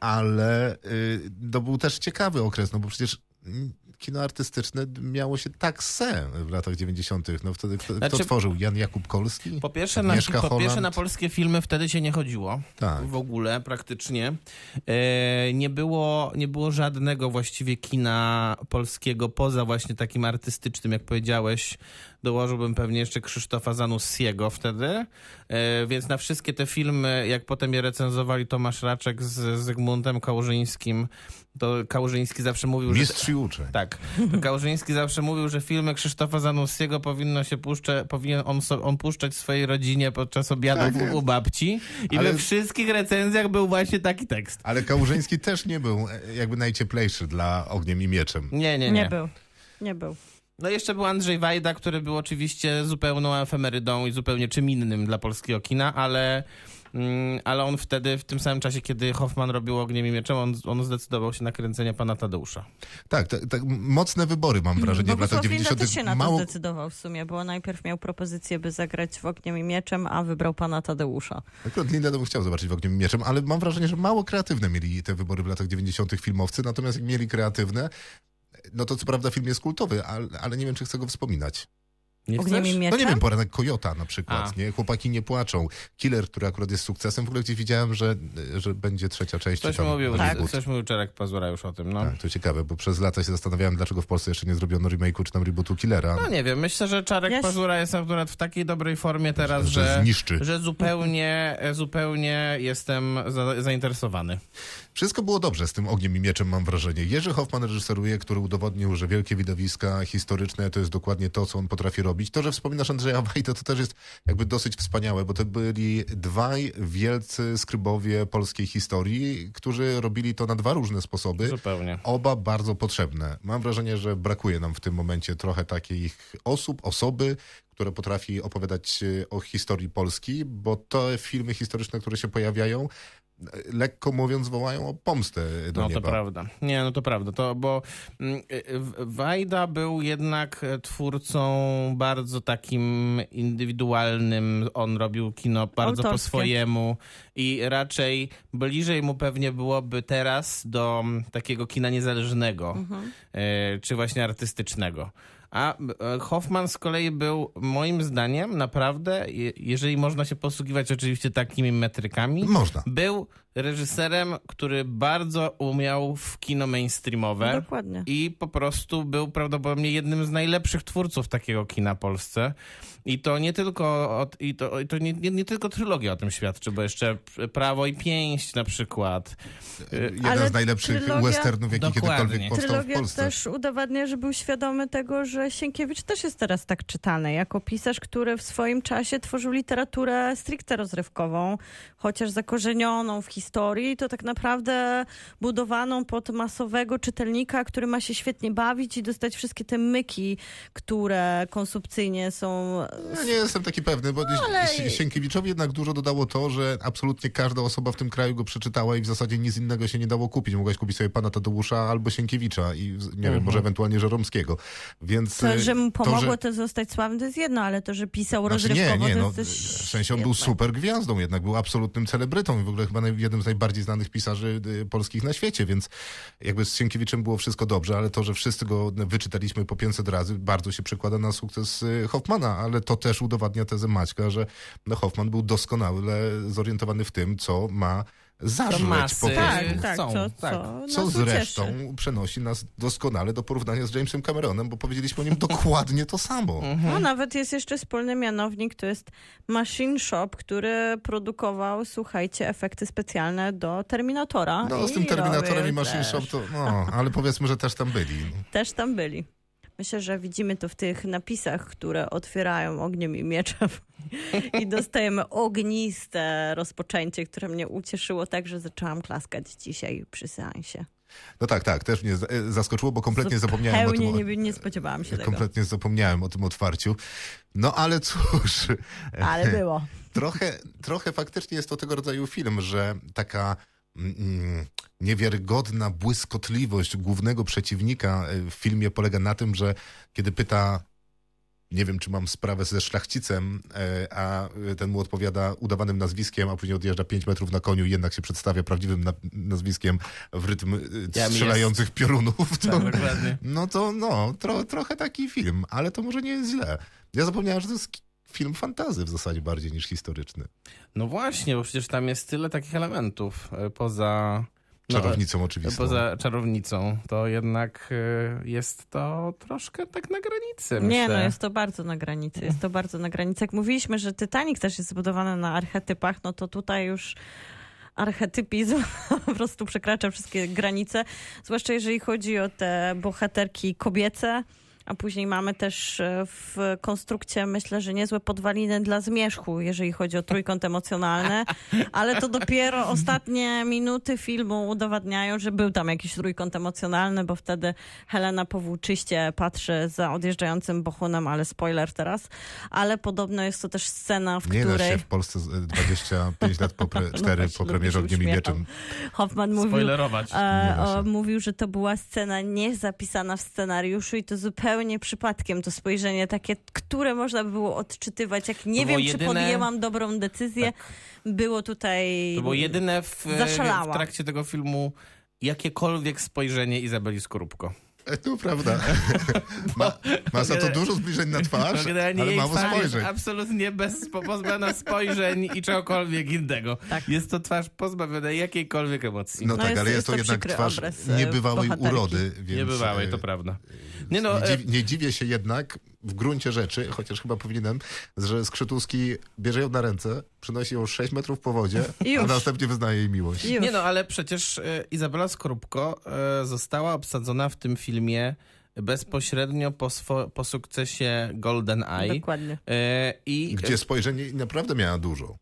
[SPEAKER 2] Ale y, to był też ciekawy okres, no bo przecież mm, kino artystyczne miało się tak se w latach 90. No wtedy kto, kto
[SPEAKER 5] Znaczy-
[SPEAKER 2] tworzył? Jan Jakub Kolski?
[SPEAKER 5] Po pierwsze, na,
[SPEAKER 2] Agnieszka
[SPEAKER 5] po pierwsze na
[SPEAKER 2] Holland?
[SPEAKER 5] polskie filmy wtedy się nie chodziło.
[SPEAKER 2] Tak.
[SPEAKER 5] W ogóle praktycznie. E, nie, było, nie było żadnego właściwie kina polskiego poza właśnie takim artystycznym, jak powiedziałeś. Dołożyłbym pewnie jeszcze Krzysztofa Zanussiego wtedy. E, więc na wszystkie te filmy, jak potem je recenzowali Tomasz Raczek z Zygmuntem Kałużyńskim, to Kałużyński zawsze mówił, że...
[SPEAKER 2] Mistrz i uczeń.
[SPEAKER 5] Tak. Kałużyński zawsze mówił, że filmy Krzysztofa Zanussiego powinno się puszcze, powinien on, so, on puszczać swojej rodzinie podczas obiadów u, u babci. I
[SPEAKER 2] Tak Ale-
[SPEAKER 5] we wszystkich recenzjach był właśnie taki tekst.
[SPEAKER 2] Ale Kałużyński też nie był e, jakby najcieplejszy dla Ogniem i Mieczem.
[SPEAKER 5] Nie, nie,
[SPEAKER 4] Nie,
[SPEAKER 5] nie.
[SPEAKER 4] był. Nie był.
[SPEAKER 5] No i jeszcze był Andrzej Wajda, który był oczywiście zupełną efemerydą i zupełnie czym innym dla polskiego kina, ale, mm, ale on wtedy, w tym samym czasie, kiedy Hoffman robił Ogniem i Mieczem, on, on zdecydował się na kręcenie Pana Tadeusza.
[SPEAKER 2] Tak, tak, tak mocne wybory mam
[SPEAKER 4] Mhm,
[SPEAKER 2] wrażenie w latach
[SPEAKER 4] Bogusław Linda
[SPEAKER 2] 90.
[SPEAKER 4] też się na to
[SPEAKER 2] Mało,
[SPEAKER 4] zdecydował w sumie, bo najpierw miał propozycję, by zagrać w Ogniem i Mieczem, a wybrał pana Tadeusza.
[SPEAKER 2] akurat Linda to bym chciał zobaczyć w Ogniem i Mieczem, ale mam wrażenie, że mało kreatywne mieli te wybory w latach 90. filmowcy, natomiast jak mieli kreatywne, no to co prawda film jest kultowy, ale, ale nie wiem, czy chcę go wspominać.
[SPEAKER 5] Nie
[SPEAKER 4] Ogniem
[SPEAKER 5] chcesz?
[SPEAKER 4] i
[SPEAKER 2] No
[SPEAKER 4] Mieczem?
[SPEAKER 2] nie wiem, poranek Kojota na przykład,
[SPEAKER 5] A.
[SPEAKER 2] nie? Chłopaki nie płaczą. Killer, który akurat jest sukcesem, w ogóle gdzieś widziałem, że, że będzie trzecia część.
[SPEAKER 5] Coś
[SPEAKER 2] czy tam
[SPEAKER 5] mówił, tak,
[SPEAKER 2] Hollywood.
[SPEAKER 5] coś mówił Czerek Pazura już o tym, no.
[SPEAKER 2] Tak, to ciekawe, bo przez lata się zastanawiałem, dlaczego w Polsce jeszcze nie zrobiono remake'u czy tam rebootu Killera.
[SPEAKER 5] No nie wiem, myślę, że Czarek
[SPEAKER 4] Ja się-
[SPEAKER 5] Pazura jest akurat w takiej dobrej formie teraz,
[SPEAKER 2] Że
[SPEAKER 5] że,
[SPEAKER 2] zniszczy.
[SPEAKER 5] że zupełnie, zupełnie jestem za, zainteresowany.
[SPEAKER 2] Wszystko było dobrze z tym ogniem i mieczem, mam wrażenie. Jerzy Hoffman reżyseruje, który udowodnił, że wielkie widowiska historyczne to jest dokładnie to, co on potrafi robić. To, że wspominasz Andrzeja Wajda, to też jest jakby dosyć wspaniałe, bo to byli dwaj wielcy skrybowie polskiej historii, którzy robili to na dwa różne sposoby.
[SPEAKER 5] Zupełnie.
[SPEAKER 2] Oba bardzo potrzebne. Mam wrażenie, że brakuje nam w tym momencie trochę takich osób, osoby, które potrafi opowiadać e, o historii Polski, bo te filmy historyczne, które się pojawiają, e, lekko mówiąc, wołają o pomstę e, do
[SPEAKER 5] No
[SPEAKER 2] nieba.
[SPEAKER 5] to prawda. Nie, no to prawda. To, bo mm, y, w- Wajda był jednak e, twórcą bardzo takim indywidualnym. On robił kino bardzo po
[SPEAKER 4] Autorskie.
[SPEAKER 5] swojemu i raczej bliżej mu pewnie byłoby teraz do mm, takiego kina niezależnego, e, czy właśnie artystycznego. A e, Hoffman z kolei był moim zdaniem naprawdę, je- jeżeli można się posługiwać oczywiście takimi metrykami,
[SPEAKER 2] Można.
[SPEAKER 5] był reżyserem, który bardzo umiał w kino mainstreamowe.
[SPEAKER 4] Dokładnie.
[SPEAKER 5] I po prostu był prawdopodobnie jednym z najlepszych twórców takiego kina w Polsce. I to nie tylko od, i to, i to nie, nie, nie tylko trylogia o tym świadczy, bo jeszcze Prawo i Pięść na przykład.
[SPEAKER 2] Jeden
[SPEAKER 4] Ale
[SPEAKER 2] z najlepszych
[SPEAKER 4] trylogia-
[SPEAKER 2] westernów, jaki
[SPEAKER 5] Dokładnie.
[SPEAKER 2] kiedykolwiek powstał w
[SPEAKER 4] Trylogia
[SPEAKER 2] Polsce.
[SPEAKER 4] też udowadnia, że był świadomy tego, że Sienkiewicz też jest teraz tak czytany, jako pisarz, który w swoim czasie tworzył literaturę stricte rozrywkową, chociaż zakorzenioną w historii, to tak naprawdę budowaną pod masowego czytelnika, który ma się świetnie bawić i dostać wszystkie te myki, które konsumpcyjnie są...
[SPEAKER 2] Ja nie jestem taki pewny, bo
[SPEAKER 4] No,
[SPEAKER 2] Sie- Sienkiewiczowi jednak dużo dodało to, że absolutnie każda osoba w tym kraju go przeczytała i w zasadzie nic innego się nie dało kupić. Mogłaś kupić sobie pana Tadeusza albo Sienkiewicza i z- nie wiem, może ewentualnie Żeromskiego. Więc
[SPEAKER 4] Mhm. To,
[SPEAKER 2] y,
[SPEAKER 4] że mu
[SPEAKER 2] to,
[SPEAKER 4] pomogło to, zostać sławnym, to jest jedno, ale to, że pisał
[SPEAKER 2] Znaczy, nie,
[SPEAKER 4] rozrywkowo,
[SPEAKER 2] nie,
[SPEAKER 4] to
[SPEAKER 2] no,
[SPEAKER 4] jest
[SPEAKER 2] w
[SPEAKER 4] też
[SPEAKER 2] sensie on był
[SPEAKER 4] świetne.
[SPEAKER 2] super gwiazdą jednak, był absolutnym celebrytą i w ogóle chyba naj- jednym z najbardziej znanych pisarzy y, polskich na świecie, więc jakby z Sienkiewiczem było wszystko dobrze, ale to, że wszyscy go wyczytaliśmy po 500 razy, bardzo się przekłada na sukces y, Hoffmana, ale to też udowadnia tezę Maćka, że no, Hoffman był doskonale zorientowany w tym, co ma zażreć
[SPEAKER 5] masy.
[SPEAKER 2] po prostu.
[SPEAKER 4] Tak, tak,
[SPEAKER 5] Są,
[SPEAKER 4] co,
[SPEAKER 5] tak.
[SPEAKER 4] co, No,
[SPEAKER 2] Co
[SPEAKER 4] nas
[SPEAKER 2] zresztą
[SPEAKER 4] ucieszy.
[SPEAKER 2] przenosi nas doskonale do porównania z Jamesem Cameronem, bo powiedzieliśmy o nim dokładnie to samo.
[SPEAKER 4] No, nawet jest jeszcze wspólny mianownik, to jest Machine Shop, który produkował, słuchajcie, efekty specjalne do Terminatora.
[SPEAKER 2] No, z tym
[SPEAKER 4] I
[SPEAKER 2] Terminatorem
[SPEAKER 4] robił
[SPEAKER 2] i Machine
[SPEAKER 4] też,
[SPEAKER 2] Shop to, no, ale powiedzmy, że też tam byli.
[SPEAKER 4] Też tam byli. Myślę, że widzimy to w tych napisach, które otwierają ogniem i mieczem i dostajemy ogniste rozpoczęcie, które mnie ucieszyło tak, że zaczęłam klaskać dzisiaj przy seansie.
[SPEAKER 2] No tak, tak, też mnie z- e, zaskoczyło, bo kompletnie zapomniałem o
[SPEAKER 4] Zupełnie
[SPEAKER 2] tym.
[SPEAKER 4] nie, nie spodziewałam się tego,
[SPEAKER 2] Kompletnie zapomniałem o tym otwarciu. No ale cóż,
[SPEAKER 4] ale było.
[SPEAKER 2] trochę, trochę faktycznie jest to tego rodzaju film, że taka mm, mm, niewiarygodna y, błyskotliwość głównego przeciwnika e, w filmie polega na tym, że kiedy pyta nie wiem, czy mam sprawę ze szlachcicem, e, a e, ten mu odpowiada udawanym nazwiskiem, a później odjeżdża 5 metrów na koniu i jednak się przedstawia prawdziwym na, nazwiskiem w rytm e,
[SPEAKER 5] jest- tak,
[SPEAKER 2] strzelających piorunów. To,
[SPEAKER 5] Dokładnie.
[SPEAKER 2] no to no, tro, trochę taki film, ale to może nie jest źle. Ja zapomniałem, że to jest ki- film fantazy w zasadzie bardziej niż historyczny.
[SPEAKER 5] No właśnie, bo przecież tam jest tyle takich elementów e, poza... no,
[SPEAKER 2] Czarownicą
[SPEAKER 5] e,
[SPEAKER 2] oczywiście.
[SPEAKER 5] Poza czarownicą, to jednak e, jest to troszkę tak na granicy.
[SPEAKER 4] Nie,
[SPEAKER 5] myślę.
[SPEAKER 4] no jest to bardzo na granicy. Jest to bardzo na granicy. Jak mówiliśmy, że Titanic też jest zbudowany na archetypach, no to tutaj już archetypizm po prostu przekracza wszystkie granice. Zwłaszcza jeżeli chodzi o te bohaterki kobiece. A później mamy też e, w konstrukcie, myślę, że niezłe podwaliny dla zmierzchu, jeżeli chodzi o trójkąt emocjonalny. Ale to dopiero ostatnie minuty filmu udowadniają, że był tam jakiś trójkąt emocjonalny, bo wtedy Helena po włóczyście patrzy za odjeżdżającym bohunem, ale spoiler teraz. Ale podobno jest to też scena, w
[SPEAKER 2] Nie da
[SPEAKER 4] której
[SPEAKER 2] się w Polsce z- 25 lat po, pre,
[SPEAKER 4] No
[SPEAKER 2] 4
[SPEAKER 4] właśnie,
[SPEAKER 2] po premierze
[SPEAKER 4] lubisz
[SPEAKER 2] Ogniem i
[SPEAKER 4] uśmiechać.
[SPEAKER 2] Mieczem.
[SPEAKER 4] Hoffman mówił,
[SPEAKER 5] Spoilerować.
[SPEAKER 4] E,
[SPEAKER 2] właśnie.
[SPEAKER 4] o, mówił, że to była scena niezapisana w scenariuszu i to zupełnie przypadkiem to spojrzenie takie, które można by było odczytywać, jak nie
[SPEAKER 5] To było
[SPEAKER 4] wiem, czy
[SPEAKER 5] jedyne- Tak.
[SPEAKER 4] podjęłam dobrą decyzję. Było tutaj...
[SPEAKER 5] To było jedyne w, e,
[SPEAKER 4] Zaszalałam.
[SPEAKER 5] w trakcie tego filmu jakiekolwiek spojrzenie Izabeli Skorupko.
[SPEAKER 2] E, To prawda. Ma, ma za to dużo zbliżeń na twarz, ale
[SPEAKER 5] jej
[SPEAKER 2] mało
[SPEAKER 5] twarz jest
[SPEAKER 2] spojrzeń.
[SPEAKER 5] absolutnie bez, po- pozbawiona spojrzeń i czegokolwiek innego. Jest to twarz pozbawiona jakiejkolwiek emocji.
[SPEAKER 2] No,
[SPEAKER 4] No
[SPEAKER 2] tak,
[SPEAKER 4] jest-
[SPEAKER 2] ale jest
[SPEAKER 4] jest
[SPEAKER 2] to,
[SPEAKER 4] to
[SPEAKER 2] jednak
[SPEAKER 4] przykry
[SPEAKER 2] twarz
[SPEAKER 4] obraz, e,
[SPEAKER 2] niebywałej
[SPEAKER 4] bohaterki.
[SPEAKER 2] urody. Więc,
[SPEAKER 5] nie bywałej,
[SPEAKER 2] e,
[SPEAKER 5] to prawda. Nie no,
[SPEAKER 2] nie,
[SPEAKER 5] e,
[SPEAKER 2] dziw, nie dziwię się jednak w gruncie rzeczy, chociaż chyba powinienem, że Skrzytuski bierze ją na ręce, przynosi ją 6 metrów po wodzie, a
[SPEAKER 4] Już.
[SPEAKER 2] następnie wyznaje jej miłość.
[SPEAKER 4] Już.
[SPEAKER 5] nie no ale przecież e, Izabela Skorupko e, została obsadzona w tym filmie bezpośrednio po, swo, po sukcesie Golden Eye.
[SPEAKER 4] Dokładnie.
[SPEAKER 5] E, I
[SPEAKER 2] Gdzie spojrzenie naprawdę miała dużo.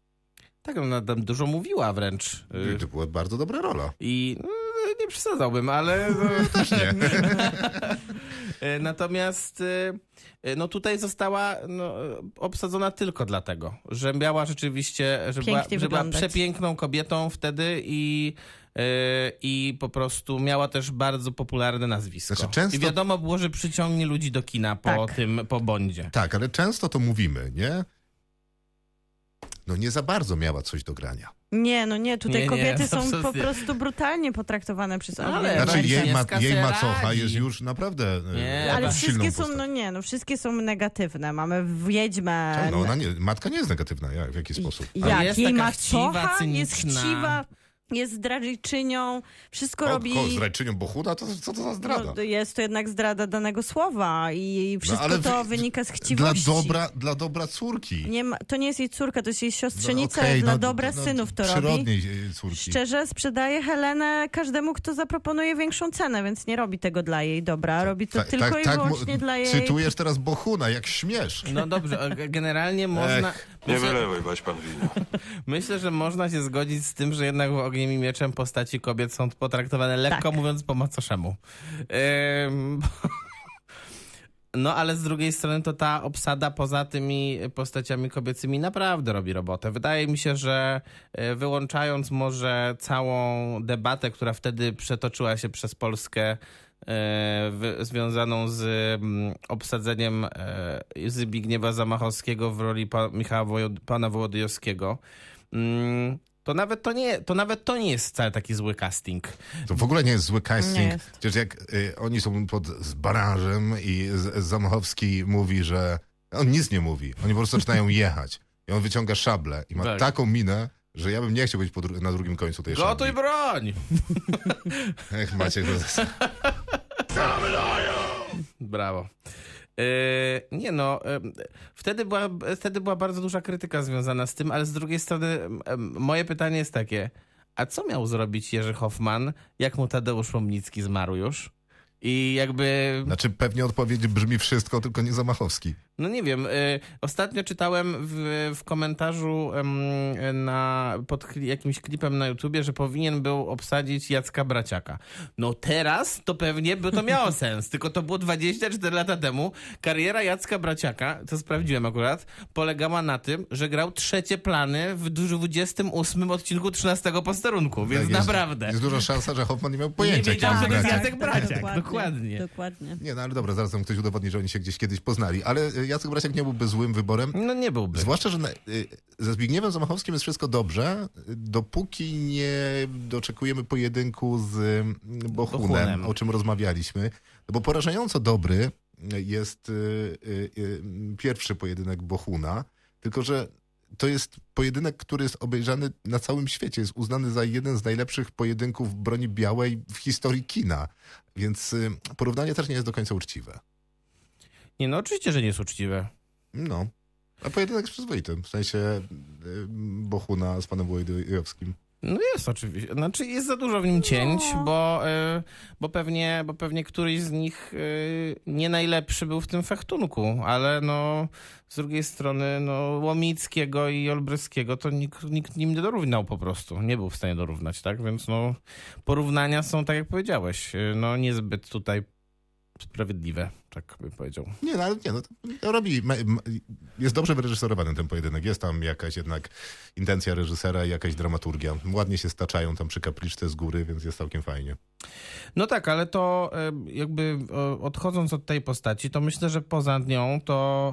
[SPEAKER 5] tak, ona tam dużo mówiła wręcz. E,
[SPEAKER 2] I To była bardzo dobra rola.
[SPEAKER 5] I no, nie przesadzałbym, ale. no,
[SPEAKER 2] Też
[SPEAKER 4] Tak,
[SPEAKER 2] nie.
[SPEAKER 5] e, Natomiast e, e, no tutaj została no, e, obsadzona tylko dlatego, że miała rzeczywiście, że, była,
[SPEAKER 4] Pięknie
[SPEAKER 5] że była
[SPEAKER 4] wyglądać.
[SPEAKER 5] przepiękną kobietą wtedy i, e, i po prostu miała też bardzo popularne nazwisko.
[SPEAKER 2] Znaczy, często-
[SPEAKER 5] I wiadomo było, że przyciągnie ludzi do kina po
[SPEAKER 4] Tak.
[SPEAKER 5] tym, po Bondzie.
[SPEAKER 2] Tak, ale często to mówimy, nie? No nie za bardzo miała coś do grania.
[SPEAKER 4] Nie, no nie, tutaj
[SPEAKER 5] Nie, nie,
[SPEAKER 4] kobiety są po
[SPEAKER 5] absolutnie.
[SPEAKER 4] prostu brutalnie potraktowane przez
[SPEAKER 5] Ale-
[SPEAKER 4] Anglików.
[SPEAKER 5] Znaczy,
[SPEAKER 2] Znaczy
[SPEAKER 5] Bardziej
[SPEAKER 2] jej, ma,
[SPEAKER 5] z kasy
[SPEAKER 2] jej macocha
[SPEAKER 5] radzi.
[SPEAKER 2] jest już naprawdę
[SPEAKER 5] Nie,
[SPEAKER 2] nie,
[SPEAKER 5] tak.
[SPEAKER 2] silną
[SPEAKER 4] Ale wszystkie są,
[SPEAKER 2] postacią.
[SPEAKER 4] no nie, no wszystkie są negatywne. Mamy Wiedźmę,
[SPEAKER 2] No, ona nie, matka nie jest negatywna, jak, w jaki sposób?
[SPEAKER 4] I-
[SPEAKER 5] Ale
[SPEAKER 4] Jak?
[SPEAKER 5] jest
[SPEAKER 4] Jej
[SPEAKER 5] taka
[SPEAKER 4] macocha
[SPEAKER 5] chciwa,
[SPEAKER 4] jest
[SPEAKER 5] cyniczna.
[SPEAKER 4] chciwa, jest zdradzczynią, wszystko robi...
[SPEAKER 2] O, zdrajczynią Bohuda, to co to za zdrada? No,
[SPEAKER 4] No, jest to jednak zdrada danego słowa i wszystko
[SPEAKER 2] ale
[SPEAKER 4] to
[SPEAKER 2] w-
[SPEAKER 4] wynika z
[SPEAKER 2] Dla
[SPEAKER 4] chciwości.
[SPEAKER 2] dobra, dla dobra córki.
[SPEAKER 4] Nie ma, to nie jest jej córka, to jest jej
[SPEAKER 2] No,
[SPEAKER 4] siostrzenica,
[SPEAKER 2] okej,
[SPEAKER 4] dla
[SPEAKER 2] no,
[SPEAKER 4] dobra
[SPEAKER 2] no,
[SPEAKER 4] synów to robi.
[SPEAKER 2] Przyrodniej e, córki.
[SPEAKER 4] Szczerze sprzedaje Helenę każdemu, kto zaproponuje większą cenę, więc nie robi tego dla jej dobra. Robi to
[SPEAKER 2] Tak-
[SPEAKER 4] tylko
[SPEAKER 2] tak-
[SPEAKER 4] i
[SPEAKER 2] tak, mo-
[SPEAKER 4] wyłącznie dla jej...
[SPEAKER 2] Cytujesz teraz Bohuna, jak śmiesz.
[SPEAKER 5] No dobrze, e, generalnie można.
[SPEAKER 6] Nie
[SPEAKER 5] myślę-
[SPEAKER 6] wylewaj bać pan wina.
[SPEAKER 5] Myślę, że można się zgodzić z tym, że jednak w Ogniem i Mieczem postaci kobiet są potraktowane lekko mówiąc po macoszemu. Ym, No ale z drugiej strony to ta obsada poza tymi postaciami kobiecymi naprawdę robi robotę. Wydaje mi się, że e, wyłączając może całą debatę, która wtedy przetoczyła się przez Polskę e, w, związaną z mm, obsadzeniem e, Zbigniewa Zamachowskiego w roli pa, Michała Wojod, pana Wołodyjowskiego, mm, to nawet to, nie, to nawet to nie jest wcale taki zły casting.
[SPEAKER 2] To w ogóle nie jest zły
[SPEAKER 4] Nie
[SPEAKER 2] casting.
[SPEAKER 4] jest.
[SPEAKER 2] Przecież jak y, oni są pod z barażem i z, Zamachowski mówi, że on nic nie mówi. Oni po prostu zaczynają jechać. I on wyciąga szablę i ma
[SPEAKER 5] Tak.
[SPEAKER 2] taką minę, że ja bym nie chciał być po dru- na drugim końcu tej szabli.
[SPEAKER 5] Gotuj broń!
[SPEAKER 2] Ech, Maciek, to-
[SPEAKER 5] Brawo. E, nie no, e, wtedy, była, wtedy była bardzo duża krytyka związana z tym, ale z drugiej strony em, em, moje pytanie jest takie, a co miał zrobić Jerzy Hoffman, jak mu Tadeusz Łomnicki zmarł już? I jakby,
[SPEAKER 2] Znaczy pewnie odpowiedź brzmi wszystko, tylko nie Zamachowski.
[SPEAKER 5] no nie wiem, e, ostatnio czytałem w, w komentarzu em, na, pod kli- jakimś klipem na YouTubie, że powinien był obsadzić Jacka Braciaka. No teraz to pewnie by to miało sens, tylko to było 24 lata temu. Kariera Jacka Braciaka, to sprawdziłem akurat, polegała na tym, że grał trzecie plany w 28 odcinku 13 posterunku, więc
[SPEAKER 2] Tak, jest-
[SPEAKER 5] naprawdę.
[SPEAKER 2] Jest duża szansa, że Hoffman nie miał
[SPEAKER 5] nie
[SPEAKER 2] pojęcia, kim
[SPEAKER 5] wiedział,
[SPEAKER 2] jest
[SPEAKER 5] że to jest
[SPEAKER 2] Braciak.
[SPEAKER 5] Jacek Braciak,
[SPEAKER 4] Tak, Dokładnie.
[SPEAKER 5] dokładnie. Dokładnie.
[SPEAKER 4] Dokładnie.
[SPEAKER 2] Nie, no ale dobra, zaraz nam ktoś udowodni, że oni się gdzieś kiedyś poznali. Ale y, Jacek Brasiak nie byłby złym wyborem.
[SPEAKER 5] No nie byłby.
[SPEAKER 2] Zwłaszcza, że na, y, ze Zbigniewem Zamachowskim jest wszystko dobrze, y, dopóki nie doczekujemy pojedynku z y, Bohunem,
[SPEAKER 5] Bohunem.
[SPEAKER 2] o czym rozmawialiśmy. No bo porażająco dobry y, jest y, y, y, pierwszy pojedynek Bohuna, tylko że to jest pojedynek, który jest obejrzany na całym świecie. Jest uznany za jeden z najlepszych pojedynków broni białej w historii kina. Więc y, porównanie też nie jest do końca uczciwe.
[SPEAKER 5] Nie, no oczywiście, że nie jest uczciwe.
[SPEAKER 2] No. A pojedynek z przyzwoitym, w sensie y, Bohuna z panem Wojdejowskim.
[SPEAKER 5] No jest oczywiście. Znaczy jest za dużo w nim cięć, bo, y, bo, pewnie, bo pewnie któryś z nich y, nie najlepszy był w tym fechtunku, ale no z drugiej strony no, Łomickiego i Olbryskiego to nikt, nikt nim nie dorównał po prostu. Nie był w stanie dorównać, tak? Więc no porównania są, tak jak powiedziałeś, y, no niezbyt tutaj sprawiedliwe, tak bym powiedział.
[SPEAKER 2] Nie, no, ale nie, no, to robi, ma, ma, jest dobrze wyreżyserowany ten pojedynek. Jest tam jakaś jednak intencja reżysera, i jakaś dramaturgia. Ładnie się staczają tam przy kapliczce z góry, więc jest całkiem fajnie.
[SPEAKER 5] No tak, ale to e, jakby e, odchodząc od tej postaci, to myślę, że poza nią to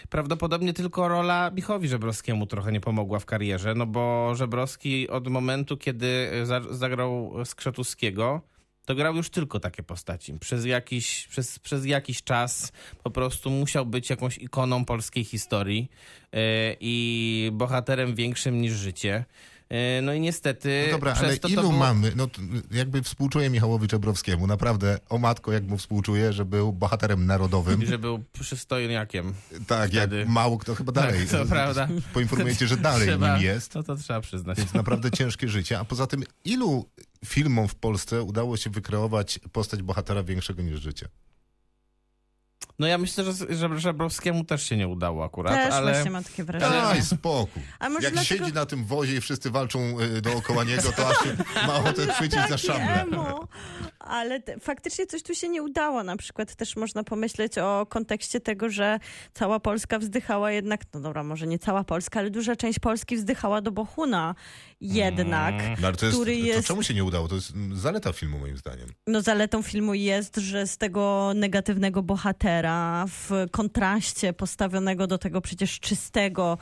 [SPEAKER 5] e, prawdopodobnie tylko rola Michowi Żebrowskiemu trochę nie pomogła w karierze, no bo Żebrowski od momentu, kiedy e, za- zagrał Skrzetuskiego, to grał już tylko takie postaci. Przez jakiś, przez, przez jakiś czas po prostu musiał być jakąś ikoną polskiej historii e, i bohaterem większym niż życie. E, No i niestety.
[SPEAKER 2] No dobra,
[SPEAKER 5] przez
[SPEAKER 2] ale
[SPEAKER 5] to, to
[SPEAKER 2] ilu
[SPEAKER 5] było-
[SPEAKER 2] mamy, no t- jakby współczuję Michałowi Czebrowskiemu, naprawdę, o matko, jak mu współczuję, że był bohaterem narodowym.
[SPEAKER 5] I że był przystojniakiem.
[SPEAKER 2] tak,
[SPEAKER 5] wtedy-
[SPEAKER 2] jak mało kto chyba dalej.
[SPEAKER 5] Tak, to prawda.
[SPEAKER 2] Poinformujecie, że dalej
[SPEAKER 5] Trzeba-
[SPEAKER 2] nim jest.
[SPEAKER 5] No to trzeba przyznać.
[SPEAKER 2] Więc naprawdę ciężkie życie. A poza tym, ilu filmom w Polsce udało się wykreować postać bohatera większego niż życie?
[SPEAKER 5] No ja myślę, że, że Żebrowskiemu też się nie udało
[SPEAKER 2] Tak,
[SPEAKER 5] akurat,
[SPEAKER 4] Też
[SPEAKER 5] ale...
[SPEAKER 4] właśnie mam takie wrażenie.
[SPEAKER 2] Daj spokój.
[SPEAKER 4] A może
[SPEAKER 2] Jak
[SPEAKER 4] dlatego-
[SPEAKER 2] siedzi na tym wozie i wszyscy walczą y, dookoła niego, to aż się ma ochotę chwycić za
[SPEAKER 4] Taki
[SPEAKER 2] szablę.
[SPEAKER 4] emo. Ale te, faktycznie coś tu się nie udało. Na przykład też można pomyśleć o kontekście tego, że cała Polska wzdychała jednak, no dobra, może nie cała Polska, ale duża część Polski wzdychała do Bohuna jednak.
[SPEAKER 2] No, ale to jest,
[SPEAKER 4] Który jest-
[SPEAKER 2] To czemu się nie udało? To jest mm, zaleta filmu moim zdaniem.
[SPEAKER 4] No zaletą filmu jest, że z tego negatywnego bohatera w kontraście postawionego do tego przecież czystego,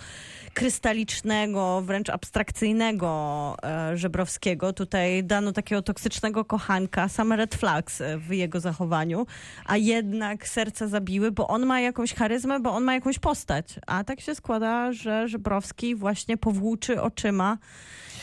[SPEAKER 4] krystalicznego, wręcz abstrakcyjnego e, Żebrowskiego, tutaj dano takiego toksycznego kochanka, same red flags e, w jego zachowaniu, a jednak serca zabiły, bo on ma jakąś charyzmę, bo on ma jakąś postać. A tak się składa, że Żebrowski właśnie powłóczy oczyma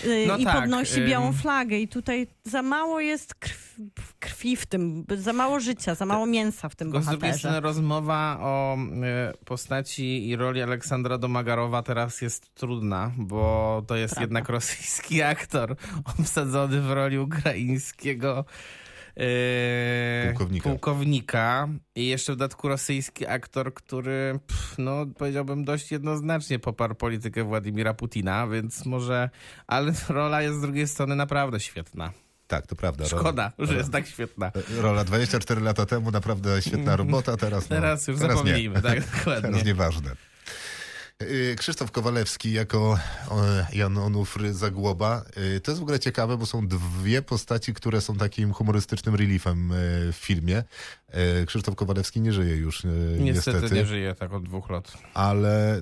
[SPEAKER 4] e,
[SPEAKER 5] No
[SPEAKER 4] i
[SPEAKER 5] tak,
[SPEAKER 4] podnosi białą
[SPEAKER 5] ym.
[SPEAKER 4] flagę i tutaj za mało jest krw, krwi w tym, za mało życia, za mało mięsa w tym
[SPEAKER 5] Tylko z drugiej strony
[SPEAKER 4] bohaterze.
[SPEAKER 5] rozmowa o e, postaci i roli Aleksandra Domagarowa teraz jest trudna, bo to jest
[SPEAKER 4] Prawda.
[SPEAKER 5] jednak rosyjski aktor obsadzony w roli ukraińskiego e,
[SPEAKER 2] Pułkownika.
[SPEAKER 5] pułkownika. I jeszcze w dodatku rosyjski aktor, który pff, no, powiedziałbym dość jednoznacznie poparł politykę Władimira Putina, więc może... Ale rola jest z drugiej strony naprawdę świetna.
[SPEAKER 2] Tak, to prawda. rola-
[SPEAKER 5] Szkoda, że
[SPEAKER 2] rola-
[SPEAKER 5] jest tak świetna.
[SPEAKER 2] Rola 24 lata temu, naprawdę
[SPEAKER 4] Mm.
[SPEAKER 2] świetna robota, teraz no,
[SPEAKER 5] Teraz już
[SPEAKER 2] teraz nie.
[SPEAKER 5] zapomnijmy, tak, dokładnie.
[SPEAKER 2] Teraz nieważne. Y, Krzysztof Kowalewski jako e, Jan Onufry Zagłoba. Y, To jest w ogóle ciekawe, bo są dwie postaci, które są takim humorystycznym reliefem e, w filmie. E, Krzysztof Kowalewski nie żyje już e,
[SPEAKER 5] Niestety,
[SPEAKER 2] niestety,
[SPEAKER 5] nie żyje tak od dwóch lat.
[SPEAKER 2] ale e,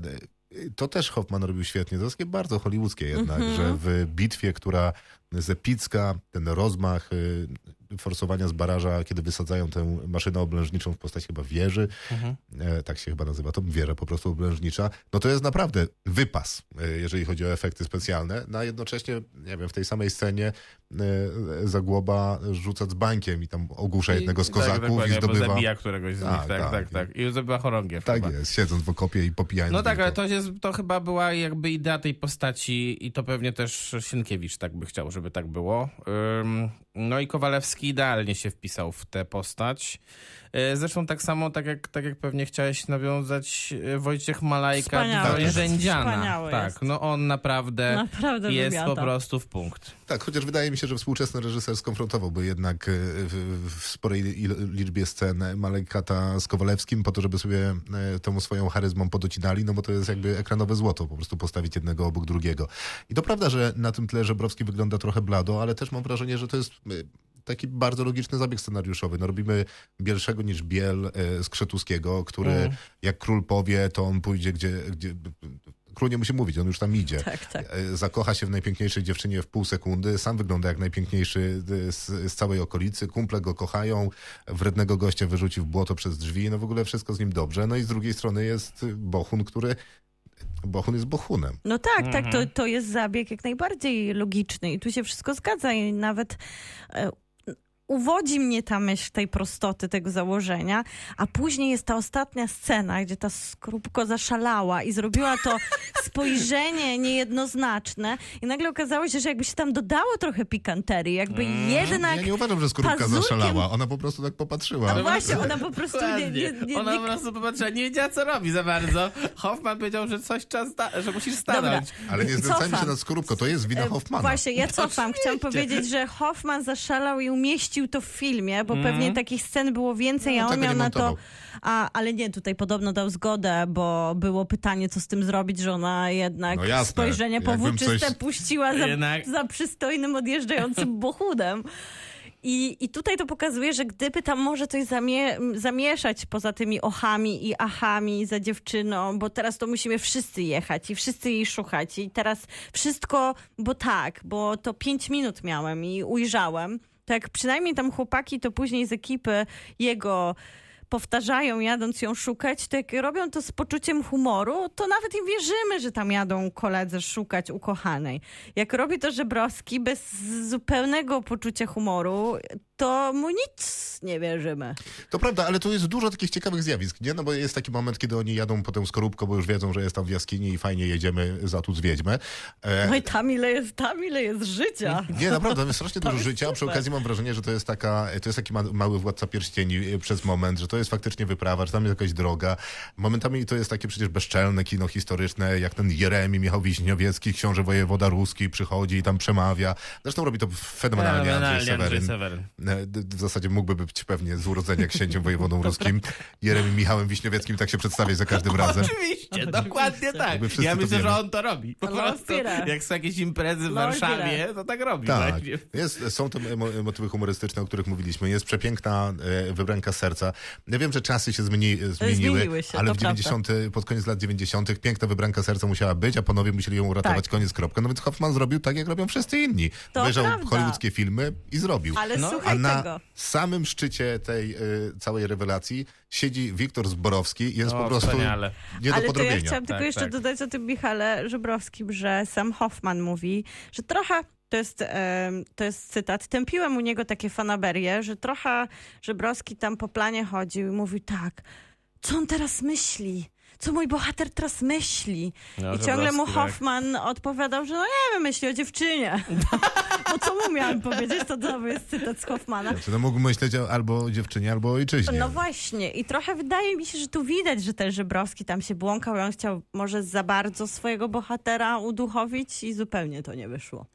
[SPEAKER 2] to też Hoffman robił świetnie. To jest takie bardzo hollywoodzkie jednak,
[SPEAKER 5] Mhm.
[SPEAKER 2] że w bitwie, która z epicka, ten rozmach e, forsowania z baraża, kiedy wysadzają tę maszynę oblężniczą w postaci chyba wieży,
[SPEAKER 5] Mhm.
[SPEAKER 2] E, tak się chyba nazywa, to wieża po prostu oblężnicza, no to jest naprawdę wypas, e, jeżeli chodzi o efekty specjalne, no a jednocześnie, nie wiem, w tej samej scenie e, Zagłoba rzuca dzbankiem i tam ogłusza jednego z
[SPEAKER 5] I- tak,
[SPEAKER 2] kozaków
[SPEAKER 5] dokładnie,
[SPEAKER 2] i
[SPEAKER 5] bo
[SPEAKER 2] zdobywa...
[SPEAKER 5] zabija któregoś z nich,
[SPEAKER 2] Tak,
[SPEAKER 5] tak, tak,
[SPEAKER 2] tak.
[SPEAKER 5] tak. I zdobywa chorągiew
[SPEAKER 2] Tak
[SPEAKER 5] chyba.
[SPEAKER 2] jest, siedząc w okopie i popijając
[SPEAKER 5] No tak,
[SPEAKER 2] wilko.
[SPEAKER 5] ale to, jest, to chyba była jakby idea tej postaci i to pewnie też Sienkiewicz tak by chciał, żeby tak było. Ym, no i Kowalewski idealnie się wpisał w tę postać. Y, Zresztą tak samo, tak jak, tak jak pewnie chciałeś nawiązać, y, Wojciech Malajka
[SPEAKER 4] Wspaniały
[SPEAKER 5] do
[SPEAKER 2] jest.
[SPEAKER 5] Rzędziana.
[SPEAKER 4] Wspaniały
[SPEAKER 5] Tak,
[SPEAKER 4] jest.
[SPEAKER 5] no on naprawdę,
[SPEAKER 4] Naprawdę
[SPEAKER 5] jest
[SPEAKER 4] wymiata.
[SPEAKER 5] po prostu w punkt.
[SPEAKER 2] Tak, chociaż wydaje mi się, że współczesny reżyser skonfrontowałby jednak e, w, w sporej il- liczbie scen Malekata z Kowalewskim po to, żeby sobie e, tą swoją charyzmą podocinali, no bo to jest jakby ekranowe złoto, po prostu postawić jednego obok drugiego. I to prawda, że na tym tle Żebrowski wygląda trochę blado, ale też mam wrażenie, że to jest e, taki bardzo logiczny zabieg scenariuszowy. No, robimy bielszego niż biel e, Skrzetuskiego, który jak król powie, to on pójdzie gdzie... gdzie Król nie musi mówić, on już tam idzie.
[SPEAKER 4] Tak, tak.
[SPEAKER 2] E, Zakocha się w najpiękniejszej dziewczynie w pół sekundy, sam wygląda jak najpiękniejszy e, z, z całej okolicy, kumple go kochają, wrednego gościa wyrzuci w błoto przez drzwi, no w ogóle wszystko z nim dobrze. No i z drugiej strony jest e, Bohun, który... Bohun jest Bohunem.
[SPEAKER 4] No tak, tak,
[SPEAKER 5] Mhm.
[SPEAKER 4] to, to jest zabieg jak najbardziej logiczny i tu się wszystko zgadza i nawet e, uwodzi mnie ta myśl tej prostoty tego założenia, a później jest ta ostatnia scena, gdzie ta skrupko zaszalała i zrobiła to spojrzenie niejednoznaczne i nagle okazało się, że jakby się tam dodało trochę pikanterii, jakby
[SPEAKER 5] Mhm.
[SPEAKER 4] jednak...
[SPEAKER 2] Ja nie uważam, że skorupka
[SPEAKER 4] pazurkiem-
[SPEAKER 2] zaszalała, ona po prostu tak popatrzyła.
[SPEAKER 4] No właśnie, ona po prostu nie, nie, nie, nie,
[SPEAKER 5] Ona po prostu popatrzyła, nie wiedziała, co robi za bardzo. Hoffman powiedział, że coś trzeba sta- że musisz stanąć.
[SPEAKER 2] Ale nie znęcajmy się
[SPEAKER 4] Cofam.
[SPEAKER 2] nad skorupką, to jest wina
[SPEAKER 4] E,
[SPEAKER 2] Hoffmana.
[SPEAKER 4] Właśnie, ja cofam. Chciałam powiedzieć, że Hoffman zaszalał i umieścił to w filmie, bo
[SPEAKER 5] Mhm.
[SPEAKER 4] pewnie takich scen było więcej, a
[SPEAKER 2] tego
[SPEAKER 4] on miał
[SPEAKER 2] No, nie
[SPEAKER 4] na to...
[SPEAKER 2] montował.
[SPEAKER 4] A, ale nie, tutaj podobno dał zgodę, bo było pytanie, co z tym zrobić, że ona jednak
[SPEAKER 2] No jasne.
[SPEAKER 4] spojrzenie
[SPEAKER 2] Jakbym
[SPEAKER 4] powłóczyste
[SPEAKER 2] coś-
[SPEAKER 4] puściła za,
[SPEAKER 5] Jednak-
[SPEAKER 4] za przystojnym, odjeżdżającym bohudem. I, I tutaj to pokazuje, że gdyby tam może coś zamie zamieszać poza tymi ochami i achami za dziewczyną, bo teraz to musimy wszyscy jechać i wszyscy jej szukać i teraz wszystko, bo tak, bo to pięć minut miałem i ujrzałem. Tak, przynajmniej tam chłopaki to później z ekipy jego powtarzają, jadąc ją szukać, to jak robią to z poczuciem humoru, to nawet im wierzymy, że tam jadą koledzy szukać ukochanej. Jak robi to Żebrowski bez zupełnego poczucia humoru, to mu nic nie wierzymy.
[SPEAKER 2] To prawda, ale tu jest dużo takich ciekawych zjawisk, nie? No bo jest taki moment, kiedy oni jadą po tę skorupkę, bo już wiedzą, że jest tam w jaskini i fajnie jedziemy za tu z wiedźmę. E,
[SPEAKER 4] No i tam ile jest, tam ile jest życia.
[SPEAKER 2] nie, naprawdę, tam jest strasznie dużo
[SPEAKER 4] jest
[SPEAKER 2] życia. Przy
[SPEAKER 4] super.
[SPEAKER 2] okazji mam wrażenie, że to jest taka, to jest taki ma, mały władca pierścieni e, przez moment, że to jest faktycznie wyprawa, że tam jest jakaś droga. Momentami to jest takie przecież bezczelne kino historyczne, jak ten Jeremi Michał Wiśniowiecki, książę wojewoda ruski, przychodzi i tam przemawia. Zresztą robi to fenomenalnie, Andrzej Seweryn.
[SPEAKER 5] Seweryn.
[SPEAKER 2] E, d- d- W zasadzie mógłby być pewnie z urodzenia księciem wojewodą ruskim. Jeremim Michałem Wiśniowieckim tak się przedstawia za każdym razem.
[SPEAKER 5] Oczywiście, dokładnie tak.
[SPEAKER 2] Jakby wszyscy
[SPEAKER 5] Ja
[SPEAKER 2] to
[SPEAKER 5] myślę, że
[SPEAKER 2] wiemy.
[SPEAKER 5] on to robi. Po
[SPEAKER 4] Lord
[SPEAKER 5] prostu,
[SPEAKER 4] Pira.
[SPEAKER 5] jak są jakieś imprezy w
[SPEAKER 4] Lord
[SPEAKER 5] Warszawie,
[SPEAKER 4] Pira.
[SPEAKER 5] to tak robi
[SPEAKER 2] Tak,
[SPEAKER 5] właśnie.
[SPEAKER 2] jest, są te emo, motywy humorystyczne, o których mówiliśmy. Jest przepiękna e, wybranka serca. Ja wiem, że czasy się zmieni, e, zmieniły,
[SPEAKER 4] Zmieniły się,
[SPEAKER 2] ale
[SPEAKER 4] to
[SPEAKER 2] w
[SPEAKER 4] prawda.
[SPEAKER 2] 90, pod koniec lat 90. piękna wybranka serca musiała być, a panowie musieli ją uratować,
[SPEAKER 4] Tak.
[SPEAKER 2] koniec, kropka. No więc Hoffman zrobił tak, jak robią wszyscy inni.
[SPEAKER 4] To
[SPEAKER 2] Obejrzał
[SPEAKER 4] prawda.
[SPEAKER 2] hollywoodzkie filmy i zrobił.
[SPEAKER 4] Ale
[SPEAKER 5] No,
[SPEAKER 2] A
[SPEAKER 4] słuchaj
[SPEAKER 2] na
[SPEAKER 4] tego.
[SPEAKER 2] samym szczycie tej y, całej rewelacji siedzi Wiktor Zborowski. Jest
[SPEAKER 5] O,
[SPEAKER 2] po prostu
[SPEAKER 5] wspaniale.
[SPEAKER 2] nie do
[SPEAKER 4] Ale to ja
[SPEAKER 2] podrobienia.
[SPEAKER 4] chciałam tylko
[SPEAKER 5] Tak,
[SPEAKER 4] jeszcze
[SPEAKER 5] tak.
[SPEAKER 4] dodać o tym Michale Żebrowskim, że sam Hoffman mówi, że trochę, to jest, em, to jest cytat, tępiłem u niego takie fanaberie, że trochę Żebrowski tam po planie chodził i mówił tak, co on teraz myśli? Co mój bohater teraz myśli?
[SPEAKER 5] No,
[SPEAKER 4] I ciągle
[SPEAKER 5] tak.
[SPEAKER 4] mu Hoffman odpowiadał, że no nie wiem, myśli o dziewczynie. Bo co mu miałem powiedzieć? To znowu jest cytat z Hoffmana.
[SPEAKER 2] Znaczy, no mógł myśleć o- albo o dziewczynie, albo o ojczyźnie.
[SPEAKER 4] No właśnie, i trochę wydaje mi się, że tu widać, że ten Żebrowski tam się błąkał i on chciał może za bardzo swojego bohatera uduchowić i zupełnie to nie wyszło.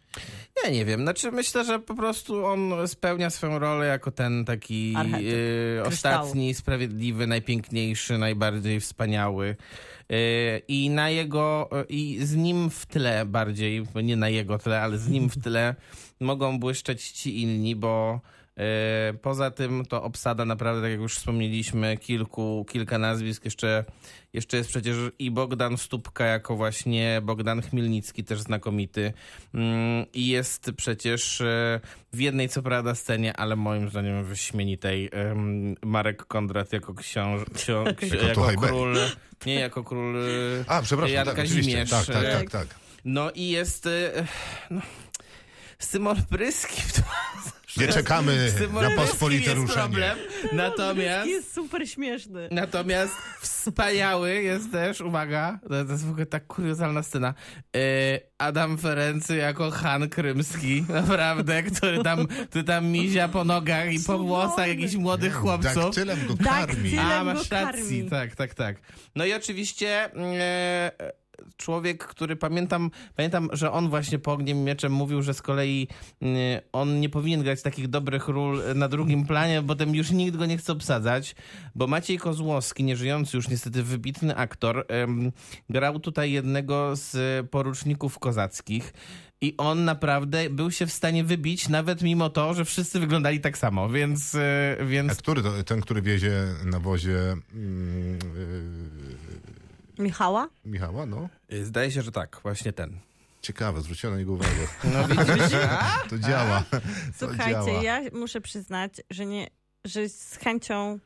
[SPEAKER 5] Nie, nie wiem. Znaczy myślę, że po prostu on spełnia swoją rolę jako ten taki
[SPEAKER 4] Archetyp.
[SPEAKER 5] e,
[SPEAKER 4] Kryształu.
[SPEAKER 5] ostatni, sprawiedliwy, najpiękniejszy, najbardziej wspaniały. E, I na jego, e, i z nim w tle bardziej, bo nie na jego tle, ale z nim w tle mogą błyszczeć ci inni, bo e, poza tym to obsada naprawdę, tak jak już wspomnieliśmy, kilku, kilka nazwisk. Jeszcze, jeszcze jest przecież i Bogdan Stópka jako właśnie Bogdan Chmielnicki, też znakomity. Mm, I jest przecież e, w jednej co prawda scenie, ale moim zdaniem wyśmienitej em, Marek Kondrat jako książ, ksią, ksi,
[SPEAKER 2] Jako
[SPEAKER 5] jako
[SPEAKER 2] Tuchaj B.
[SPEAKER 5] król, nie jako król e,
[SPEAKER 2] A, przepraszam,
[SPEAKER 5] Jan
[SPEAKER 2] tak, oczywiście. Tak,
[SPEAKER 5] Kazimierz.
[SPEAKER 2] tak,
[SPEAKER 5] e,
[SPEAKER 2] tak, tak.
[SPEAKER 5] No i jest e, no, Symon Pryski.
[SPEAKER 2] Nie czekamy na pospolite
[SPEAKER 5] jest
[SPEAKER 2] ruszenie.
[SPEAKER 5] problem, natomiast...
[SPEAKER 4] Jest super śmieszny.
[SPEAKER 5] Natomiast wspaniały jest też, uwaga, to to jest w ogóle tak kuriozalna scena, e, Adam Ferency jako Han Krymski, naprawdę, który tam, który tam mizia po nogach i po
[SPEAKER 4] Cudowny.
[SPEAKER 5] włosach jakichś młodych
[SPEAKER 2] Tak
[SPEAKER 5] chłopców.
[SPEAKER 2] Daktylem go
[SPEAKER 4] Daktyl-
[SPEAKER 2] karmi.
[SPEAKER 5] A,
[SPEAKER 4] Tyle go
[SPEAKER 5] masz
[SPEAKER 4] karmi.
[SPEAKER 5] rację, tak, tak, tak. No i oczywiście e, człowiek, który pamiętam, pamiętam, że on właśnie po Ogniem i Mieczem mówił, że z kolei y, on nie powinien grać takich dobrych ról e, na drugim planie, bo potem już nikt go nie chce obsadzać, bo Maciej Kozłowski, nieżyjący już niestety wybitny aktor, em, grał tutaj jednego z poruczników kozackich i on naprawdę był się w stanie wybić, nawet mimo to, że wszyscy wyglądali tak samo, więc... y,
[SPEAKER 2] A
[SPEAKER 5] więc
[SPEAKER 2] który to, ten, który wiezie na wozie mm,
[SPEAKER 4] Michała?
[SPEAKER 2] yy, Michała, no?
[SPEAKER 5] y, Zdaje się, że tak, właśnie ten.
[SPEAKER 2] Ciekawe, zwróciłem na niego uwagę.
[SPEAKER 5] No widzisz?
[SPEAKER 2] To działa. to
[SPEAKER 4] Słuchajcie,
[SPEAKER 2] działa.
[SPEAKER 4] ja muszę przyznać, że, nie, że z chęcią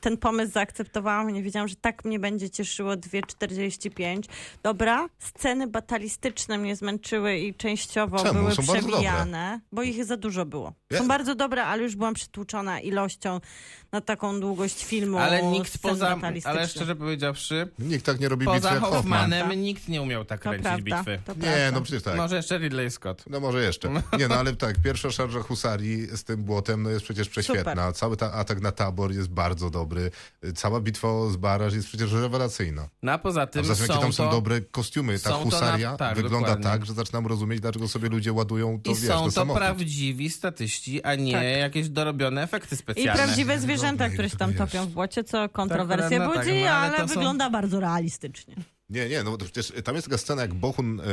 [SPEAKER 4] ten pomysł zaakceptowałam i nie wiedziałam, że tak mnie będzie cieszyło 2,45. Dobra, sceny batalistyczne mnie zmęczyły i częściowo
[SPEAKER 2] Czemu?
[SPEAKER 4] były
[SPEAKER 2] Są bardzo
[SPEAKER 4] przemijane, bo ich za dużo było.
[SPEAKER 2] Ja-
[SPEAKER 4] Są bardzo dobre, ale już byłam przytłuczona ilością na taką długość filmu.
[SPEAKER 5] Ale nikt
[SPEAKER 4] scen
[SPEAKER 5] poza,
[SPEAKER 4] batalistycznych.
[SPEAKER 5] ale szczerze powiedziawszy,
[SPEAKER 2] Nikt tak nie robi
[SPEAKER 5] poza
[SPEAKER 2] bitwy jak Hoffman.
[SPEAKER 5] Hoffmanem nikt nie umiał tak
[SPEAKER 4] to
[SPEAKER 5] kręcić
[SPEAKER 4] prawda,
[SPEAKER 5] bitwy.
[SPEAKER 4] To
[SPEAKER 2] Nie,
[SPEAKER 4] prawda.
[SPEAKER 2] no przecież tak.
[SPEAKER 5] Może jeszcze Ridley Scott.
[SPEAKER 2] No może jeszcze. Nie, no ale tak, pierwsza szarża husarii z tym błotem no jest przecież prześwietna.
[SPEAKER 4] Super.
[SPEAKER 2] Cały ta atak na tabor jest bardzo dobry. Cała bitwa o Zbaraż jest przecież rewelacyjna.
[SPEAKER 5] No a poza
[SPEAKER 2] A
[SPEAKER 5] tym
[SPEAKER 2] w zasadzie
[SPEAKER 5] są
[SPEAKER 2] jakie tam są
[SPEAKER 5] to...
[SPEAKER 2] dobre kostiumy. Ta
[SPEAKER 5] są to na-
[SPEAKER 2] husaria
[SPEAKER 5] tak,
[SPEAKER 2] wygląda
[SPEAKER 5] dokładnie.
[SPEAKER 2] tak, że zaczynam rozumieć, dlaczego sobie ludzie ładują to,
[SPEAKER 5] I
[SPEAKER 2] wiesz,
[SPEAKER 5] są
[SPEAKER 2] to
[SPEAKER 5] to
[SPEAKER 2] samochód.
[SPEAKER 5] prawdziwi statyści, a nie
[SPEAKER 4] Tak.
[SPEAKER 5] jakieś dorobione efekty
[SPEAKER 4] I
[SPEAKER 5] specjalne.
[SPEAKER 4] prawdziwe zwierzęta,
[SPEAKER 2] Dobry,
[SPEAKER 4] które się tam
[SPEAKER 2] to jest.
[SPEAKER 4] topią w błocie, co kontrowersje
[SPEAKER 5] no tak,
[SPEAKER 4] budzi,
[SPEAKER 5] no ale
[SPEAKER 4] ale,
[SPEAKER 5] to są-
[SPEAKER 4] wygląda bardzo realistycznie.
[SPEAKER 2] Nie, nie, no bo to przecież tam jest taka scena, jak Bohun e, e,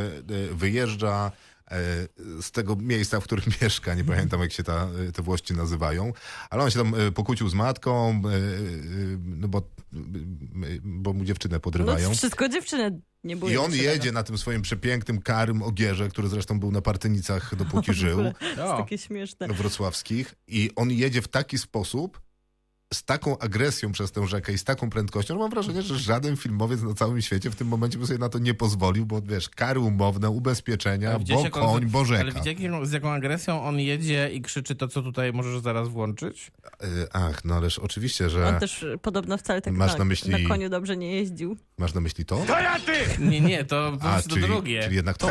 [SPEAKER 2] wyjeżdża e, z tego miejsca, w którym mieszka, nie pamiętam jak się ta, e, te włości nazywają, ale on się tam e, pokłócił z matką, e, e, no bo, e, bo mu dziewczynę
[SPEAKER 4] No
[SPEAKER 2] podrywają.
[SPEAKER 4] wszystko dziewczyny nie były.
[SPEAKER 2] I on jedzie na tym swoim przepięknym, karym ogierze, który zresztą był na partynicach dopóki żył,
[SPEAKER 4] no. To
[SPEAKER 5] O,
[SPEAKER 4] takie śmieszne.
[SPEAKER 2] wrocławskich. I on jedzie w taki sposób, z taką agresją przez tę rzekę i z taką prędkością, że mam wrażenie, że żaden filmowiec na całym świecie w tym momencie by sobie na to nie pozwolił, bo wiesz, kary umowne, ubezpieczenia,
[SPEAKER 5] ale widzicie,
[SPEAKER 2] bo
[SPEAKER 5] jak on-
[SPEAKER 2] koń, bo
[SPEAKER 5] Ale
[SPEAKER 2] rzeka.
[SPEAKER 5] widzicie, jak- z jaką agresją on jedzie i krzyczy to, co tutaj możesz zaraz włączyć?
[SPEAKER 2] Y, Ach, no ależ oczywiście,
[SPEAKER 4] On
[SPEAKER 2] że
[SPEAKER 4] też y, podobno wcale tak
[SPEAKER 2] Masz
[SPEAKER 4] na,
[SPEAKER 2] na myśli-
[SPEAKER 4] na koniu dobrze nie jeździł.
[SPEAKER 2] masz na myśli to?
[SPEAKER 5] Nie, nie, to, to,
[SPEAKER 2] A,
[SPEAKER 5] już to
[SPEAKER 2] czyli,
[SPEAKER 5] drugie.
[SPEAKER 2] czyli jednak to.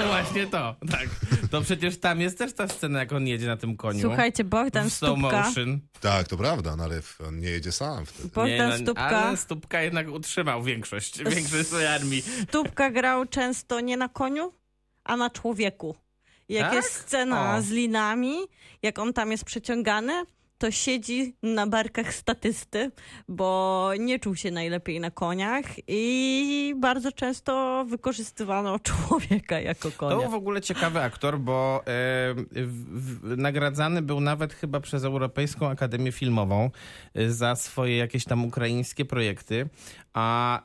[SPEAKER 5] No właśnie to, tak. To przecież tam jest też ta scena, jak on jedzie na tym koniu.
[SPEAKER 4] Słuchajcie, Bogdan
[SPEAKER 5] w slow
[SPEAKER 4] Stupka,
[SPEAKER 5] motion.
[SPEAKER 2] Tak, to prawda, no ale f- on nie jedzie sam wtedy.
[SPEAKER 4] Bogdan
[SPEAKER 5] no,
[SPEAKER 4] Stupka,
[SPEAKER 5] Ale Stupka jednak utrzymał większość, większość swojej armii.
[SPEAKER 4] Stupka grał często nie na koniu, a na człowieku. Jak
[SPEAKER 5] Tak?
[SPEAKER 4] jest scena
[SPEAKER 5] O.
[SPEAKER 4] z linami, jak on tam jest przyciągany, to siedzi na barkach statysty, bo nie czuł się najlepiej na koniach i bardzo często wykorzystywano człowieka jako konia.
[SPEAKER 5] To był w ogóle ciekawy aktor, bo e, w, w, nagradzany był nawet chyba przez Europejską Akademię Filmową e, za swoje jakieś tam ukraińskie projekty, a, e,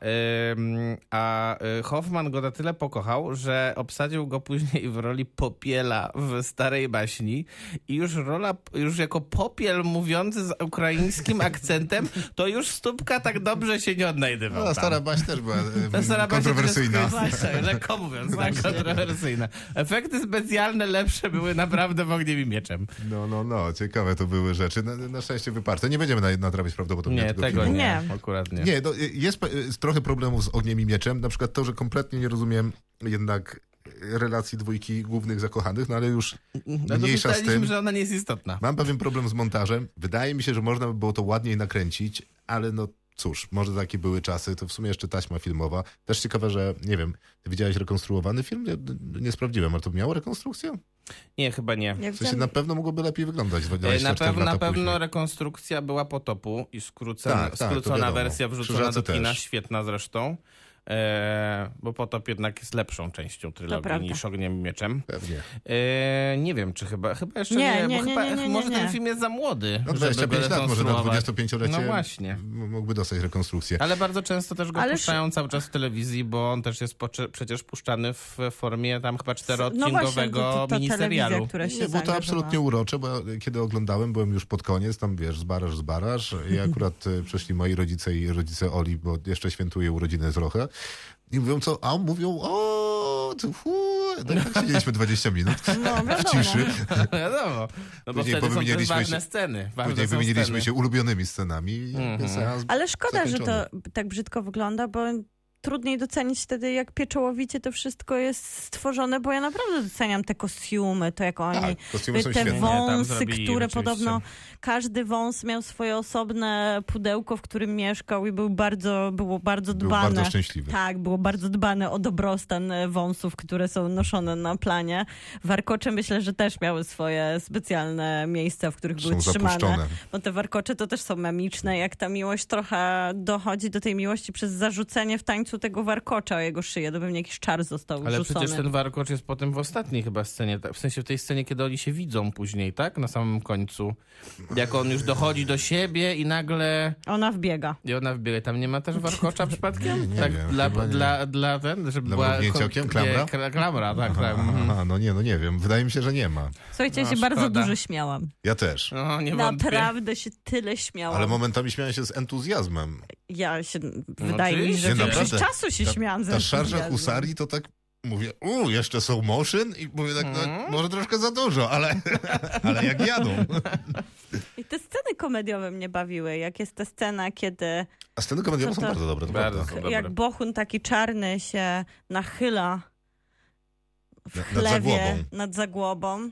[SPEAKER 5] m, a e, Hoffman go na tyle pokochał, że obsadził go później w roli Popiela w Starej Baśni i już rola, już jako Popiel mówiący z ukraińskim akcentem, to już Stupka tak dobrze się nie odnajdywał
[SPEAKER 2] No,
[SPEAKER 5] tam.
[SPEAKER 2] stara baś też była e,
[SPEAKER 5] Ta stara baśń
[SPEAKER 2] kontrowersyjna.
[SPEAKER 5] to jest- Właśnie, lekko mówiąc, tak, kontrowersyjna. Efekty specjalne lepsze były naprawdę w ogniem i mieczem.
[SPEAKER 2] No, no, no, ciekawe to były rzeczy. Na, na szczęście wyparte. Nie będziemy na- nadrabiać prawdopodobnie
[SPEAKER 5] Nie,
[SPEAKER 2] tego
[SPEAKER 5] tego nie.
[SPEAKER 2] filmu.
[SPEAKER 4] Nie.
[SPEAKER 5] Akurat nie.
[SPEAKER 2] Nie, no, y, jest pe- y, trochę problemów z ogniem i mieczem. Na przykład to, że kompletnie nie rozumiem jednak y, relacji dwójki głównych zakochanych, no ale już
[SPEAKER 5] no to
[SPEAKER 2] mniejsza z
[SPEAKER 5] ustaliliśmy,
[SPEAKER 2] tym.
[SPEAKER 5] że ona nie jest istotna.
[SPEAKER 2] Mam pewien problem z montażem. Wydaje mi się, że można by było to ładniej nakręcić, ale no cóż, może takie były czasy. To w sumie jeszcze taśma filmowa. Też ciekawe, że nie wiem, ty widziałeś rekonstruowany film? Nie, nie sprawdziłem, ale to miało rekonstrukcję?
[SPEAKER 5] Nie, chyba nie.
[SPEAKER 4] Ja
[SPEAKER 2] W sensie na pewno mogłoby lepiej wyglądać.
[SPEAKER 5] E,
[SPEAKER 2] 24
[SPEAKER 5] Na, pew,
[SPEAKER 2] lata
[SPEAKER 5] na pewno
[SPEAKER 2] później.
[SPEAKER 5] rekonstrukcja była potopu i skrócona,
[SPEAKER 2] Tak, tak, to
[SPEAKER 5] skrócona
[SPEAKER 2] wiadomo.
[SPEAKER 5] wersja wrzucona
[SPEAKER 2] Krzyżacy
[SPEAKER 5] do kina,
[SPEAKER 2] też.
[SPEAKER 5] świetna zresztą. E, bo potop jednak jest lepszą częścią
[SPEAKER 4] prawda.
[SPEAKER 5] trylogii niż ogniem i mieczem.
[SPEAKER 2] Pewnie.
[SPEAKER 5] E, nie wiem, czy chyba, chyba jeszcze
[SPEAKER 4] Nie,
[SPEAKER 5] nie, bo
[SPEAKER 4] nie, nie,
[SPEAKER 5] chyba,
[SPEAKER 4] nie, nie,
[SPEAKER 5] może
[SPEAKER 4] nie.
[SPEAKER 5] ten film jest za młody.
[SPEAKER 2] No
[SPEAKER 5] żeby
[SPEAKER 2] 25
[SPEAKER 5] go
[SPEAKER 2] lat, może na
[SPEAKER 5] rekonstruować.
[SPEAKER 2] 25-lecie
[SPEAKER 5] No właśnie.
[SPEAKER 2] m- mógłby dostać rekonstrukcję.
[SPEAKER 5] Ale bardzo często też go
[SPEAKER 4] Ależ-
[SPEAKER 5] puszczają cały czas w telewizji, bo on też jest poczy- przecież puszczany w formie tam chyba
[SPEAKER 4] No właśnie,
[SPEAKER 5] czteroodcinkowego
[SPEAKER 4] to, to, to telewizja,
[SPEAKER 5] miniserialu.
[SPEAKER 4] która się
[SPEAKER 2] Nie, było to
[SPEAKER 4] zaangażowała.
[SPEAKER 2] absolutnie urocze, bo ja, kiedy oglądałem, byłem już pod koniec, tam wiesz, zbarasz, zbarasz i akurat e, przyszli moi rodzice i rodzice Oli, bo jeszcze świętuję urodziny trochę i mówią co, a mówią o, tu, hu, no i tak siedzieliśmy 20 minut
[SPEAKER 4] No,
[SPEAKER 2] w ciszy.
[SPEAKER 5] Wiadomo. No bo
[SPEAKER 2] Później
[SPEAKER 5] wtedy są też
[SPEAKER 2] powymienialiśmy
[SPEAKER 5] ważne
[SPEAKER 2] się-
[SPEAKER 5] sceny. Ważne
[SPEAKER 2] Później
[SPEAKER 5] są
[SPEAKER 2] wymieniliśmy
[SPEAKER 5] sceny.
[SPEAKER 4] Mhm.
[SPEAKER 2] się ulubionymi scenami. i seans
[SPEAKER 4] Ale szkoda, że to
[SPEAKER 2] zakończony.
[SPEAKER 4] tak brzydko wygląda, bo trudniej docenić wtedy, jak pieczołowicie to wszystko jest stworzone, bo ja naprawdę doceniam te kostiumy, to jak oni...
[SPEAKER 2] Tak, kostiumy są
[SPEAKER 4] te
[SPEAKER 2] świetne.
[SPEAKER 5] Nie, tam
[SPEAKER 4] wąsy,
[SPEAKER 5] zrobili
[SPEAKER 4] które
[SPEAKER 5] rzeczywiście.
[SPEAKER 4] podobno każdy wąs miał swoje osobne pudełko, w którym mieszkał i był bardzo, było bardzo
[SPEAKER 2] Był
[SPEAKER 4] dbane.
[SPEAKER 2] bardzo szczęśliwy.
[SPEAKER 4] Tak, było bardzo dbane o dobrostan e, wąsów, które są noszone na planie. Warkocze myślę, że też miały swoje specjalne miejsca, w których były
[SPEAKER 2] Są
[SPEAKER 4] trzymane.
[SPEAKER 2] zapuszczone.
[SPEAKER 4] Bo te warkocze to też są memiczne, jak ta miłość trochę dochodzi do tej miłości przez zarzucenie w tańcu tego warkocza o jego szyję, to pewnie jakiś czar został
[SPEAKER 5] Ale
[SPEAKER 4] rzucony.
[SPEAKER 5] przecież ten warkocz jest potem w ostatniej chyba scenie, tak? w sensie w tej scenie, kiedy oni się widzą później, tak? Na samym końcu. Jak on już dochodzi do siebie i nagle...
[SPEAKER 4] Ona wbiega.
[SPEAKER 5] I ona wbiega. Tam nie ma też warkocza przypadkiem?
[SPEAKER 2] Nie
[SPEAKER 5] tak,
[SPEAKER 2] wiem,
[SPEAKER 5] dla,
[SPEAKER 2] chyba nie.
[SPEAKER 5] dla, dla ten, żeby
[SPEAKER 2] Dla
[SPEAKER 5] była...
[SPEAKER 2] mrugnięcia
[SPEAKER 5] kon-
[SPEAKER 2] okiem? Klamra?
[SPEAKER 5] Nie, kla- klamra, tak, tak. mhm.
[SPEAKER 2] Aha, no nie, no nie wiem. Wydaje mi się, że nie ma.
[SPEAKER 4] Słuchajcie, ja
[SPEAKER 5] No,
[SPEAKER 4] się bardzo
[SPEAKER 5] szkoda.
[SPEAKER 4] dużo śmiałam.
[SPEAKER 2] Ja też.
[SPEAKER 5] No, nie wątpię.
[SPEAKER 4] Naprawdę się tyle śmiałam.
[SPEAKER 2] Ale momentami śmiałem się z entuzjazmem.
[SPEAKER 4] Ja się, wydaje mi się, że
[SPEAKER 5] oczywiście. Nie,
[SPEAKER 4] większość
[SPEAKER 2] naprawdę.
[SPEAKER 4] czasu się śmiałam. ze
[SPEAKER 2] Ta szarża
[SPEAKER 4] entuzjazmem.
[SPEAKER 2] husarii to tak mówię, u, jeszcze są moszyn i mówię tak, no,
[SPEAKER 5] Mhm.
[SPEAKER 2] może troszkę za dużo, ale, ale jak jadą.
[SPEAKER 4] I te sceny komediowe mnie bawiły. Jak jest ta scena, kiedy
[SPEAKER 2] A sceny komediowe są
[SPEAKER 4] No To-
[SPEAKER 2] bardzo dobre, to
[SPEAKER 5] Bardzo.
[SPEAKER 2] prawda.
[SPEAKER 5] dobre.
[SPEAKER 4] jak Bohun taki czarny się nachyla w
[SPEAKER 2] Na- nad
[SPEAKER 4] chlewie
[SPEAKER 2] zagłobą.
[SPEAKER 4] nad zagłobą.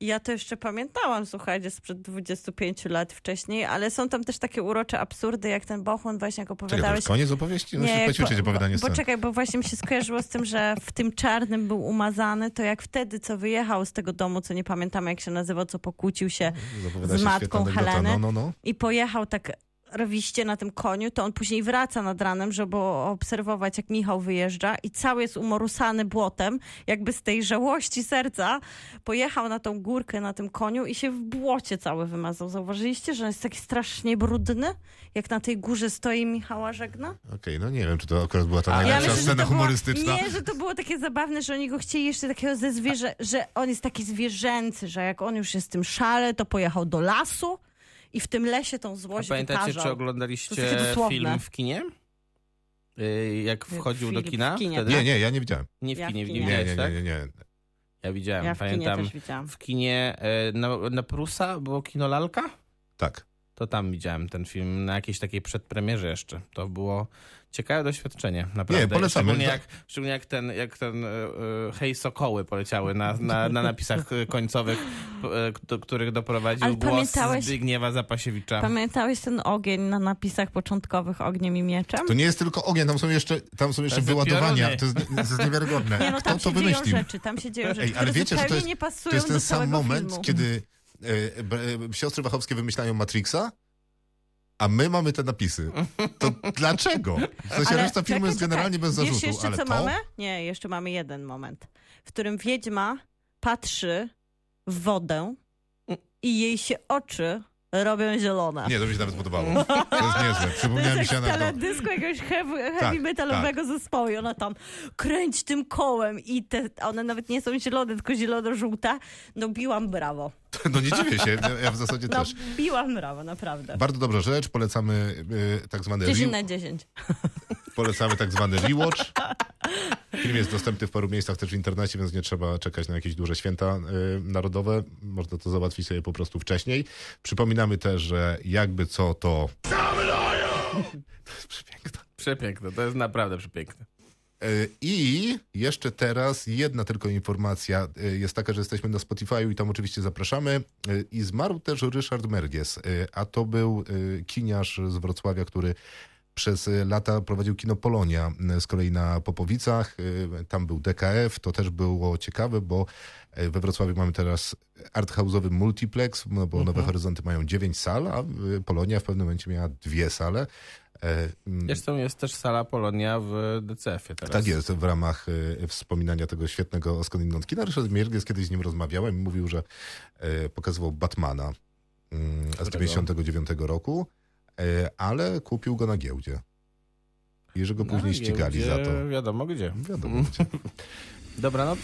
[SPEAKER 4] I Ja to jeszcze pamiętałam, słuchajcie, sprzed 25 lat wcześniej, ale są tam też takie urocze absurdy, jak ten Bohun właśnie jak
[SPEAKER 2] Czekaj, to
[SPEAKER 4] opowiadałeś.
[SPEAKER 2] już koniec opowieści? No
[SPEAKER 4] Nie,
[SPEAKER 2] się
[SPEAKER 4] jak
[SPEAKER 2] poćwiczyć opowiadanie
[SPEAKER 4] bo, bo
[SPEAKER 2] scen.
[SPEAKER 4] czekaj, bo właśnie mi się skojarzyło z tym, że w tym czarnym był umazany, to jak wtedy, co wyjechał z tego domu, co nie pamiętam jak się nazywał, co pokłócił się
[SPEAKER 2] Zapowiada
[SPEAKER 4] z
[SPEAKER 2] się
[SPEAKER 4] matką
[SPEAKER 2] świetna anegdota.
[SPEAKER 4] Heleny.
[SPEAKER 2] No, no, no.
[SPEAKER 4] i pojechał tak rwiście na tym koniu, to on później wraca nad ranem, żeby obserwować, jak Michał wyjeżdża i cały jest umorusany błotem, jakby z tej żałości serca pojechał na tą górkę na tym koniu i się w błocie cały wymazał. Zauważyliście, że on jest taki strasznie brudny, jak na tej górze stoi i Michała żegna?
[SPEAKER 2] Okej, no nie wiem, czy to akurat była ta
[SPEAKER 5] Ale
[SPEAKER 2] najlepsza
[SPEAKER 5] myślę, że
[SPEAKER 2] scena
[SPEAKER 4] to było,
[SPEAKER 2] humorystyczna.
[SPEAKER 4] nie, że to było takie zabawne, że oni go chcieli jeszcze takiego ze zwierzę, że on jest taki zwierzęcy, że jak on już jest w tym szale, to pojechał do lasu i w tym lesie tą
[SPEAKER 5] A
[SPEAKER 4] złość
[SPEAKER 5] pamiętacie,
[SPEAKER 4] wykażał.
[SPEAKER 5] czy
[SPEAKER 4] To jest takie
[SPEAKER 5] oglądaliście
[SPEAKER 4] dosłowne.
[SPEAKER 5] film w kinie? Y, Jak wchodził do
[SPEAKER 4] Film w
[SPEAKER 5] kina?
[SPEAKER 4] kinie.
[SPEAKER 5] Wtedy?
[SPEAKER 2] nie, nie, ja nie widziałem.
[SPEAKER 5] Nie w
[SPEAKER 4] Ja w
[SPEAKER 5] kinie,
[SPEAKER 4] kinie.
[SPEAKER 5] nie
[SPEAKER 2] Nie, nie,
[SPEAKER 5] widziałeś,
[SPEAKER 2] nie,
[SPEAKER 5] tak?
[SPEAKER 2] nie, nie.
[SPEAKER 5] Ja widziałem,
[SPEAKER 4] Ja w kinie
[SPEAKER 5] pamiętam.
[SPEAKER 4] też widziałam.
[SPEAKER 5] w kinie e, na, na Prusa było kino Lalka?
[SPEAKER 2] Tak.
[SPEAKER 5] To tam widziałem ten film na jakiejś takiej przedpremierze jeszcze. To było ciekawe doświadczenie, naprawdę.
[SPEAKER 2] Nie, polecamy.
[SPEAKER 5] Szczególnie jak, szczególnie jak ten, jak ten e, e, hej sokoły poleciały na, na, na napisach e, końcowych, e, do których doprowadził
[SPEAKER 4] Ale
[SPEAKER 5] głos
[SPEAKER 4] pamiętałeś-
[SPEAKER 5] Zbigniewa Zapasiewicza.
[SPEAKER 4] Pamiętałeś ten ogień na napisach początkowych ogniem i mieczem?
[SPEAKER 2] To nie jest tylko ogień, tam są jeszcze, tam są jeszcze
[SPEAKER 5] Te
[SPEAKER 2] wyładowania.
[SPEAKER 5] pioruny.
[SPEAKER 2] To jest, to jest niewiarygodne.
[SPEAKER 4] Nie, no tam
[SPEAKER 2] Kto to
[SPEAKER 4] się dzieją
[SPEAKER 2] wymyślił?
[SPEAKER 4] rzeczy, tam się dzieją rzeczy,
[SPEAKER 2] Ej, ale
[SPEAKER 4] które
[SPEAKER 2] wiecie, że
[SPEAKER 4] zupełnie
[SPEAKER 2] to jest,
[SPEAKER 4] nie pasują
[SPEAKER 2] to jest ten
[SPEAKER 4] do
[SPEAKER 2] sam
[SPEAKER 4] całego
[SPEAKER 2] moment,
[SPEAKER 4] filmu.
[SPEAKER 2] kiedy e, b- e, siostry Wachowskie wymyślają Matrixa, a my mamy te napisy. To dlaczego? W sensie
[SPEAKER 4] Ale
[SPEAKER 2] reszta filmu
[SPEAKER 4] czekaj,
[SPEAKER 2] jest generalnie
[SPEAKER 4] czekaj.
[SPEAKER 2] bez
[SPEAKER 4] Wiesz
[SPEAKER 2] zarzutu.
[SPEAKER 4] jeszcze
[SPEAKER 2] ale
[SPEAKER 4] co
[SPEAKER 2] to...
[SPEAKER 4] mamy? Nie, jeszcze mamy jeden moment, w którym wiedźma patrzy w wodę i jej się oczy robią zielone.
[SPEAKER 2] Nie, to mi się nawet podobało. To jest niezłe.
[SPEAKER 4] To
[SPEAKER 2] Przypomniała mi
[SPEAKER 4] jest
[SPEAKER 2] się
[SPEAKER 4] jak w
[SPEAKER 2] anegdota.
[SPEAKER 4] teledysku jakiegoś heavy, heavy
[SPEAKER 2] Tak,
[SPEAKER 4] metalowego zespołu i ona tam kręć tym kołem i te, one nawet nie są zielone, tylko zielono-żółte. No biłam brawo.
[SPEAKER 2] No nie dziwię się, ja- ja w zasadzie
[SPEAKER 4] No
[SPEAKER 2] też.
[SPEAKER 4] biłam brawo, naprawdę.
[SPEAKER 2] Bardzo dobra rzecz, polecamy e, tak zwany
[SPEAKER 4] 10
[SPEAKER 2] re-
[SPEAKER 4] na 10.
[SPEAKER 2] polecamy tak zwany rewatch. Film jest dostępny w paru miejscach też w internecie, więc nie trzeba czekać na jakieś duże święta y, narodowe. Można to załatwić sobie po prostu wcześniej. Przypominamy też, że jakby co to... To jest przepiękne.
[SPEAKER 5] Przepiękne, to jest naprawdę przepiękne.
[SPEAKER 2] Y, I jeszcze teraz jedna tylko informacja y, jest taka, że jesteśmy na Spotify i tam oczywiście zapraszamy. Y, I zmarł też Ryszard Mergies, y, a to był y, kiniarz z Wrocławia, który przez y, lata prowadził kino Polonia y, z kolei na Popowicach. Y, Tam był DKF, to też było ciekawe, bo y, we Wrocławiu mamy teraz arthouse'owy multiplex, no bo Nowe Horyzonty mają 9 sal, a y, Polonia w pewnym momencie miała dwie sale. Y, mm,
[SPEAKER 5] Zresztą jest też sala Polonia w DCF-ie teraz.
[SPEAKER 2] tak jest, w ramach y, wspominania tego świetnego skądinąd kina. Ryszard Miergies kiedyś z nim rozmawiałem i mówił, że y, pokazywał Batmana y, z
[SPEAKER 5] Którego?
[SPEAKER 2] 99 roku, y, ale kupił go na giełdzie. I że go
[SPEAKER 5] No,
[SPEAKER 2] później ścigali
[SPEAKER 5] gdzie-
[SPEAKER 2] za to.
[SPEAKER 5] Wiadomo gdzie. no
[SPEAKER 2] Wiadomo. gdzie.
[SPEAKER 5] Dobranoc.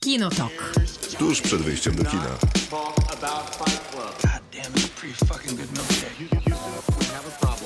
[SPEAKER 1] Kinotok.
[SPEAKER 7] Tuż przed wyjściem do kina.
[SPEAKER 3] Talk about Fight Club.
[SPEAKER 8] God damn, it's a pretty fucking good milkshake.
[SPEAKER 3] We have a problem.